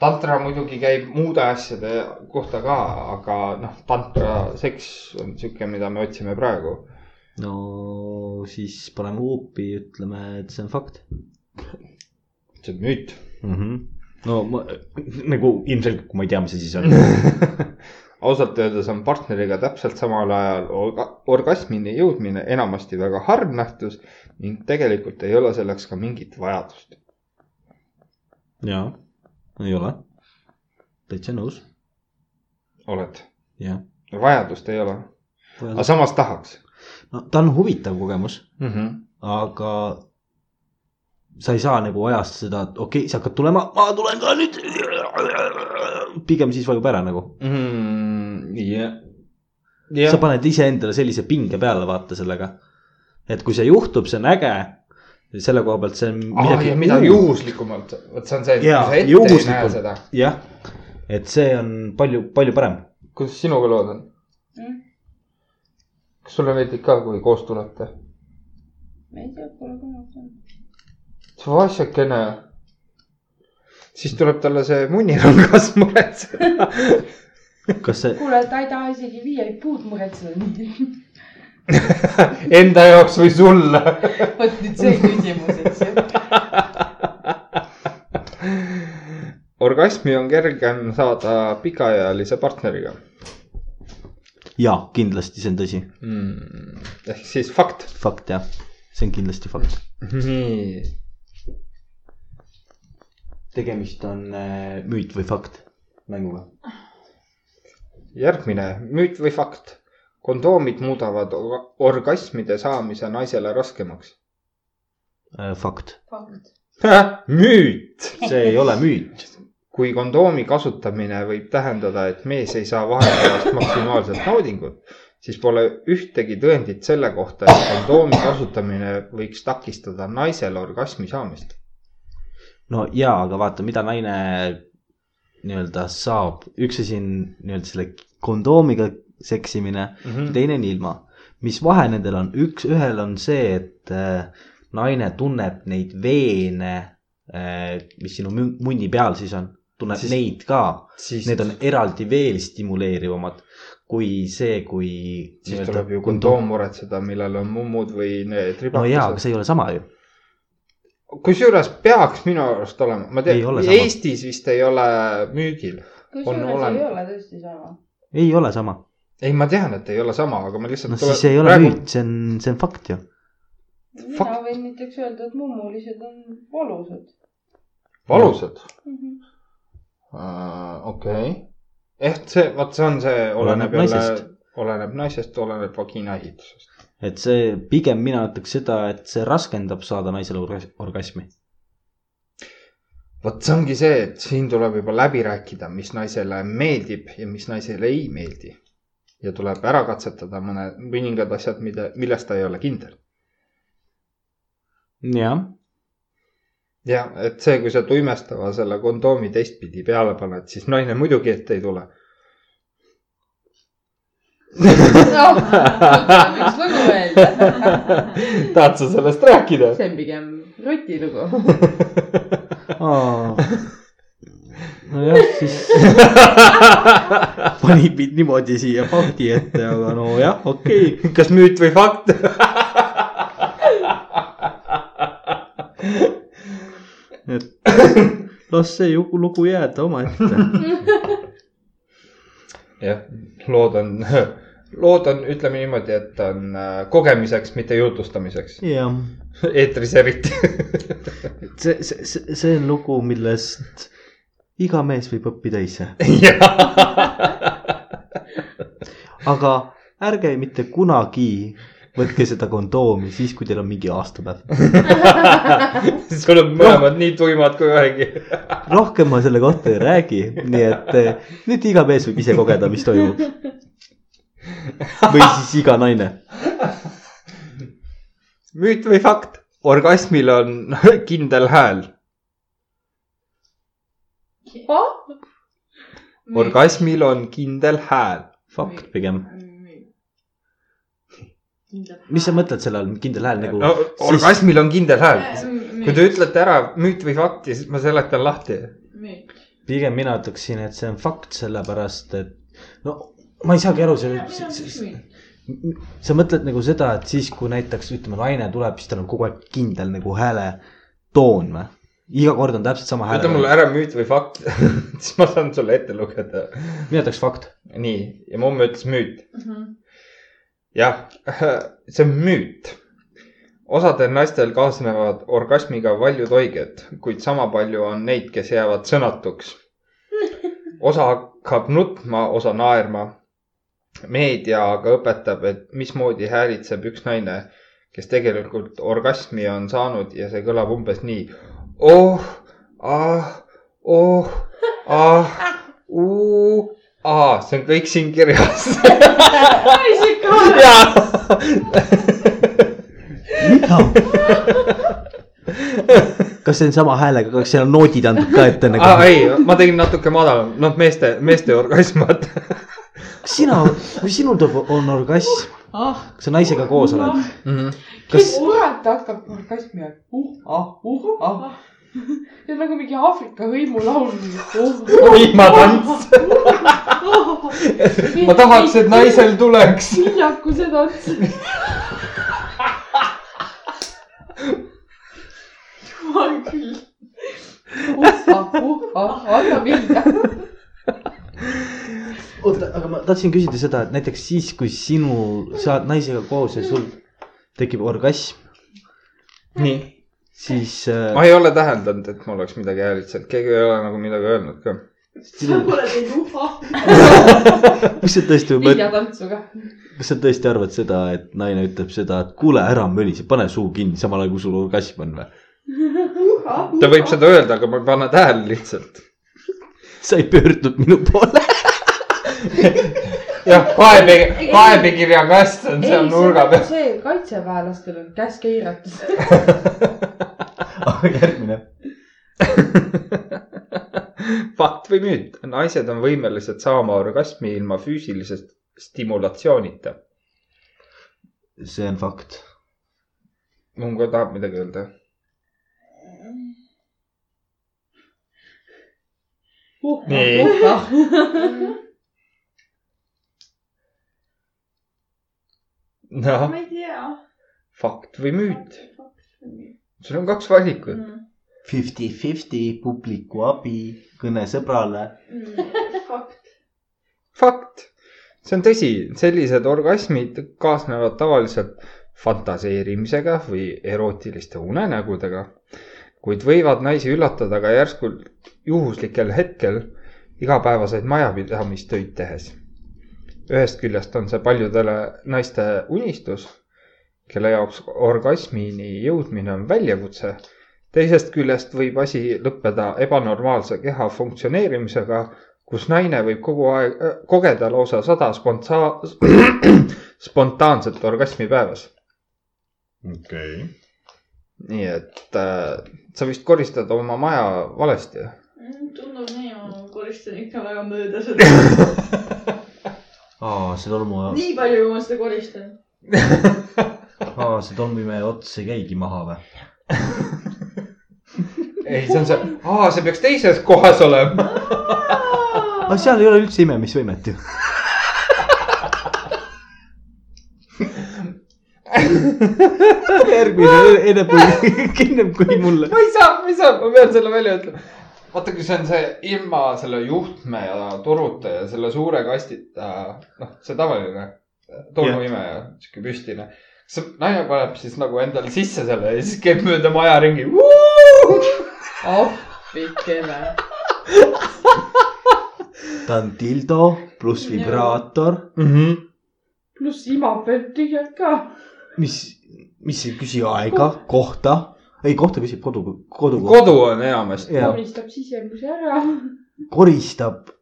S2: tantra muidugi käib muude asjade kohta ka , aga noh , tantra seks on sihuke , mida me otsime praegu .
S1: no siis paneme huupi , ütleme , et see on fakt
S2: see on müüt .
S1: mm . -hmm. no ma nagu ilmselgelt , kui ma ei tea , mis see siis on .
S2: ausalt öeldes on partneriga täpselt samal ajal orga- orgasmini jõudmine enamasti väga harv nähtus ning tegelikult ei ole selleks ka mingit vajadust .
S1: jaa , ei ole . täitsa nõus ,
S2: oled ?
S1: jah .
S2: vajadust ei ole , aga samas tahaks
S1: no ta on huvitav kogemus ,
S2: mm . -hmm.
S1: aga sa ei saa nagu ajast seda , et okei okay, , sa hakkad tulema , ma tulen ka nüüd . pigem siis vajub ära nagu .
S2: Mm, jah .
S1: Mhm. sa
S2: jah ,
S1: paned iseendale sellise pinge peale , vaata sellega . et kui see juhtub , see on äge . selle koha pealt see on
S2: midagi,
S1: midagi
S2: Ah, ja midagi
S1: uut.
S2: juhuslikumalt , vot see on see , et kui
S1: Jaa,
S2: sa ette ei näe
S1: juhuslikult.
S2: seda .
S1: jah , et see on palju , palju parem .
S2: kuidas sinuga lood on ? kas sulle meeldib ka , kui koos tulete ?
S3: ma ei tea , pole kunagi .
S2: vasjakene . siis tuleb talle see munirõngas muretseda .
S1: kas see ,
S3: kuule , ta ei taha isegi VIP-d muretseda .
S2: Enda jaoks või sulle .
S3: vot nüüd see küsimus , eks ju .
S2: orgasmi on kergem saada pikaajalise partneriga
S1: jaa , kindlasti , see on tõsi ,
S2: mm. . ehk siis fakt .
S1: fakt jah , see on kindlasti fakt .
S2: nii ,
S1: tegemist on äh, müüt või fakt mänguga .
S2: järgmine müüt või fakt . kondoomid muudavad orga- orgasmide saamise naisele raskemaks .
S1: Äh, fakt ,
S5: fakt .
S2: müüt .
S1: see ei ole müüt .
S2: kui kondoomi kasutamine võib tähendada , et mees ei saa vahepealast maksimaalselt naudingut , siis pole ühtegi tõendit selle kohta , et kondoomi kasutamine võiks takistada naisel orgasmi saamist .
S1: no jaa , aga vaata , mida naine nii-öelda saab , üks asi on nii-öelda selle kondoomiga seksimine , Mm. teine on ilma . mis vahe nendel on , üks , ühel on see , et äh, naine tunneb neid veene , mis sinu mun- munni peal siis on , tunneb
S2: Siis-
S1: siis... neid ka ,
S2: siis
S1: need on eraldi veel stimuleerivamad kui see , kui .
S2: siis tuleb ju . kondoom muretseda , millel on mummud või need
S1: noh, no jaa , aga
S2: ribatused
S1: see ei ole sama ju .
S2: no, . kusjuures peaks minu arust olema , ma
S1: Ei
S2: tean
S1: ole , sama.
S2: Eestis vist ei ole müügil . On
S3: kusjuures
S2: olemas.
S3: ei ole tõesti sama .
S1: ei ole sama .
S2: ei , ma tean , et ei ole sama , aga ma lihtsalt .
S1: no siis see ei ole praegu... . müüt , see on , see on fakt ju .
S3: mina
S2: Fakt.
S3: võin näiteks öelda , et mummulised on valusad
S2: valusad .
S3: mm . -hmm.
S2: okei . ehk see , vot see on see , oleneb
S1: Oleneb
S2: jälle
S1: naisest. ,
S2: oleneb naisest , oleneb vaginaehitusest .
S1: et see pigem mina ütleks seda , et see raskendab saada naisele orgas- orgasmi .
S2: vot see ongi see , et siin tuleb juba läbi rääkida , mis naisele meeldib ja mis naisele ei meeldi . ja tuleb ära katsetada mõne , mõningad asjad , mida , milles ta ei ole kindel .
S1: jah ,
S2: ja et see , kui sa tuimestava selle kondoomi teistpidi peale paned , siis naine muidugi ette ei tule .
S8: üks lugu veel ,
S2: tahad sa sellest rääkida ?
S8: see on pigem rutilugu .
S1: nojah , siis panid mind niimoodi siia fakti ette , aga nojah , okei okay. .
S2: kas müüt või fakt ?
S1: et las see ju- lugu jääda omaette .
S2: jah , lood on , lood on , ütleme niimoodi , et on äh, kogemiseks , mitte jutustamiseks .
S1: jah ,
S2: eetris eriti .
S1: see , see , see see on lugu , millest iga mees võib õppida ise , aga ärge mitte kunagi võtke seda kondoomi siis , kui teil on mingi aastapäev .
S2: sul on mõlemad nii tuimad kui vähegi .
S1: rohkem ma selle kohta ei räägi , nii et eh, nüüd iga mees võib ise kogeda , mis toimub . või siis iga naine .
S2: müüt või fakt ? orgasmil on kindel hääl . orgasmil on kindel hääl .
S1: fakt pigem . mis sa ? mõtled selle all , kindel hääl nagu
S2: no
S1: no, ? Siis...
S2: orgasmil on kindel hääl . kui te ütlete ära müüt või fakti , siis ma seletan lahti .
S5: ütlete .
S1: pigem mina ütleksin , et see on fakt , sellepärast et no ma ei saagi aru , see , sa mõtled nagu seda , et siis kui näiteks ütleme , naine tuleb , siis tal on kogu aeg kindel nagu hääle toon või ? iga kord on täpselt sama
S2: ütle mulle
S1: hääl .
S2: ära müüt või fakt , siis ma saan sulle ette lugeda .
S1: mina ütleks fakt .
S2: nii , ja mu homme ütles müüt . jah , see on müüt . osadel naistel kaasnevad orgasmiga paljud haiged , kuid sama palju on neid , kes jäävad sõnatuks . osa hakkab nutma , osa naerma . meedia aga õpetab , et mismoodi häälitseb üks naine , kes tegelikult orgasmi on saanud ja see kõlab umbes nii . oh , ah , oh , ah , uu , aa , see on kõik siin kirjas .
S1: kas see on sama häälega , kas seal on noodid antud ka ette nagu
S2: aa ? Ah, ei , ma tegin natuke madalam , noh , meeste , meeste orgasm , vaata .
S1: kas sina , kui sinul tuleb , on orgasm ,
S5: ah ,
S1: kas sa naisega koos oled ?
S3: kes
S1: Kas-
S3: kurat hakkab orgasmi all , uh ah , uh ah . see on nagu mingi Aafrika hõimulaul uh, .
S2: vihmatants , ma tahaks , et . naisel tuleks .
S3: viljakused otsa .
S5: jumal küll .
S3: oh
S8: ahah , anna minna .
S1: oota , aga ma tahtsin küsida seda , et näiteks siis , kui sinu , sa oled naisega koos ja sul tekib orgasm ,
S7: nii ,
S1: siis
S2: ma
S1: äh,
S2: ei ole täheldanud , et mul oleks midagi häiritsenud , keegi ei ole nagu midagi öelnud ka .
S8: sa oled ei luba .
S1: mis sa tõesti mõtled ,
S8: viljatantsuga .
S1: kas sa tõesti arvad seda , et naine ütleb seda , et kuule , ära mölise , pane suu kinni , samal ajal kui sul orgasm on või ?
S2: ta võib seda öelda , aga ma ei pane tähele lihtsalt .
S1: sa ei pöördunud minu poole .
S2: jah , kaebekirja , kaebekirja kast on
S3: ei , see
S2: seal nurga
S3: on
S2: peal .
S3: see , kaitseväelastel on käsk eirates .
S1: järgmine .
S2: fakt või müüt , naised on võimelised saama orgasmi ilma füüsilise stimulatsioonita .
S1: see on fakt .
S2: Mungo tahab midagi öelda . Nii. noh ,
S5: ma ei tea .
S2: Noh, fakt või müüt ? sul on kaks valikut .
S5: Mm.
S1: Fifty-fifty publiku abi , kõne sõbrale .
S2: fakt , see on tõsi , sellised orgasmid kaasnevad tavaliselt fantaseerimisega või erootiliste unenägudega , kuid võivad naisi üllatada ka järsku juhuslikel hetkel igapäevaseid majapidamistöid tehes . ühest küljest on see paljudele naiste unistus , kelle jaoks orgasmini jõudmine on väljakutse , teisest küljest võib asi lõppeda ebanormaalse keha funktsioneerimisega kus naine võib kogu aeg äh, kogeda lausa sada sponta- , spontaanset orgasmi päevas .
S1: okei okay. .
S2: nii et äh, sa vist koristad oma maja valesti .
S5: Mm, tundub nii , ma koristan ikka väga mööda seda .
S1: aa , see tolmu ,
S5: nii palju , kui ma seda koristan .
S1: aa , see tolmuimeja ots ei käigi maha või ?
S2: ei , see on see , aa , see peaks teises kohas olema .
S1: aga seal ei ole üldse imemisvõimet ju . järgmine , enne kui , ennem kui mulle .
S2: ma ei saa , ma ei saa , ma pean selle välja ütlema . vaata , kui see on see ilma selle juhtme ja toruta ja selle suure kastita , noh , see tavaline tolmuimeja , sihuke püstine . kas see naine paneb siis nagu endale sisse selle ja siis käib mööda maja ringi ?
S3: appikene .
S1: ta on dildo pluss vibraator ,
S2: Mhm.
S3: pluss imab veel tühjalt ka .
S1: mis , mis ei küsi aega , kohta , ei kohta küsib kodu , kodu ,
S2: kodu on enamasti .
S1: Jaa.
S3: omistab sisemusi ära .
S1: koristab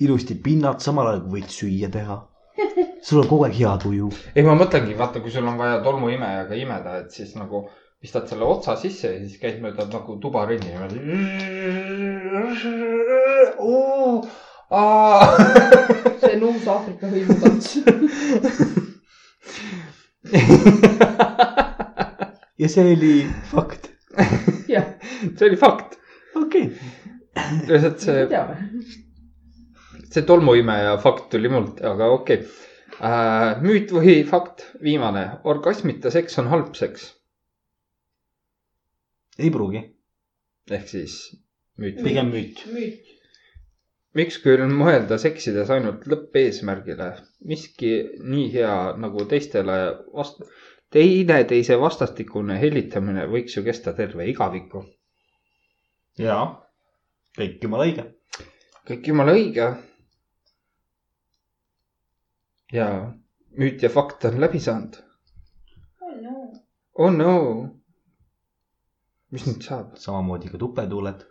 S1: ilusti pinnad , samal ajal kui võid süüa teha . sul on kogu aeg hea tuju .
S2: ei , ma mõtlengi , vaata , kui sul on vaja tolmuimejaga imeda , et siis nagu pistad selle otsa sisse ja siis käid mööda nagu tuba ringi niimoodi .
S3: see on uus Aafrika hõimutants .
S1: ja see oli fakt .
S3: jah ,
S2: see oli fakt ,
S1: okei okay. ,
S2: lihtsalt see ,
S3: teame .
S2: see tolmuimeja fakt tuli mult , aga okei okay. . müüt või fakt , viimane , orgasmita seks on halb seks
S1: ei pruugi ,
S2: ehk siis müüt .
S1: pigem müüt .
S2: miks küll mõelda seksides ainult lõppeesmärgile , miski nii hea nagu teistele vast- , teineteise vastastikune hellitamine võiks ju kesta terve igaviku .
S1: ja , kõik jumala õige .
S2: kõik jumala õige . ja müüt ja fakt on läbi saanud . oh no . mis nüüd saab ?
S1: samamoodi ka tupetuuled .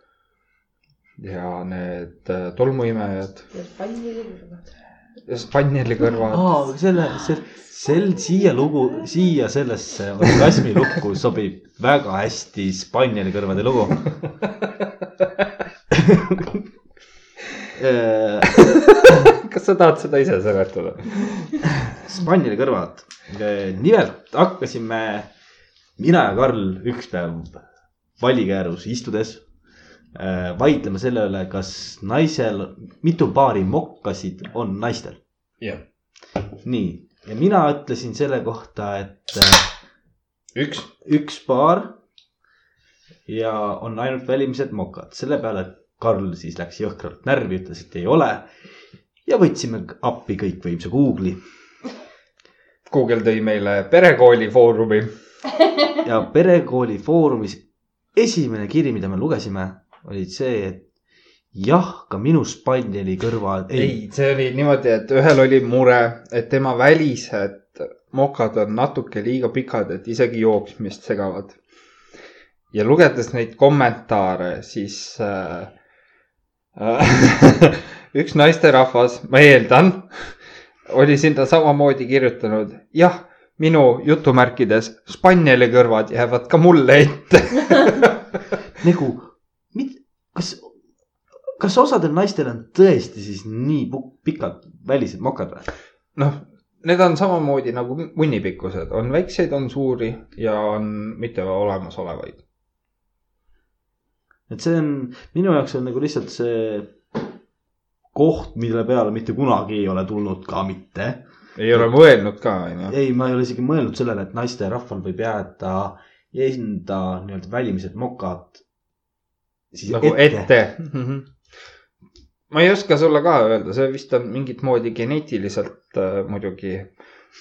S2: ja need äh, tolmuimejad
S3: ja Spanieli kõrvad .
S2: ja spanneli kõrvad .
S1: aa , selle , see , Ah, sel , siia lugu , siia sellesse orgasmi lukku sobib väga hästi Spanieli kõrvade lugu . Äh,
S2: kas sa tahad seda ise seletada ?
S1: Spanieli kõrvad . nimelt hakkasime mina ja Karl üks päev valikäärus istudes äh, vaidlema selle üle , kas naisel , mitu paari mokkasid on naistel .
S2: jah ,
S1: nii , ja mina ütlesin selle kohta , et äh,
S2: üks
S1: üks paar ja on ainult välimised mokad . selle peale Karl siis läks jõhkralt närvi , ütles , et ei ole . ja võtsime appi kõikvõimsa Google'i
S2: Google tõi meile perekooli foorumi .
S1: ja perekooli foorumis esimene kiri , mida me lugesime , oli see , et jah , ka minu Spanieli kõrval ,
S2: ei
S1: ei ,,
S2: see oli niimoodi , et ühel oli mure , et tema välised mokad on natuke liiga pikad , et isegi jooksmist segavad . ja lugedes neid kommentaare , siis äh, äh, üks naisterahvas , ma eeldan , oli sinna samamoodi kirjutanud , jah , minu jutumärkides spanneli kõrvad jäävad ka mulle ette .
S1: nagu , kas , kas osadel naistel on tõesti siis nii pu- pikad välised mokad või ?
S2: noh , need on samamoodi nagu munnipikkused , on väikseid , on suuri ja on mitte olemasolevaid .
S1: et see on , minu jaoks on nagu lihtsalt see koht , mille peale mitte kunagi ei ole tulnud ka mitte .
S2: ei ole mõelnud ka , onju .
S1: ei , ma ei ole isegi mõelnud sellele , et naisterahval võib jääda enda nii-öelda välimised mokad .
S2: nagu ette, ette. . ma ei oska sulle ka öelda , see vist on mingit moodi geneetiliselt äh, muidugi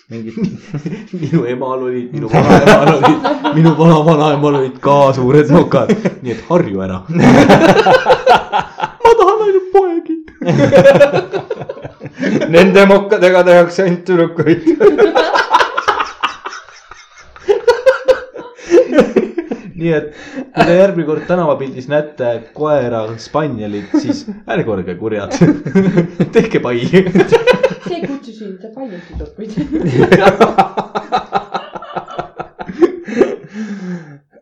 S2: mingit ,
S1: minu emal olid , minu vanaemal olid , minu vana-vanaemal olid ka suured nokad , nii et harju ära . ma tahan ainult poegi .
S2: nende mokkadega tehakse ainult tüdrukuid .
S1: nii et kui te järgmine kord tänavapildis näete koera spanjalit , siis ärge olge kurjad . tehke pai .
S8: see kutsus mind palju tüdrukuid .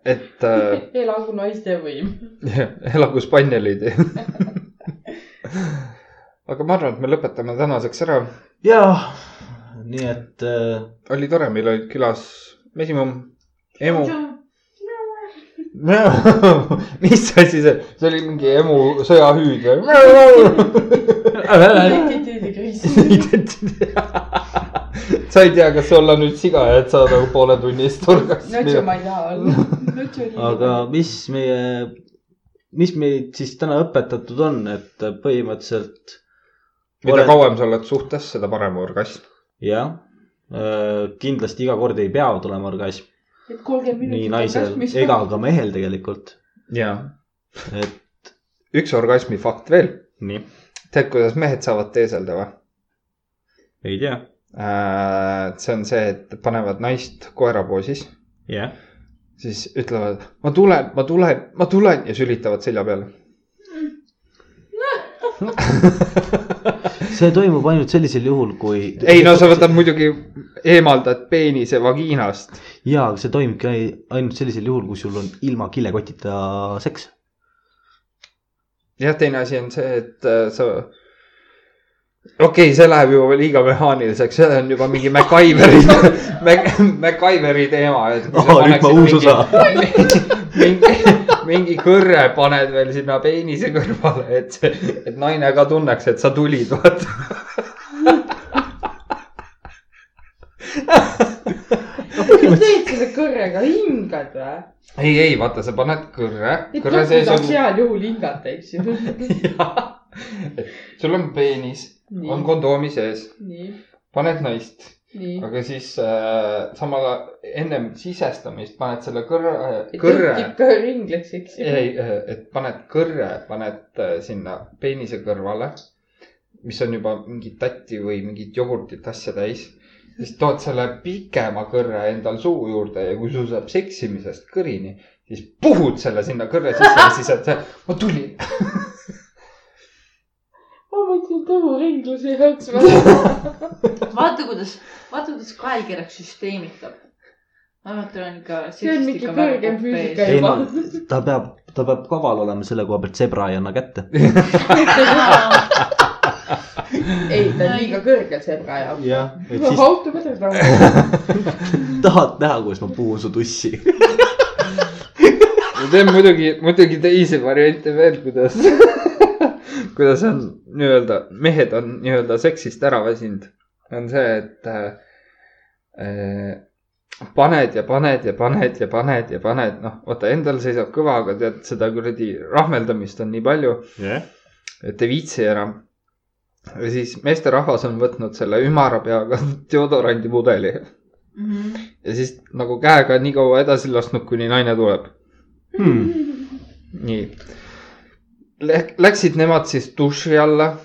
S2: et äh,
S8: elagu naiste võim .
S2: elagu spannelid . aga ma arvan , et me lõpetame tänaseks ära .
S1: ja , nii et äh,
S2: oli tore , meil olid külas Mesimum , Emu mis asi see , see oli mingi emu sõjahüüd
S1: Äh.
S2: või ?
S8: identiteedikriis .
S2: sa ei tea , kas olla nüüd siga , et saada poole tunni eest
S3: notši
S2: orgasmi .
S3: ma ei taha olla . notši oli .
S1: aga mis meie , mis meid siis täna õpetatud on , et põhimõtteliselt .
S2: mida kauem sa oled suhtes , seda parem orgasm .
S1: jah , kindlasti iga kord ei pea tulema orgasm ,
S3: et kolmkümmend
S1: nii
S3: minutit
S1: naisel
S3: orgasmis-
S1: ega ka mehel tegelikult ,
S2: ja
S1: et
S2: üks orgasmi fakt veel .
S1: nii ,
S2: tead , kuidas mehed saavad teeselda või ?
S1: ei tea ,
S2: Äh, see on see , et panevad naist koerapoosis ,
S1: jah .
S2: siis ütlevad , ma tulen , ma tulen , ma tulen ja sülitavad selja peale .
S1: see toimub ainult sellisel juhul , kui .
S2: ei no sa . võtad muidugi , eemaldad peenise vagiinast .
S1: jaa , aga see toimubki ai- ainult sellisel juhul , kui sul on ilma kilekotita seks .
S2: jah , teine asi on see , et äh, sa . okei okay, , see läheb juba liiga mehaaniliseks , see on juba mingi MacGyveri Mac, , MacGyveri teema .
S1: Aa, nüüd ma uus osa. .
S2: mingi , mingi kõrre paned veel sinna peenise kõrvale , et , et naine ka tunneks , et sa tulid , vaata .
S8: mis teed selle kõrrega , hingad või ?
S2: ei , ei vaata , sa paned kõrre ,
S8: et
S2: kõrre
S8: lõpuks
S2: sees
S8: saaks
S2: on ,
S8: heal juhul hingata , eks ju .
S2: sul on peenis ,
S8: nii
S2: on , kondoomi sees ,
S8: nii ,
S2: paned naist
S8: nii .
S2: aga siis äh, samal , ennem sisestamist paned selle kõrre ,
S8: et
S2: kõrre
S8: jutt , ikka ringleks , eks ju .
S2: ei , et paned kõrre , paned äh, sinna peenise kõrvale , mis on juba mingit tatti või mingit jogurtit asja täis . siis tood selle pikema kõrre endal suu juurde ja kui sul saab seksimisest kõrini , siis puhud selle sinna kõrre sisse ja siis on see , ma tulin .
S8: ma mõtlesin tõuringluse jaoks välja .
S5: vaata , kuidas , vaata , kuidas kaelkirjak süsteemitab . vaata , on ikka .
S8: see on mingi kõrgem füüsika
S1: ei
S8: juba
S1: no . ta peab , ta peab kaval olema selle koha pealt , zebra ei anna kätte .
S8: ei , ta on liiga kõrge sebra jaoks .
S1: jah , et
S8: no
S1: siis
S8: auto võtaks nagu .
S1: tahad näha , kuidas ma puhun su tussi .
S2: ma teen muidugi , muidugi teisi variante veel , kuidas , kuidas on nii-öelda , mehed on nii-öelda seksist ära väsinud . on see , et äh, paned ja paned ja paned ja paned ja paned , noh , vaata endal seisab kõva , aga tead seda kuradi rahmeldamist on nii palju ,
S11: jah .
S2: et ei viitsi enam . ja siis meesterahvas on võtnud selle ümara peaga deodorandi pudeli
S5: Mhm.
S2: ja siis nagu käega nii kaua edasi lasknud , kuni naine tuleb .
S11: Hmm.
S2: nii . Läksid nemad siis duši alla .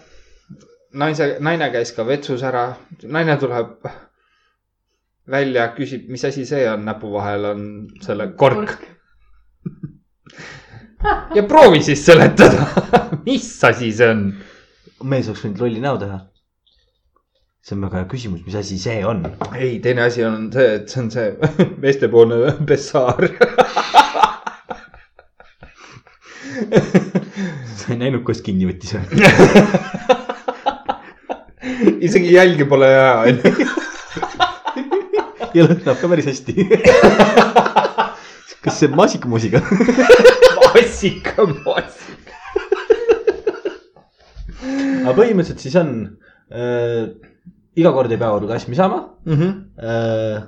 S2: naise , naine käis ka vetsus ära , naine tuleb välja , küsib , mis asi see on , näpu vahel on selle kork . ja proovi siis seletada , mis asi see on .
S1: mees oleks võinud lolli näo teha . see on väga hea küsimus , mis asi see on ?
S2: ei , teine asi on see , et see on see meestepoolne pessaar .
S1: sa ei näinud , kuidas kinni võttis või ?
S2: isegi jälgi pole hea , onju .
S1: ja lõhnab ka päris hästi . kas see on maasikamusiga ?
S2: massika , massika .
S1: aga põhimõtteliselt siis on äh, , iga kord ei pea orgasmi saama
S2: Mhm.
S1: äh, .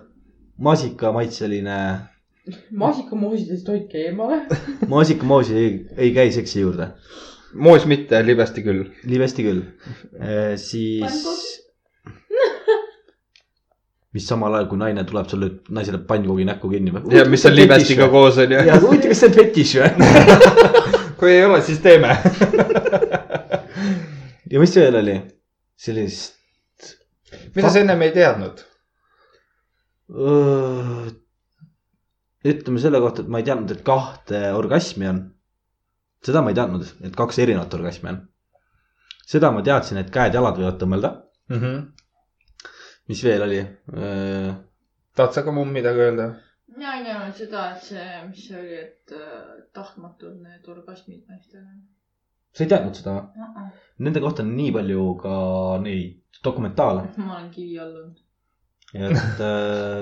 S1: maasikamaitseline ,
S8: maasikamahusidest hoidke eemale .
S1: maasikamoosi ei, ei käi seksi juurde ,
S2: moos mitte , libesti küll .
S1: libesti küll äh, . siis , mis samal ajal , kui naine tuleb sulle , naisele pannkoogi näkku kinni või ?
S2: ja mis on libestiga koos , onju .
S1: ja huvitav , kas see on fetiš või ?
S2: kui ei ole , siis teeme .
S1: ja mis veel oli ? sellist
S2: mida sa ennem ei teadnud ?
S1: Öö, ütleme selle kohta , et ma ei teadnud , et kahte orgasmi on . seda ma ei teadnud , et kaks erinevat orgasmi on . seda ma teadsin , et käed-jalad võivad tõmmelda . Mhm. mis veel oli ? Äh,
S2: tahad sa ka mumm midagi öelda ?
S5: mina ei teadnud seda , et see , mis see oli , et äh, tahtmatud need orgasmid naistel
S1: sa ei teadnud seda või ?
S5: on .
S1: Nende kohta on nii palju ka neid dokumentaale ,
S5: ma olen kivi all olnud .
S1: et öö,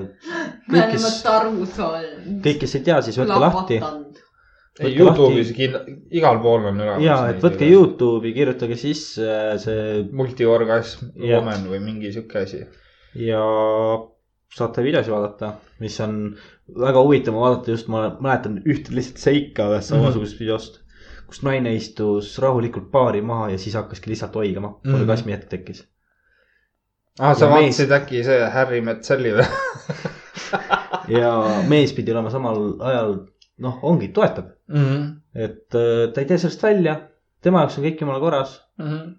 S1: Kõik,
S5: me oleme
S1: kes-
S5: tarud olnud .
S1: kõik , kes ei tea , siis võtke lahti . Võtke
S2: Youtube'is kindla- , igal pool on üleval .
S1: ja , et võtke . Youtube'i , kirjutage sisse äh, see
S2: multiorgasm ,
S1: Jah.
S2: woman või mingi sihuke asi .
S1: ja saate videosi vaadata , mis on väga huvitav on vaadata , just ma mäletan ühte lihtsalt seika ühest
S2: Mhm.
S1: samasugusest mm -hmm. videost , kus naine istus rahulikult paari maha ja siis hakkaski lihtsalt oigama mm
S2: Mhm.
S1: -hmm. , orgasmi hetk tekkis .
S2: aa , Ah, sa
S1: Ja mees-
S2: vaatasid äkki see Harry Metzelli või ?
S1: ja mees pidi olema samal ajal , noh , ongi , toetab , et äh, ta ei tee sellest välja , tema jaoks on kõik jumala korras , Mhm.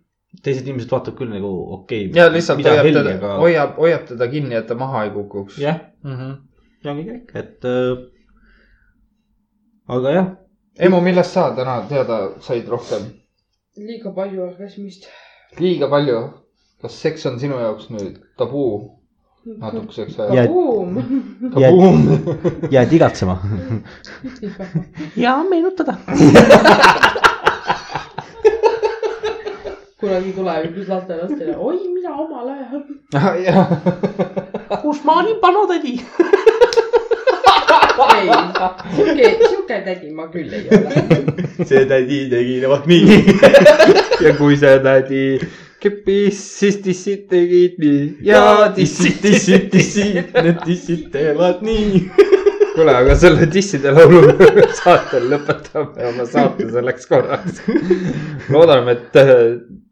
S1: teised inimesed vaatavad küll nagu okei okay, .
S2: ja lihtsalt hoiab teda ,
S1: aga... .
S2: hoiab , hoiab teda kinni , et ta maha ei kukuks . Mhm.
S1: jah , ja ongi kõik , et äh, aga jah ,
S2: Emu , millest sa täna teada said rohkem ?
S3: liiga palju orgasmist .
S2: liiga palju . kas seks on sinu jaoks nüüd tabuu natukeseks
S1: Ja-
S2: ajaks ?
S3: kabuum .
S2: kabuum .
S1: jääd igatsema ja meenutada .
S8: kunagi tulevikus lastelastele , oi , mina omal ajal .
S1: kus ma olin panotädi ?
S8: ei , sihuke , sihuke tädi ma küll ei ole .
S1: see tädi tegi vot nii .
S2: ja kui sa tädi kippis , siis tissid tegid nii ja tissid , tissid , tissid .
S1: need tissid teevad nii .
S2: kuule , aga selle tisside laulu saatel lõpetame oma saate selleks korraks . loodame , et äh,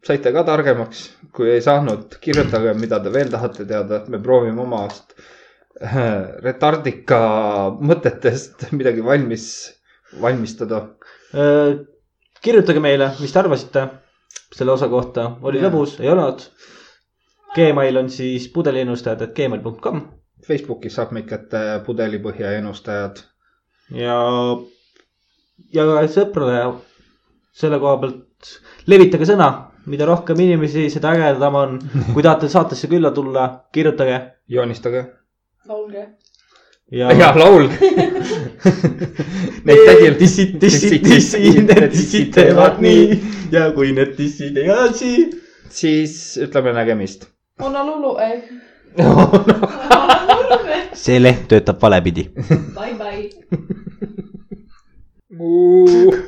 S2: saite ka targemaks , kui ei saanud , kirjutage , mida te veel tahate teada , me proovime omast äh, retardika mõtetest midagi valmis , valmistada .
S1: Äh, kirjutage meile , mis te arvasite selle osa kohta , oli
S2: Jah.
S1: lõbus , ei olnud ? Gmail on siis pudeliennustajad.gmail.com
S2: Facebookis saab meid kätte pudelipõhja ennustajad .
S1: ja , ja ka sõprade selle koha pealt levitage sõna , mida rohkem inimesi , seda ägedam on . kui tahate saatesse külla tulla , kirjutage
S2: joonistage
S3: laulge .
S1: ja,
S2: ja laulge . Neid tädi-
S1: tissid , tissid , tissid , need tissid teevad nii ja kui need tissid ei asi .
S2: siis ütleme nägemist .
S3: Ona Lulu , ei .
S1: see leht töötab valepidi .
S5: Bye bye .
S2: Muu.